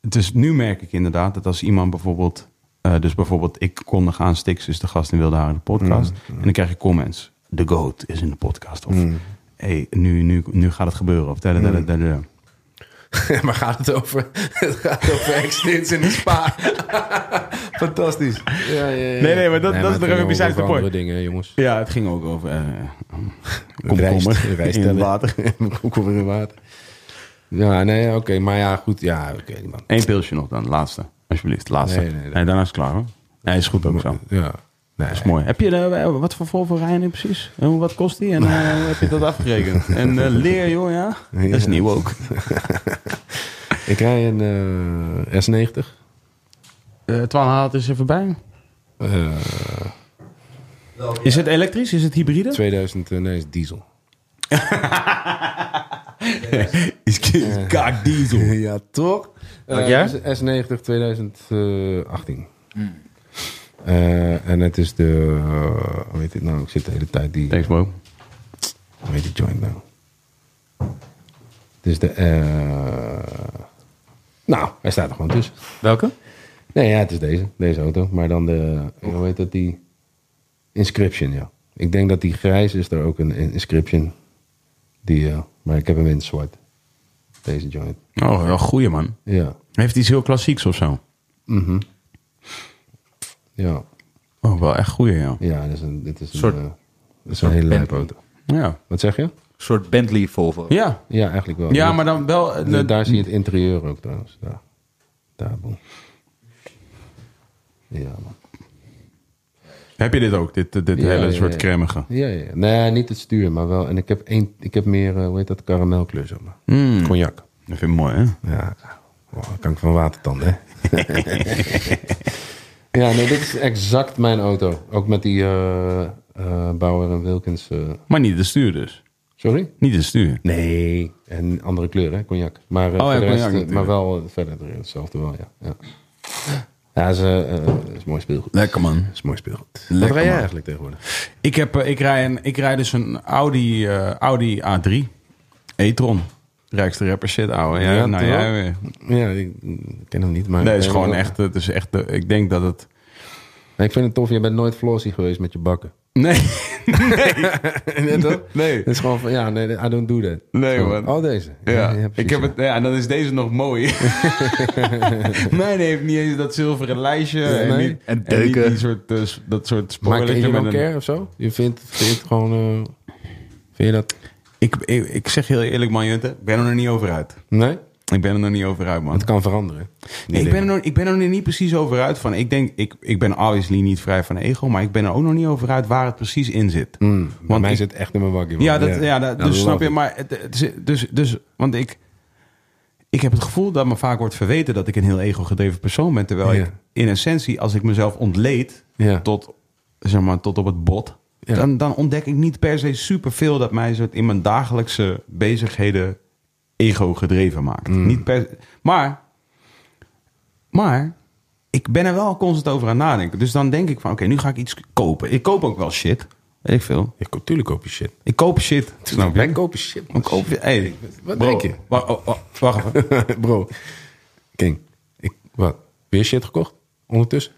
dus nu merk ik inderdaad dat als iemand bijvoorbeeld. eh, dus bijvoorbeeld, ik kondig aan Stix is de gast in Wilde Haren de podcast.
Mm.
En dan krijg je comments. The GOAT is in de podcast. Of hey, nu, nu, nu gaat het gebeuren. Of da, da, da,
Mm.
da, da, da.
maar gaat het over, het gaat over accidents in de spa. Fantastisch. Ja, ja, ja.
Nee, nee, maar dat- dat is nog even
een
besides the point.
andere dingen, hè, jongens.
Ja, het ging ook over. eh
Rijst-
komkommer
rijst
in
tellen. <laughs>
water.
Komkommer in water. Ja, nee, oké, maar ja, goed. Ja, oké, man.
Eén pilsje nog dan, laatste. Alsjeblieft, laatste.
Nee, nee, nee.
Nee, daarna is het klaar hoor. Nee, is goed ook zo.
Ja. Nee.
Dat is mooi. Heb je, eh, wat voor Volvo rij je nu precies? En hoe- wat kost die? En eh, hoe heb je dat <laughs> afgerekend? En eh, leer, joh, ja? Dat is nieuw ook.
Ik rij een eh, S90.
Eh Twan haalt eens even bij.
Eh,
Is het elektrisch? Is het hybride?
2000, eh, nee, is diesel.
<laughs> Is kaak diesel.
Eh. <laughs> ja, toch? Eh, dus
Welk jaar?
S90 2018.
Hmm.
Eh, en het is de, eh, hoe heet het nou? Ik zit de hele tijd die,
Thanks, bro.
hoe heet die joint nou? Het is Dus de, eh, nou, hij staat er gewoon tussen.
Welke?
Nee, ja, het is deze, deze auto. Maar dan de, hoe heet dat die? Inscription, ja. Ik denk dat die grijs is er ook een in- inscription. Die, eh, maar ik heb hem in het zwart. Deze joint.
Oh, wel goeie man.
Ja,
Heeft iets heel klassieks of zo?
ja.
Oh, wel echt goeie, ja.
Ja, dit is een, dit is een,
Soort-
eh, dit is een hele lijpe
Bentley.
auto.
Ja.
Wat zeg je?
Een soort Bentley Volvo.
Ja,
Ja, eigenlijk wel.
ja maar dan wel... eh,
daar,
de-
daar zie je het interieur ook trouwens. Daar. Daar, boem. Ja, man.
Heb je dit ook? Dit, dit
Ja,
hele
ja,
soort
ja.
cremige.
Ja, ja, ja. Nee, niet het stuur, maar wel. En ik heb, één, ik heb meer, eh, hoe heet dat, karamelkleur, zeg maar. Cognac.
Dat vind ik mooi, hè?
Ja, wow, dan kan ik van watertanden, hè? <laughs> ja, nee, dit is exact mijn auto. Ook met die eh, eh, Bauer en Wilkins. eh,
Maar niet de stuur dus.
sorry?
Niet de stuur.
Nee. En andere kleur, hè? Cognac. Maar,
Oh,
eh,
ja,
voor de rest,
cognac
eh,
natuurlijk.
maar wel eh, verder erin, hetzelfde wel, ja. Ja, ja is, eh, eh, is mooi speelgoed.
Lekker, man.
is mooi speelgoed.
Lekker,
Wat rij
man.
jij eigenlijk tegenwoordig?
Ik, heb, eh, ik, rij een, ik rij dus een Audi, eh, Audi A3 e-tron. Rijkste rapper shit, ouwe. Ja,
Ja,
nou
toch?
jij weer.
Ja, ik mm, ken hem niet, maar...
Nee, het is
eh,
gewoon
wel-
echt... Het is echt eh, ik denk dat het...
Nee, ik vind het tof, je bent nooit flossy geweest met je bakken.
Nee.
<laughs>
<laughs>
Nee, toch?
Nee.
Het is gewoon van, ja, nee, I don't do that.
Nee,
Zo,
man.
Oh, deze.
Ja,
precies,
ik heb
ja.
het, ja, en dan is deze nog mooi. <laughs> Mijn heeft niet eens dat zilveren lijstje. en,
nee.
niet,
En
niet
deuken.
die soort, eh, s- dat soort
Maar ken je
spoilertje
wel
met een-
care of zo? Je vindt, vindt het gewoon... eh, vind je dat...
Ik, ik, ik zeg heel eerlijk, man, Junte, ik ben er nog niet over uit.
Nee?
Ik ben er nog niet over uit, man.
Het kan veranderen.
Nee, ik, ben er nog, ik ben er nog niet precies over uit van. Ik denk, ik, ik ben obviously niet vrij van ego, maar ik ben er ook nog niet over uit waar het precies in zit.
Want Mm, Hmm, mij
ik-
zit echt in mijn wakkie. man.
Ja, dat, ja. dat-
I
dus snap
love
je,
it.
maar het, het is- dus, dus, want ik, ik heb het gevoel dat me vaak wordt verweten dat ik een heel ego-gedreven persoon ben, terwijl
Ja.
ik in essentie, als ik mezelf ontleed
Ja.
tot, zeg maar, tot op het bot,
Ja.
dan, dan ontdek ik niet per se superveel dat mij soort in mijn dagelijkse bezigheden ego-gedreven maakt. Niet per, maar, maar ik ben er wel constant over aan het nadenken. Dus dan denk ik van, oké, nu ga ik iets kopen. Ik koop ook wel shit. Weet ik veel.
Ik koop, tuurlijk koop je shit.
Ik koop shit. Snap je?
Wij kopen shit, man.
Ik koop je. Hey,
Wat
bro,
denk je?
wa- wa- wa- wacht even.
<laughs> Bro. King. Ik, wat? Weer shit gekocht? Ondertussen?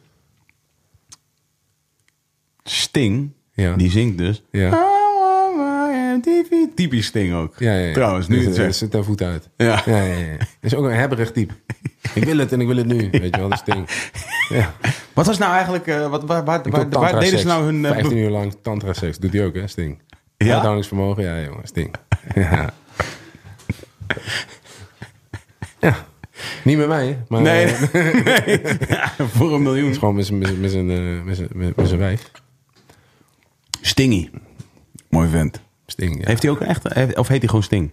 Sting,
Ja.
die zingt dus.
Ja.
I want my MTV. Typisch Sting ook.
Ja, ja, ja.
Trouwens, nu
Dus,
je het
eh,
zegt.
zit daar voet uit.
Ja.
Ja, ja, ja. Dat is ook een hebberig type.
<laughs>
ik wil het en ik wil het nu. Weet je wel, dat is het ding. Ja.
Wat was nou eigenlijk, eh, wat, waar, waar,
Ik
waar, waar
doe tantra
deden ze
seks.
nou hun... eh,
15 uur lang tantra-seks. Doet hij ook, hè, Sting?
Ja?
Uithoudingsvermogen, ja, jongen,
<laughs>
Sting. Ja. ja. Niet met mij, hè, maar
Nee,
eh, het
nee. <laughs> Ja,
<laughs>
voor een miljoen.
is gewoon met zijn- met zijn- met zijn, eh, met zijn- met- met zijn wijf.
Stingy. Mooi vent.
Sting, ja.
Heeft hij ook een echte, heeft- of heet hij gewoon Sting?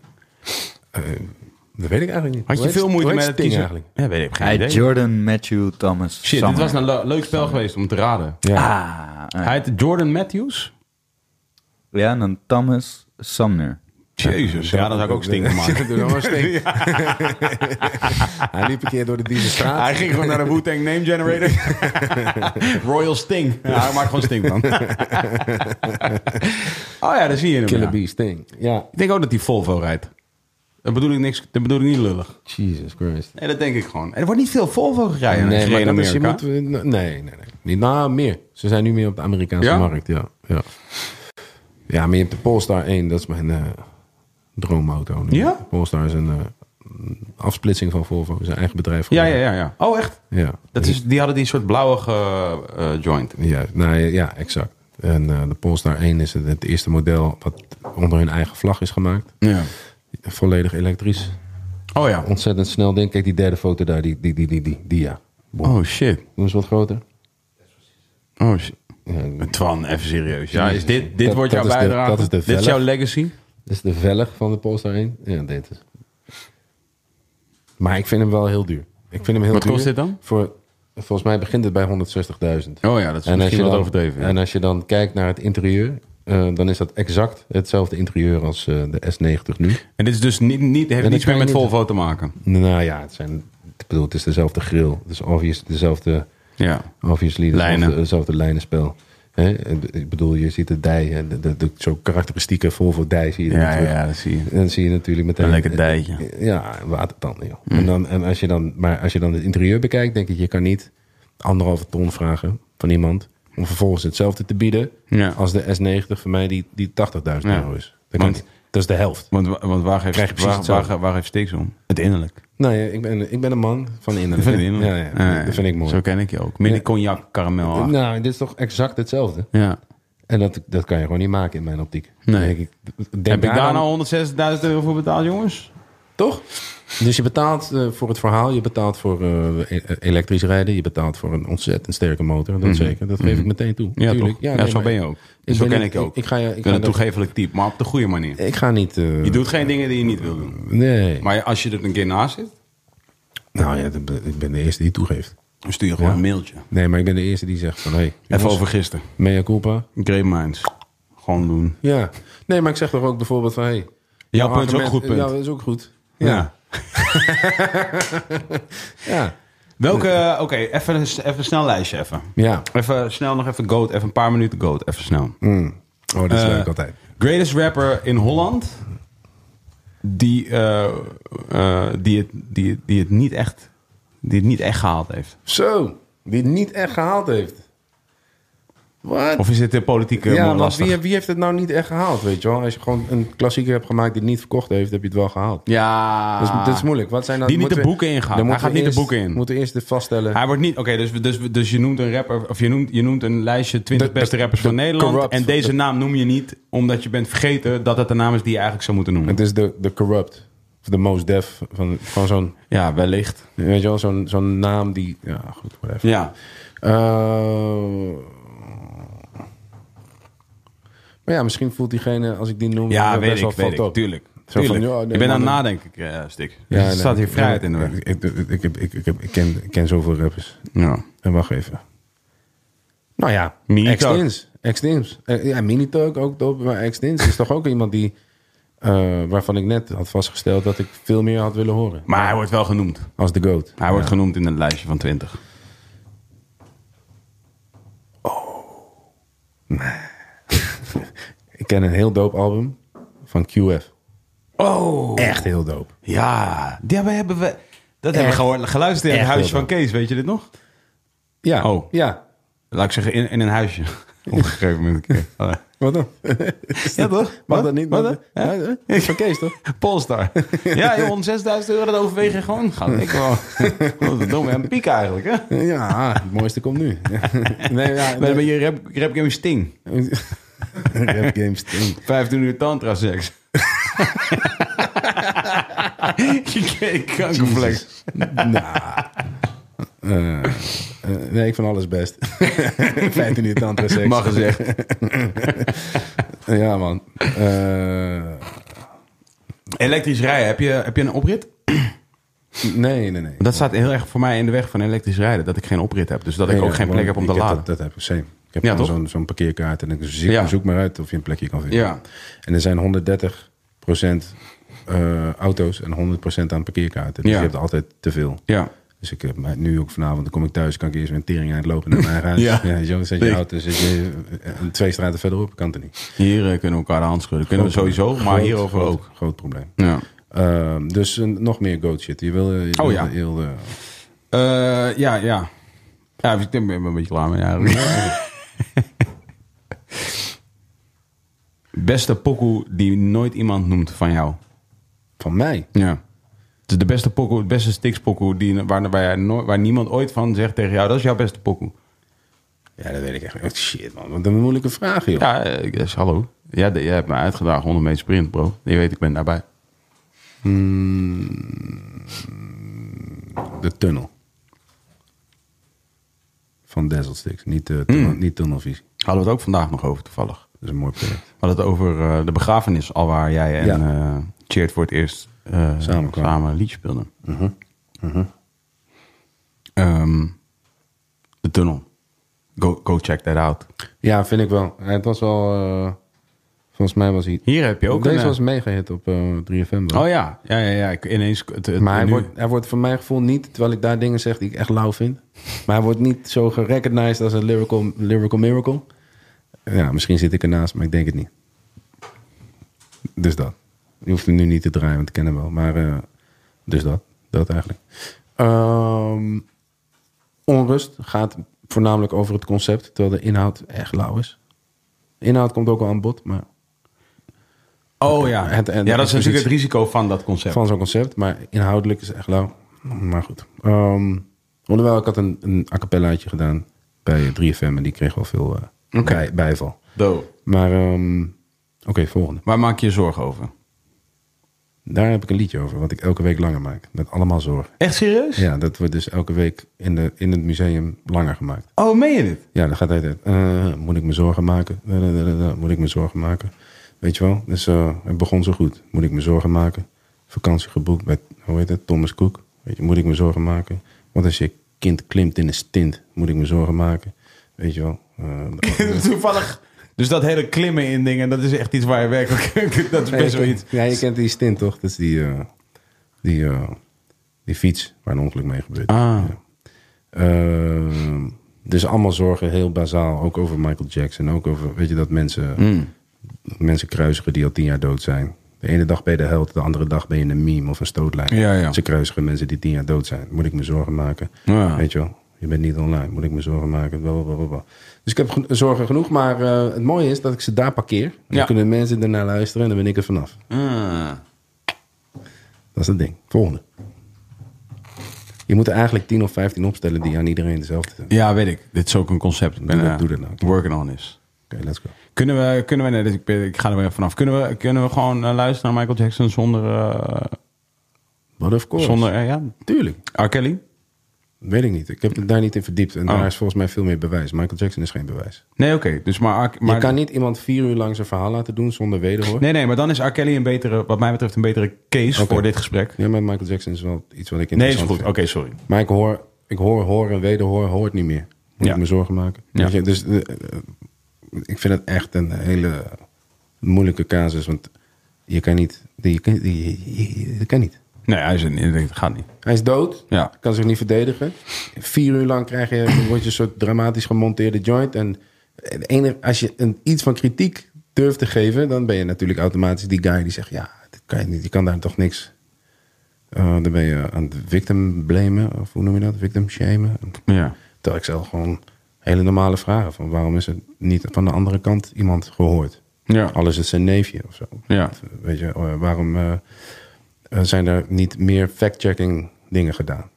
Dat weet ik eigenlijk niet.
Had
Hoe
je
heet-
veel
hoe
moeite
heet
met het
Sting
kiezen?
eigenlijk?
Ja, weet ik, heb geen
Hij
idee.
Jordan Matthew Thomas.
Shit,
Summer.
dit was nou- een le- leuk spel geweest om te raden.
Ja.
Ah, eh,
Hij heet Jordan Matthews.
ja, en dan Thomas Sumner.
Jezus, ja, dan zou ik ook
<laughs>
Sting van maken.
Doe dan maar Sting.
<laughs>
Hij liep een keer door de Diezenstraat.
Hij ging gewoon naar de Wu-Tang Name Generator. <laughs> Royal Sting. Ja, hij maakt gewoon Sting
<laughs>
van. oh ja, daar zie je hem.
Killer
ja.
Bee Sting. Ja.
Ik denk ook dat hij Volvo rijdt. Dat bedoel ik, niks, dat bedoel ik niet lullig.
Jesus Christ.
Nee, dat denk ik gewoon. Er wordt niet veel Volvo gereden, nee,
maar
in
dat is- je
Amerika.
moet, nee, nee, nee. Niet, nou, meer. Ze zijn nu meer op de Amerikaanse
Ja?
markt. Ja. ja. Ja, maar je hebt de Polestar 1. Dat is mijn eh, droomauto. Nu.
Ja?
De Polestar is een eh, een afsplitsing van Volvo. Zijn eigen bedrijf.
Ja, ja,
geworden.
ja, ja. Oh, echt?
Ja.
Dat is, die hadden die soort blauwe eh, eh, joint.
Ja, nou, ja, ja, exact. En eh, de Polestar 1 is het, het eerste model wat onder hun eigen vlag is gemaakt.
Ja.
Volledig elektrisch.
Oh ja.
Ontzettend snel ding. Kijk die derde foto daar. Die, die, die, die, die, die ja.
Oh shit.
Doe eens wat groter.
Oh, shit. Twan, even serieus. Ja, is dit, dit
Dat-
wordt
dat
jouw
is de-
bijdrage?
dat is de
dit is
velg.
jouw legacy?
Dit is de velg van de Polestar 1. Ja, dit is. Maar ik vind hem wel heel duur. Ik vind hem heel
Wat
duur.
kost dit dan?
Voor, volgens mij begint het bij 160.000.
Oh ja, dat is misschien wat
dan,
overdreven. ja.
En als je dan kijkt naar het interieur, eh, dan is dat exact hetzelfde interieur als eh, de S90 nu.
En dit is dus niet, niet, heeft
dat
niets
kan
meer
je
met
niet-
Volvo te maken.
Nou ja, het zijn, ik bedoel, het is dezelfde grill. Het is obvious, dezelfde,
Ja.
obviously
Lijnen.
dezelfde, dezelfde lijnenspel. Hè? En Ik bedoel, je ziet de dij, hè, de, de, de- zo karakteristieke Volvo dij zie je er
Ja,
natuurlijk.
ja, dat zie je.
En dan zie je natuurlijk meteen...
Een lekker dijtje. Mm.
Ja, watertanden, joh. En dan, en als je dan, maar als je dan het interieur bekijkt, denk ik, je kan niet anderhalve ton vragen van iemand om vervolgens hetzelfde te bieden
Ja.
als de S90 van mij die, die 80.000 euro is. Dat, kan
Want-
niet. dat is de helft.
Want, wa- want waar geeft,
Krijg je precies
waar,
hetzelfde.
waar, waar geeft Stix om? Het innerlijk.
Nou ja, ik ben, ik ben een man van
Dat
innerlijk.
vind ik innerlijk.
Ja, ja, dat- dat vind ik mooi.
Zo ken ik je ook. Midden
Ja.
cognac, karamel.
Nou, dit is toch exact hetzelfde?
ja.
En dat, dat kan je gewoon niet maken in mijn optiek.
Nee.
Denk ik, denk
Heb ik
daar
daar
dan-
nou 160.000 euro voor betaald, jongens?
Toch? Dus je betaalt eh, voor het verhaal, je betaalt voor eh, e- elektrisch rijden, je betaalt voor een ontzettend sterke motor, dat zeker. Dat geef ik meteen toe.
Mhm. Ja,
Tuurlijk.
toch? Ja,
nee,
zo
maar
ben je ook.
ik
zo
ben
ken
niet-
ik je ook.
Ik ga,
Ik
je- ik
ben
ga,
een
dat-
toegevelijk type, maar op de goede manier.
ik ga niet... eh,
Je doet geen dingen die je niet wil doen.
Nee.
Maar als je er een keer naast zit,
Nou ja, dat ben- ik ben de eerste die het toegeeft.
dan stuur je gewoon
Ja.
een mailtje.
Nee, maar ik ben de eerste die zegt van, hé, hey,
Even
jongens,
over gisteren.
mea culpa.
Great minds. Gewoon doen.
Ja. Nee, maar ik zeg toch ook bijvoorbeeld van, hé... Hey,
Jouw punt is ook een goed
argument-
punt.
Ja, dat is ook goed.
Ja.
Ja.
Welke, eh, oké, even, een- even een snel lijstje even.
Ja.
Even snel nog even goat, even een paar minuten goat, even snel.
Oh, dat is
Eh,
leuk altijd.
Greatest rapper in Holland die, eh, eh, die, het, die, die, het niet echt, die het niet echt gehaald heeft.
Zo, die het niet echt gehaald heeft. Wat?
Of is dit de politieke
Ja,
ja,
want
lastig?
wie, wie heeft het nou niet echt gehaald, weet je wel? Als je gewoon een klassieker hebt gemaakt die het niet verkocht heeft, heb je het wel gehaald.
Ja,
Dat, is, dat is moeilijk. Wat zijn nou,
Ah. Die niet de
moeten we-
boeken ingaat.
dan
Hij
moeten
gaat
we
niet de
eerst-
boeken in.
moeten we eerst dit vaststellen.
Hij wordt niet. Oké, dus, dus, dus je noemt een rapper. Of je noemt, je noemt een lijstje 20
De- de-
beste rappers
de
van Nederland.
corrupt.
en deze
De-
naam noem je niet omdat je bent vergeten dat het de naam is die je eigenlijk zou moeten noemen.
Het is de, de corrupt. Of de most def. Van, van zo'n,
Ja, wellicht.
weet je wel, zo'n, zo'n naam die... Ja, goed, whatever.
Ja.
Eh, maar ja, misschien voelt diegene, als ik die noem...
Ja,
wel
weet
best
ik,
wel
weet
fucked
ik.
up.
Tuurlijk.
Zo van,
Tuurlijk.
ja, nee,
ik ben aan het
maar-
nadenken, eh Stik.
Ja,
er
nee.
staat hier vrijheid in de weg.
Ik, ik, ik, ik, ik, ik- ik ken, ik ken zoveel rappers.
Ja.
En wacht even. Nou ja,
Mini
Extins. Extins. Eh, Ja, Minitalk ook dope. Maar Extins is <laughs> toch ook iemand die... eh, waarvan ik net had vastgesteld dat ik veel meer had willen horen.
Maar hij wordt wel genoemd.
Als de GOAT.
Hij wordt genoemd in het lijstje van 20.
Ik ken een heel dope album van QF.
Oh,
Echt heel dope.
ja. Die hebben we. Dat hebben we gehoord, geluisterd in het
Echt
huisje
heel
van Kees. Weet je dit nog?
Ja.
Oh.
Ja.
Laat ik zeggen, in, in een huisje. Oh, Op een gegeven moment. <laughs>
Wat dan?
Ja, toch?
Mag dat niet?
Wat
Mag
dan?
dat-
Ja?
Ja, Van Kees, toch?
Polestar. <laughs> Ja, joh, 6000 euro, dat overweeg je gewoon. Gaat ik
<laughs>
wel. Wat een domme en piek eigenlijk, hè?
Ja, het mooiste komt nu. <laughs> Nee, ja.
Ben
nee.
je rap, rap game sting.
<laughs> Rap games stinken.
<laughs> 15 uur tantra
<laughs>
seks. Je kankerflex.
Eh, eh, nee, ik vind alles best. <laughs> 15 uur tantra seks.
Mag gezegd.
<laughs> Ja, man. Eh,
Elektrisch rijden, heb je, heb je een oprit?
nee, nee, nee.
Dat staat heel erg voor mij in de weg van elektrisch rijden. Dat ik geen oprit heb. Dus dat ik
Nee,
ook
ja,
geen plek
want
heb om
ik
te
heb
laden.
Dat, dat heb ik, same. Ik heb
Ja,
gewoon
toch?
zo'n zo'n parkeerkaart en ik zoek,
Ja.
zoek maar uit of je een plekje kan vinden.
Ja.
En er zijn 130 eh, auto's en 100 aan parkeerkaarten. Dus
Ja.
je hebt altijd te veel.
Ja.
Dus ik heb mij nu ook vanavond, dan kom ik thuis, kan ik eerst weer een tering uitlopen naar
<laughs>
mijn eigen huis.
Ja.
weet je wel, dan zet je
Nee.
auto, zet je eh, twee straten verderop, kan het niet.
Hier eh, kunnen we elkaar de hand schudden. Kunnen we sowieso, maar
Groot,
hierover
groot,
ook.
Groot probleem.
Ja.
Ehm, dus eh, nog meer goat shit. Je wil, eh, je
Oh,
wil-
ja.
je wil, eh,
Eh, ja, ja. Ja, ik ben er een beetje klaar mee eigenlijk. <laughs> beste pokoe die nooit iemand noemt van jou.
van mij.
Ja. Het is de beste pokoe, het beste stikspokoe die, waar, waar, jij nooit- waar niemand ooit van zegt tegen jou. Dat is jouw beste pokoe.
Ja, dat weet ik echt. echt Shit, man. Wat een moeilijke vraag, joh.
Ja, eh, ik zeg hallo. Ja, de- jij hebt me uitgedaagd 100 meter sprint, bro. Je weet, ik ben daarbij.
De tunnel. van Dazzle Sticks. Niet, eh, tunnel-
Hmm.
niet tunnelvisie.
Hadden we het ook vandaag nog over toevallig.
Dat is een mooi project.
We hadden het over eh, de begrafenis, al waar jij en
Ja.
eh Cheert voor het eerst eh,
Samen
samen,
kwamen. Mhm.
een liedje speelden. Ehm, de tunnel. Go, go check that out.
Ja, vind ik wel. Eh, Het was wel... eh, volgens mij was hij...
Hier heb je ook
Deze
een... eh,
was mega hit op eh, 3FM. dan.
Oh ja, ja, ja, ja. Ik, ineens, het, het
Maar hij
nu-
wordt, hij wordt van mijn gevoel niet, terwijl ik daar dingen zeg die ik echt lauw vind. Maar hij wordt niet zo gerecognized als een lyrical, lyrical miracle. Ja, misschien zit ik ernaast, maar ik denk het niet. Dus dat. Je hoeft hem nu niet te draaien, want ik ken hem wel. Maar eh, dus dat. Dat eigenlijk. Ehm, onrust gaat voornamelijk over het concept, terwijl de inhoud echt lauw is. De inhoud komt ook wel aan bod, maar
Oh ja,
Het-
ja dat
en-
is
expositie.
natuurlijk het risico van dat concept.
van zo'n concept. Maar inhoudelijk is het echt lauw. Maar goed. Ehm hoewel, ik had een, een a cappellaatje gedaan bij 3FM. En die kreeg wel veel eh,
Oké.
bij- bijval.
Do.
Maar ehm, oké, volgende.
Waar maak je je zorgen over?
Daar heb ik een liedje over, wat ik elke week langer maak. Met allemaal zorgen.
Echt serieus?
Ja, dat wordt dus elke week in, de, in het museum langer gemaakt.
Oh, meen je dit?
Ja, dan gaat hij tijd. eh, moet ik me zorgen maken? Eh, eh, eh, eh, moet ik me zorgen maken? Weet je wel? Dus eh, het begon zo goed. Moet ik me zorgen maken? Vakantie geboekt bij, hoe heet het? Thomas Cook. Weet je, moet ik me zorgen maken? Want als je kind klimt in een stint, moet ik me zorgen maken? Weet je wel?
<laughs>
Eh,
Toevallig. Dus dat hele klimmen in dingen, dat is echt iets waar je werkelijk... <laughs> dat is
Nee,
best
je
wel
kent-
iets.
Ja, je kent die stint toch? Dat is die, eh, die, eh, die fiets waar een ongeluk mee gebeurt.
Ah.
Ja. Ehm, dus allemaal zorgen, heel bazaal. Ook over Michael Jackson. Ook over, weet je, dat mensen,
Hmm.
mensen kruisigen die al tien jaar dood zijn. De ene dag ben je de held, de andere dag ben je een meme of een Dus stootlijn.
Ja, ja.
Ze kruisigen mensen die tien jaar dood zijn. Moet ik me zorgen maken?
Ja.
Weet je wel, je bent niet online. Moet ik me zorgen maken? Blablabla. Dus ik heb geno- zorgen genoeg. Maar eh, het mooie is dat ik ze daar parkeer. En
Ja.
Dan kunnen mensen ernaar luisteren en dan ben ik er vanaf.
Ah.
Dat is het ding. Volgende. Je moet er eigenlijk 10 of 15 opstellen die aan iedereen dezelfde zijn.
Ja, weet ik. Dit is ook een concept. Ik ben
Doe dat-
eh,
doe dat nou.
working on is.
Oké, let's go.
Kunnen we, kunnen we nee, dit- ik, ben- ik ga er weer vanaf. Kunnen we, kunnen we gewoon eh, luisteren naar Michael Jackson zonder, eh,
But of course.
zonder eh, ja,
Tuurlijk.
R. Kelly?
Weet ik niet. Ik heb het daar niet in verdiept. En
Oh.
daar is volgens mij veel meer bewijs. Michael Jackson is geen bewijs.
Nee, oké. Dus maar, R- maar
je kan niet iemand vier uur lang zijn verhaal laten doen zonder wederhoor.
Nee, nee, maar dan is R. Kelly een betere, wat mij betreft, een betere case
Oké.
voor dit gesprek.
Ja, maar Michael Jackson is wel iets wat ik
Nee, is
interessant
goed. Oké,
vind.
sorry.
Maar ik hoor, ik hoor, hoor en wederhoor, hoor het niet meer. Moet
Ja.
ik me zorgen maken?
Ja.
Weet je, dus eh, eh, ik vind het echt een hele moeilijke casus. Want je kan niet, je kan, je, je- je kan niet.
Nee, hij is een, dat gaat niet.
Hij is dood.
Ja.
Kan zich niet verdedigen. Vier uur lang krijg je, word je een soort dramatisch gemonteerde joint. En het enige- als je een, iets van kritiek durft te geven, dan ben je natuurlijk automatisch die guy die zegt: Ja, dit kan je niet. Je kan daar toch niks. Eh, dan ben je aan het victim blamen, of hoe noem je dat? Victim shamen.
Ja.
Terwijl ik zelf gewoon hele normale vragen van waarom is er niet van de andere kant iemand gehoord?
Ja.
Al is het zijn neefje of zo.
Ja.
Weet je, eh, waarom eh, eh, zijn er niet meer fact-checking dingen gedaan?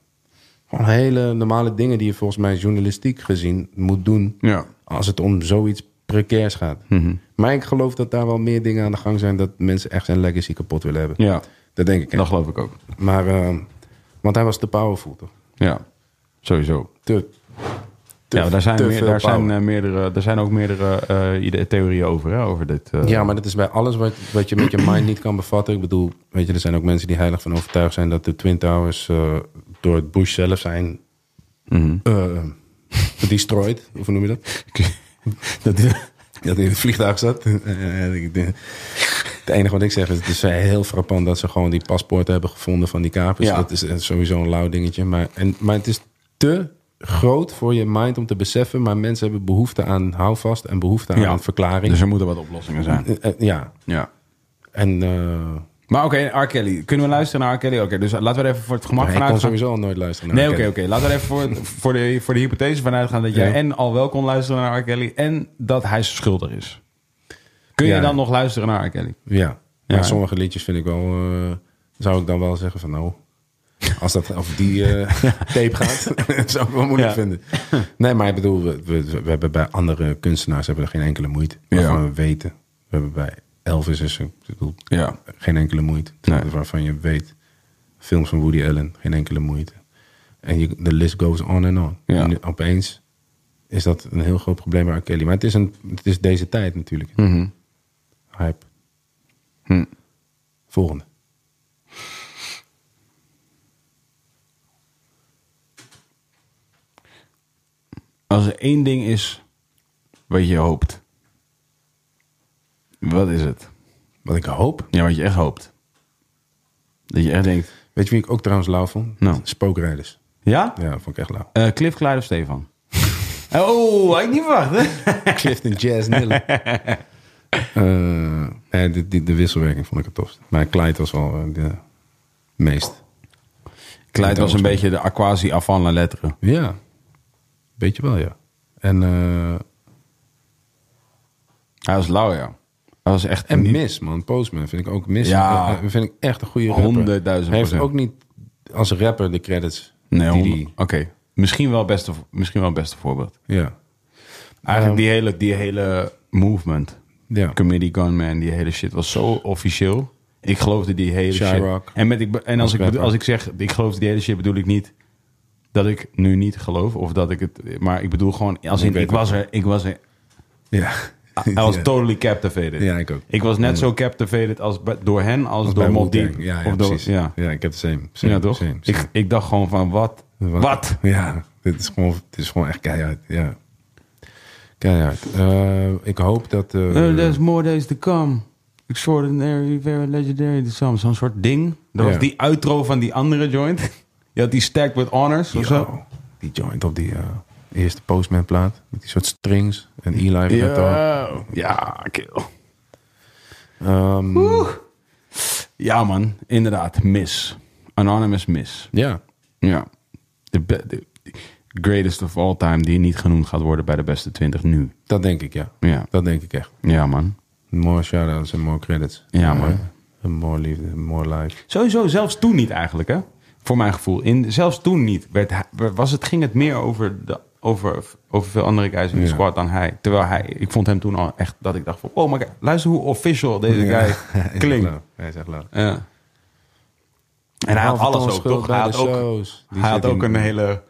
Gewoon hele normale dingen die je volgens mij journalistiek gezien moet doen
Ja. Mhm.
als het om zoiets precairs gaat. Maar ik geloof dat daar wel meer dingen aan de gang zijn dat mensen echt zijn legacy kapot willen hebben.
Ja.
Dat denk ik. echt.
Dat geloof ik ook.
Maar, eh, want hij was te powerful toch?
Ja. Sowieso.
Te, te-
Ja, maar daar zijn,
te
meer,
veel
daar zijn,
power.
eh, meerdere, daar zijn ook meerdere eh, ide- theorieën over, hè, over dit. eh,
Ja, maar dat is bij alles wat, wat je met je mind niet kan bevatten. Ik bedoel, weet je, er zijn ook mensen die heilig van overtuigd zijn dat de Twin Towers eh, door het Bush zelf zijn
Mhm.
eh, destroyed. Of hoe noem je dat?
<laughs>
dat, die, dat die in het vliegtuig zat. <laughs> Eh, eh, ik denk- het enige wat ik zeg is, het is heel frappant dat ze gewoon die paspoorten hebben gevonden van die kapers.
Ja.
Dat is eh, sowieso een lauw dingetje. Maar, en, maar het is te groot voor je mind om te beseffen. Maar mensen hebben behoefte aan houvast en behoefte aan
Ja.
verklaring.
Dus er moeten wat oplossingen zijn.
Eh, eh, ja,
Ja.
en eh
Maar oké, R. Kelly. Kunnen we luisteren naar R. Kelly? Oké, dus laten we er even voor het gemak
ik
van
kan
uitgaan.
sowieso al nooit luisteren naar
Nee, oké,
R.
oké.
Kelly.
Laten we er even
<laughs>
voor, voor, de, voor de hypothese van uitgaan dat jij
Ja.
en al wel kon luisteren naar R. Kelly en dat hij schuldig is. Kun je
Ja.
dan nog luisteren naar R. Kelly?
Ja.
Ja,
Maar
hè?
sommige liedjes vind ik wel... eh, zou ik dan wel zeggen van nou... Als dat over die
<laughs>
eh, tape gaat, <laughs> zou ik wel moeilijk
Ja.
vinden. Nee, maar ik bedoel, we, we, we hebben bij andere kunstenaars hebben we geen enkele moeite.
Ja.
Waarvan we weten. We hebben bij Elvis is een- ik bedoel,
Ja.
geen enkele moeite. Dus
Nee.
Waarvan je weet. Films van Woody Allen, geen enkele moeite. En je- de list goes on and on.
Ja.
En nu opeens is dat een heel groot probleem bij R. Kelly. Maar het is, een, het is deze tijd natuurlijk.
Mhm.
Hype.
Hm.
Volgende.
Als er één ding is wat je hoopt. Wat is het?
Wat ik hoop.
Ja, wat je echt hoopt. Dat je echt denkt.
Weet je wie ik ook trouwens lauw vond?
Nou.
Spookrijders.
Ja?
Ja, vond ik echt
<laughs>
lauw.
Eh, Cliff, Clyde of Stefan? oh, had ik niet verwacht. Hè?
Clifton Jazz Nille. Eh, nee, de, de, de wisselwerking vond ik het tofst. Maar Clyde was wel eh, de meest.
Clyde was een beetje de aquasi avant la lettre.
Ja, beetje wel ja. En, eh,
Hij was lauw, ja. Hij was echt
en
niet-
Miss, man. Postman vind ik ook Miss.
Ja.
eh, vind ik echt een goede rapper.
100.000
Hij heeft
procent.
ook niet als rapper de credits.
Nee,
die
honderd-
die-
Oké. Misschien wel het beste, misschien wel het beste voorbeeld.
ja.
Eigenlijk die, hele, die hele movement.
Ehm. Ja.
Comedy Gunman, die hele shit was zo officieel. Ik geloofde die hele
Chirac.
shit. En, met, ik be- en als,
Als
ik, bedo-
rapper.
als ik zeg, ik geloofde die hele shit, bedoel ik niet dat ik nu niet geloof. Of dat ik het... Maar ik bedoel gewoon, als
Ik
in,
weet
ik was er, ik
<laughs>
was er
Ja.
<laughs> Hij was
Ja.
totally captivated.
Ja, ik ook.
Ik was net zo captivated als bij- door hen als,
Als
door
bij
Mob Deep.
Wu-Tang. Ja, ja,
Of door-
precies.
Ja.
Ja. ik heb de same.
Ja,
same,
toch?
same, same.
Ik, ik dacht gewoon van, wat? Wat?
Ja, dit is gewoon, het is gewoon echt keihard. Ja. Keihard. Eh, ik hoop dat... eh,
Eh, there's more days to come. Extraordinary, very legendary, the sum. Zo'n soort ding. Dat was
Ja.
die outro van die andere joint. <laughs> Je had die stacked with honors of zo.
Yo, die joint op die eh, eerste Postman plaat. Met die soort strings. En Eli van het al.
Ja, ja, kill. Ehm. Ja, man. Inderdaad. Miss. Anonymous Miss.
Ja.
Ja. De, be- de- greatest of all time die niet genoemd gaat worden bij de beste 20 nu.
Dat denk ik, ja.
Ja.
Dat denk ik echt.
Ja, man.
More shout-outs en more credits.
Ja, man.
Eh, en more liefde, en more life.
Sowieso, zelfs toen niet eigenlijk, hè? Voor mijn gevoel. In, zelfs toen niet. Werd hij- was het, ging het meer over, de, over, over veel andere guys in de
Ja.
squad dan hij. Terwijl hij, ik vond hem toen al echt dat ik dacht van... Oh my god, luister hoe official deze guy
Hij <laughs> is
klinkt.
echt lauw. Hij is echt lauw.
Ja. En hij had
Halve
alles
ton
ook,
schuld
toch?
bij
Hij had
de
ook,
shows. Die
hij had
zit
ook
in-
een hele,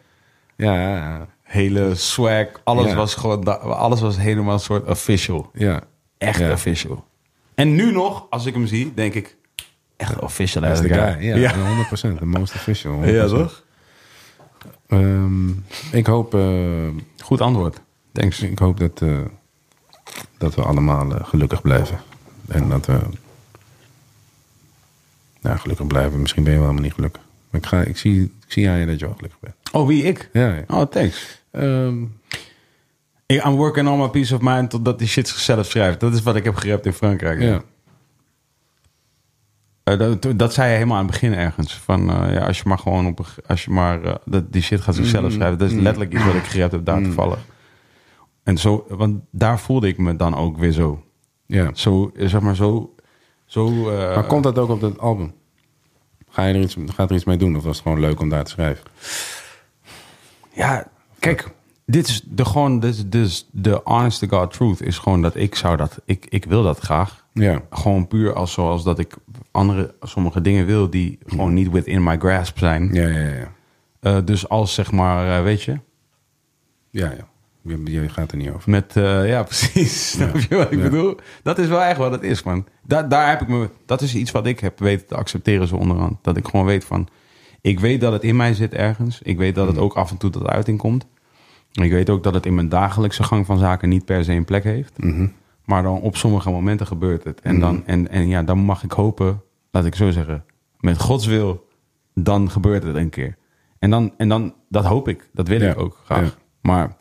Ja, ja, ja.
hele swag. Alles,
Ja.
was gewoon, da- alles was helemaal een soort official.
ja.
Echt
Ja.
official. En nu nog, als ik hem zie, denk ik... Echt official.
Dat is de
guy.
guy. Ja,
Ja.
100%. The most official. 100%.
<laughs> ja, toch?
Ehm, ik hoop... eh,
Goed antwoord. Thanks.
Ik hoop dat, eh, dat we allemaal eh, gelukkig blijven. En dat we. Nou, gelukkig blijven. Misschien ben je wel helemaal niet gelukkig. Maar ik, ga, ik, zie, ik zie aan je dat je wel gelukkig bent.
Oh, wie ik?
Ja, ja.
Oh, thanks.
Ehm,
Ik, I'm working on my peace of mind totdat die shit zichzelf schrijft. Dat is wat ik heb gerept in Frankrijk.
ja.
Eh, dat, dat zei je helemaal aan het begin ergens. Van eh, ja, als je maar gewoon op een ge- als je maar eh, dat die shit gaat zichzelf
Mm-hmm.
schrijven. Dat is letterlijk iets wat ik gerept heb daar toevallig. En zo, want daar voelde ik me dan ook weer zo.
ja.
Zo, eh, zeg maar zo. zo eh,
Maar komt dat ook op dat album? Ga je er iets, gaat er iets mee doen? Of was het gewoon leuk om daar te schrijven?
Ja, kijk, dit is de gewoon, dit is, dit is de honest to God truth is gewoon dat ik zou dat, ik, ik wil dat graag.
Ja.
Gewoon puur als zoals dat ik andere, sommige dingen wil die gewoon niet within my grasp zijn.
Ja, ja, ja.
Eh, dus als zeg maar, eh, weet je,
ja, ja. Je, je gaat er niet over.
met, eh, ja <laughs> precies, snap je wat ik bedoel? Dat is wel echt wat het is, man. Da daar heb ik me, dat is iets wat ik heb weten te accepteren zo onderhand. Dat ik gewoon weet van, ik weet dat het in mij zit ergens. Ik weet dat het ook af en toe tot uiting komt. Ik weet ook dat het in mijn dagelijkse gang van zaken niet per se een plek heeft. Maar dan op sommige momenten gebeurt het. En, dan, en, en ja, dan mag ik hopen, laat ik zo zeggen, met Gods wil, dan gebeurt het een keer. En dan, en dan dat hoop ik, dat wil
Ja,
ik ook graag.
ja.
Maar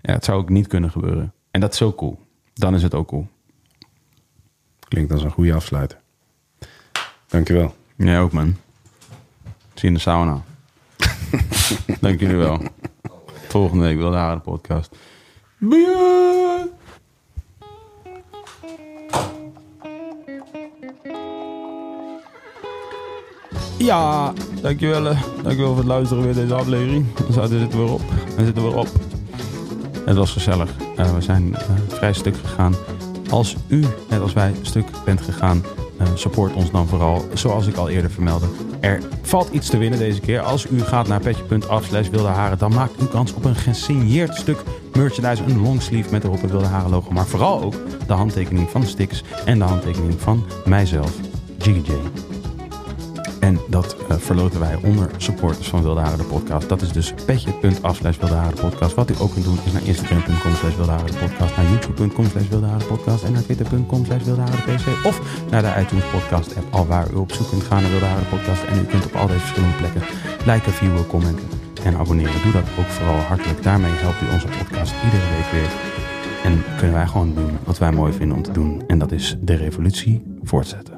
ja, het zou ook niet kunnen gebeuren. En dat is ook cool. Dan is het ook cool.
Klinkt als een goede afsluiter. Dankjewel.
Jij ook, man. Zie je in de sauna. Dank jullie wel. Volgende week wel de Haren podcast. Bye. Ja, dankjewel. eh. Dankjewel voor het luisteren weer deze aflevering. Zo, daar zitten we weer op. Daar zitten we weer op. Het was gezellig. Eh, we zijn eh, vrij stuk gegaan. Als u, net als wij, stuk bent gegaan, eh, support ons dan vooral. Zoals ik al eerder vermeldde. Er valt iets te winnen deze keer. Als u gaat naar petje.af slash wilde haren, dan maakt u kans op een gesigneerd stuk merchandise, een longsleeve met erop het Wilde Haren logo. Maar vooral ook de handtekening van Stix en de handtekening van mijzelf, Jiggy J. En dat eh, verloten wij onder supporters van Wilde Haren de podcast. Dat is dus petje.af slash Wilde Haren de podcast. Wat u ook kunt doen is naar instagram.com slash Wilde Haren de podcast. Naar youtube.com slash Wilde Haren de podcast. En naar twitter.com slash Wilde Haren de pc. Of naar de iTunes podcast app. Al waar u op zoek kunt gaan naar Wilde Haren de podcast. En u kunt op al deze verschillende plekken liken, viewen, commenten en abonneren. Doe dat ook vooral hartelijk. Daarmee helpt u onze podcast iedere week weer. En kunnen wij gewoon doen wat wij mooi vinden om te doen. En dat is de revolutie voortzetten.